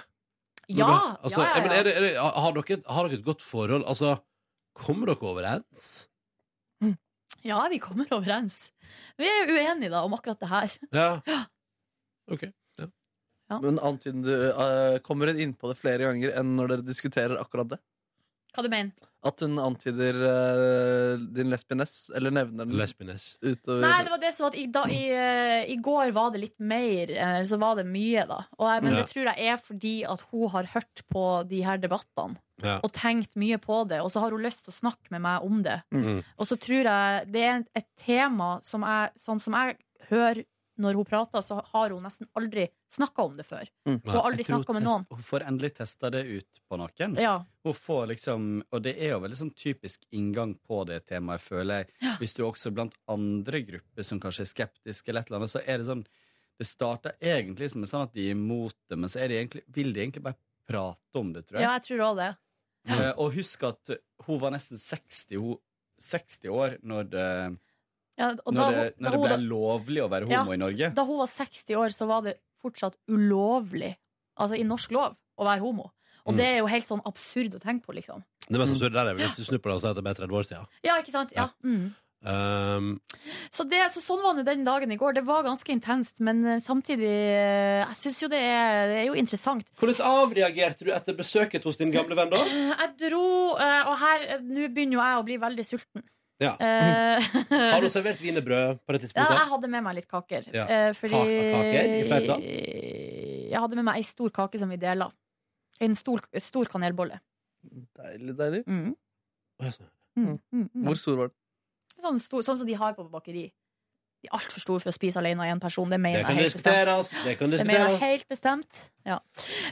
Når Ja, du har- altså, ja, ja, ja. men er det, er det, har, dere, et- har dere et godt forhold? Altså, kommer dere overens? Ja, vi kommer overens. Vi er uenige da om akkurat det her. Ja. OK. Men antyden du eh, kommer hun inn på det flere ganger enn når dere diskuterer akkurat det? Hva du mener At hun antyder eh, din lesbienes, eller nevner Mm. den. Lesbienes. Utover Nei, det var det som var at i, da, i, eh, i går var det litt mer eh, Så var det mye, da. Og, jeg- men Ja. det tror jeg er fordi at hun har hørt på de her debattene. Ja. Og tenkt mye på det, og så har hun lyst til å snakke med meg om det. Mm. Og så tror jeg det er et tema som jeg, sånn som jeg hører når hun prater, så har hun nesten aldri snakka om det før. Hun har aldri Jeg tror snakka med test- noen. Hun får endelig testa det ut på noen. Ja. Hun får liksom, og det er jo veldig sånn typisk inngang på det temaet, føler jeg. Hvis du er også blant andre grupper som kanskje er skeptiske, eller et eller annet, så er det sånn Det starter egentlig som en sånn at de er imot det, men så er de egentlig, vil de egentlig bare prate om det, tror jeg. Ja, jeg tror òg det. Eh, Og husk at hun var nesten 60, hun, 60 år når det, Ja, og da når det, hun- da når det hun- ble lovlig å være homo Ja, i Norge. Da hun var 60 år, så var det fortsatt ulovlig, altså i norsk lov, å være homo. Og Mm. det er jo helt sånn absurd å tenke på, liksom. Det mest absurde der er vel hvis du snur på det og sier at det er 30 år siden. Ja, ikke sant? Ja. Mm. Um, Så, det, så sånn var nå den dagen i går. Det var ganske intenst, men eh, samtidig eh, Jeg syns jo det er, det er jo interessant. hvordan avreagerte du etter besøket hos din gamle venn, da? Jeg dro, eh, og her eh, Nå begynner jo jeg å bli veldig sulten. Ja. Eh, Mm. Har hun servert wienerbrød på det ja, tidspunktet? jeg hadde med meg litt kaker. Ja. eh, Fordi Ka- kaker i flertall? Jeg hadde med meg ei stor kake som vi dela. En stor, stor kanelbolle. Deilig, deilig. Å, sånn. jeg så- Mm, mm, mm. Hvor stor var den? Sånn, stor, sånn som de har på bakeri. De er altfor store for å spise alene av én person. Det mener Det kan jeg helt bestemt. diskuteres. Det kan Det mener jeg diskuteres. helt bestemt. Ja.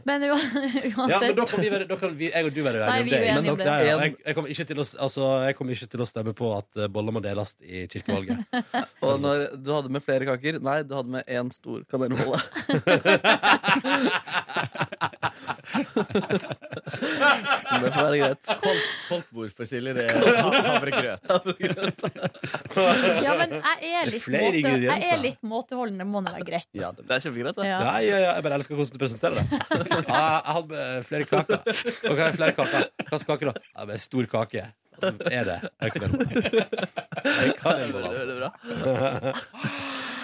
Men u- uansett Ja, men da kan, vi være, da kan vi, jeg og du være Nei, enige om det. vi er ikke uenige om sant? det. sånn, Ja, ja. Jeg, jeg, kommer ikke til å, s- altså, jeg kommer ikke til å stemme på at eh, boller må deles i kirkevalget. Og når du hadde med flere kaker? Nei, du hadde med én stor kanelbolle. Men det får være greit. Kolt, koltbord for Silje, det er havregrøt. Ja, men jeg er litt, flere måte, jeg ingredienser. er litt måteholden. Det må nå være greit. Ja, det er kjempegreit, det. Ja. Nei, ja, ja, jeg bare elsker hvordan du presenterer det. Ja, jeg hadde med flere kaker. Ok, jeg har flere kaker. Hva slags kake, da? Ja, med stor kake. Og så er det en kanelbolle. En kanelbolle, Veldig, veldig altså.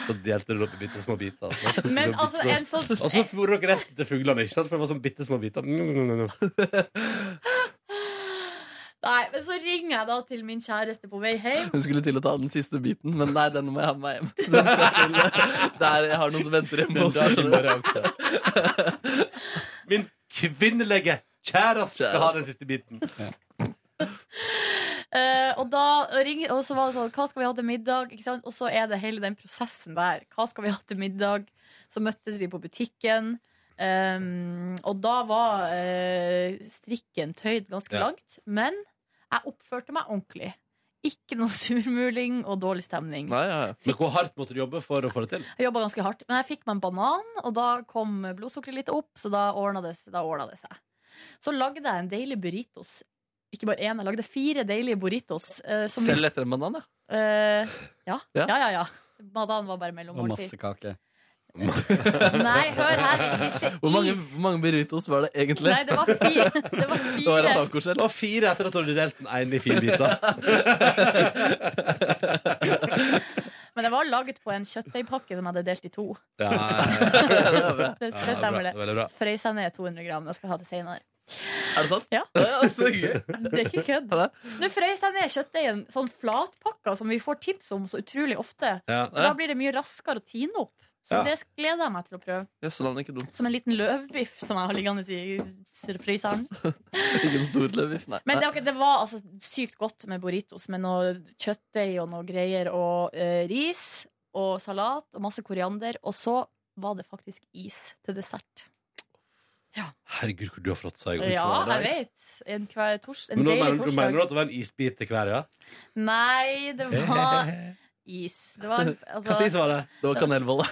Så delte dere opp i bitte små biter. Altså. Tok Men dere altså, bitte en små- sånn- Og så fôrer dere resten til fuglene, ikke sant? For det var sånn bitte små biter. Mm, mm, mm, mm. Nei, men så ringer jeg da til min kjæreste på vei hjem. Hun skulle til å ta den siste biten, men nei, den må jeg ha med meg hjem. Den skal til, eh, der, jeg har noen som venter hjemme Den også. dagen skjønner du. bare også. Min kvinnelige kjæreste skal ha den siste biten. Eh, og, da ringer, og så var det sånn, hva skal vi ha til middag? Ikke sant? Og så er det hele den prosessen der. Hva skal vi ha til middag? Så møttes vi på butikken. ehm, og da var eh, strikken tøyd ganske Ja. langt. Men jeg oppførte meg ordentlig. Ikke noe surmuling og dårlig stemning. Men hvor hardt måtte du jobbe for å få det til? Jeg jobba ganske hardt. Men jeg fikk meg en banan, og da kom blodsukkeret litt opp, så da ordna det, da ordna det seg. Så lagde jeg en deilig burritos. Ikke bare én, jeg lagde fire deilige burritos. eh, som vi- Selv etter en banan, ja. Eh, ja. Ja. ja, ja, ja. Banan var bare Og masse mellommåltid. kake. Nei, hør her. Vi spiste Hvor mange, is. hvor mange burritos var det egentlig? Nei, det var fire. Det var Det var en fire. tacoskjell. Det var fire etter at du hadde delt den ene i fire biter. Men det var laget på en kjøttdeigpakke som jeg hadde delt i to. Ja, Det, det stemmer, Veldig bra. det. Frøys jeg ned 200 gram. Det skal jeg ha til senere. Er det sant? Ja. så gøy. Det er ikke kødd. Nå frøys jeg ned kjøttdeigen sånn flatpakka som vi får tips om så utrolig ofte. Ja. For da blir det mye raskere å tine opp. Så Ja. det gleder jeg meg til å prøve. Jøsseland, ikke dumt. Som en liten løvbiff som jeg har liggende i fryseren. Ikke en stor løvbiff, nei. Men det, var- det var altså sykt godt med burritos med noe kjøttdeig og noe greier og eh, ris og salat og masse koriander. Og så var det faktisk is til dessert. Herregud, hvor du har fråtsa i går. Ja, jeg vet. En, hver tors en Men nå deilig mener, du mener du torsdag. at det var en isbit til hver, ja? Nei, det var is. Det var, altså, Hva slags is var det? Det var kanelbolle.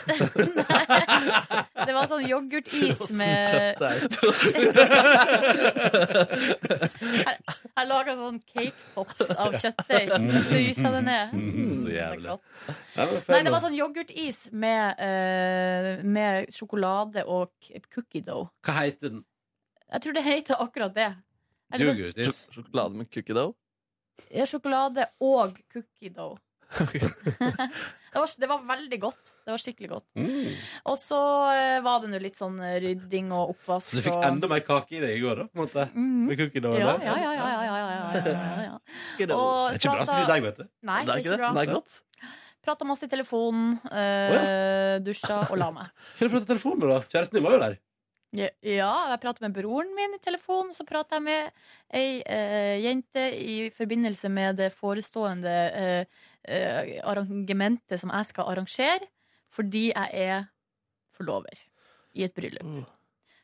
det var sånn yoghurtis Frossen med Jeg laga sånn cake pops av kjøttdeig. Frysa det ned. Mm, så Det er jævlig. godt. Ja, men fair Nei, det var nok. sånn yoghurtis med, eh, med sjokolade og k- cookie dough. Hva heter den? Jeg tror det heter akkurat det. Eller, Yoghurtis? Sjokolade med cookie dough? ja, sjokolade og cookie dough. Det var, det var veldig godt. Det var skikkelig godt. Mm. Og så eh, var det nå litt sånn rydding og oppvask. Så du fikk og- enda mer kake i deg i går, da? På en måte. Mhm. Med cookie ja, dough, ja, da? ja, ja, ja, ja, ja, ja, ja, ja. Det er ikke bra til deg, vet du. Nei, det er ikke bra. Nei, godt. Prata masse i telefonen, eh, dusja og la meg. Kan du prate i telefonen, da? Kjæresten din var jo der. Ja, jeg prater med broren min i telefonen. Så prater jeg med ei eh, jente i forbindelse med det forestående eh, eh, arrangementet som jeg skal arrangere, fordi jeg er forlover i et bryllup.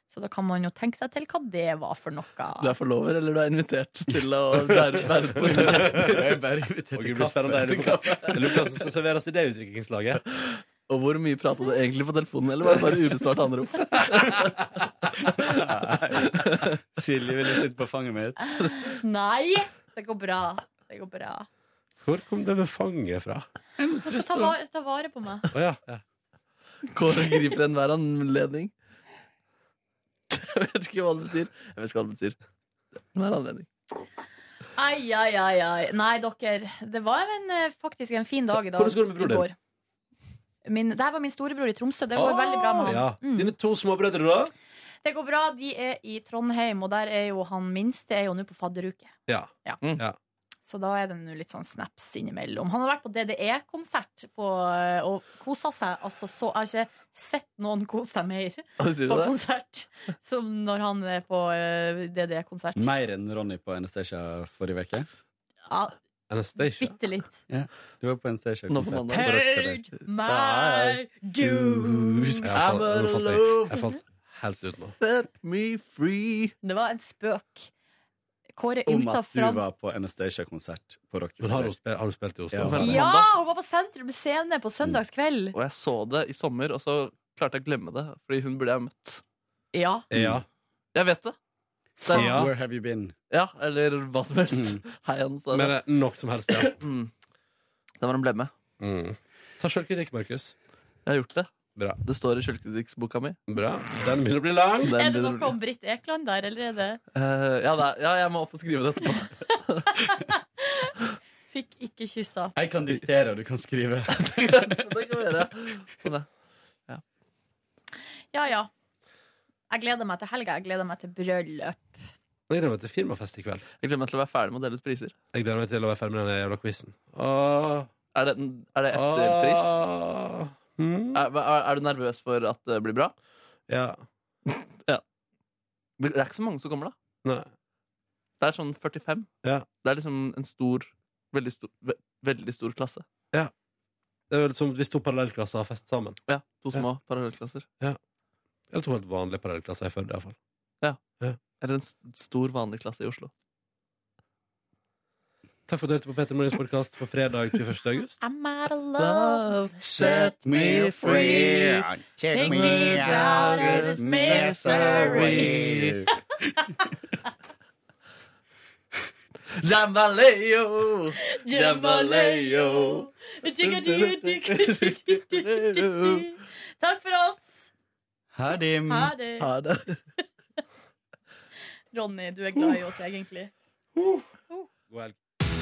Så da kan man jo tenke seg til hva det var for noe. Du er forlover, eller du er invitert til å være være på Jeg er bare invitert Og det blir spennende. Jeg lurer på- jeg lurer på hva som serveres i det utdrikningslaget. Og hvor mye prata du egentlig på telefonen, eller var det bare ubesvart anrop? Silje ville sitte på fanget mitt. Nei! Det går bra. Det går bra. Hvor kom det med fanget fra? Jeg skal ta vare, ta vare på meg. Å ja. ja. Kåre griper enhver anledning. Jeg vet ikke hva det betyr. Jeg vet ikke hva det betyr. Enhver anledning. Ai, ai, ai, ai. Nei, dere. Det var en, eh, faktisk en fin dag i dag. Hvordan går det med i broren din? går. Min, det her var min storebror i Tromsø. Det går veldig bra med han. Ah, Mm. Ja. Dine to småbrødre, da? Det går bra. De er i Trondheim, og der er jo han minste er jo nå på fadderuke. Ja. Ja. ja. Så da er det nå litt sånn snaps innimellom. Han har vært på DDE-konsert på, eh, og kosa seg. Altså, så, jeg har ikke sett noen kose seg mer Å, sier du på det? konsert som når han er på eh, DDE-konsert. Mer enn Ronny på Anastacia forrige uke. Ja, Anastacia? bitte litt. Ja, du var Nå på på Anastacia-konsert. mandag. Bare oppfør deg. Paid my dues. Jeg falt, nå falt jeg, jeg falt helt ut nå. Set me free. Det var en spøk. Kåre Om ymta at du fram. var på Anastacia-konsert på Men har Rockefeller. hun spilt, har hun spilt i Oslo? Ja, hun var på Sentrum Scene på søndagskveld. Og jeg så det i sommer, og så klarte jeg å glemme det, fordi hun burde jeg ha møtt. Ja. Ja. Jeg vet det. Det er- Ja. Where have you been? Ja, eller hva som helst. Hei, han sa Men det. eh, nok som helst, ja. Mm. Mm. Det var en blemme. Ta sjølkritikk, Markus. Jeg har gjort det. Bra. Det står i sjølkritikkboka mi. Bra. Den begynner å bli lang. Den Er det begynner å noe bli- om Britt Ekland der, eller er det Eh, ja, det er, ja, jeg må opp og skrive det etterpå. Fikk ikke kyssa. Jeg kan diktere, og du kan skrive. Så det kan vi gjøre. Sånn, ja. Ja, ja. Jeg gleder meg til helga. Jeg gleder meg til bryllup. Jeg gleder meg til firmafest i kveld. Jeg gleder meg til å være ferdig med å dele ut priser. Jeg gleder meg til å være ferdig med den jævla quizen. Er det, er det etterpris? Ah, Er, er, er du nervøs for at det blir bra? hmm. Ja. ja. Men Det er ikke så mange som kommer, da. Nei. Det er sånn 45. Ja. Det er liksom en stor Veldig stor, ve veldig stor klasse. Ja. Det er jo litt som hvis to parallellklasser har fest sammen. Ja, to små parallellklasser. Ja. Eller to helt vanlige parallellklasser i Førde, iallfall. Ja. Ja. Eller en s- stor, vanlig klasse i Oslo. Takk for at du hørte på Petter Morgens podkast for fredag 21. august. I'm out of love. Set me free. Take me out of this misery. Jambaleo! Jambaleo. Takk for oss. Ha det. Ha det. Ha det. Ronny, du er glad i oss, egentlig. Hør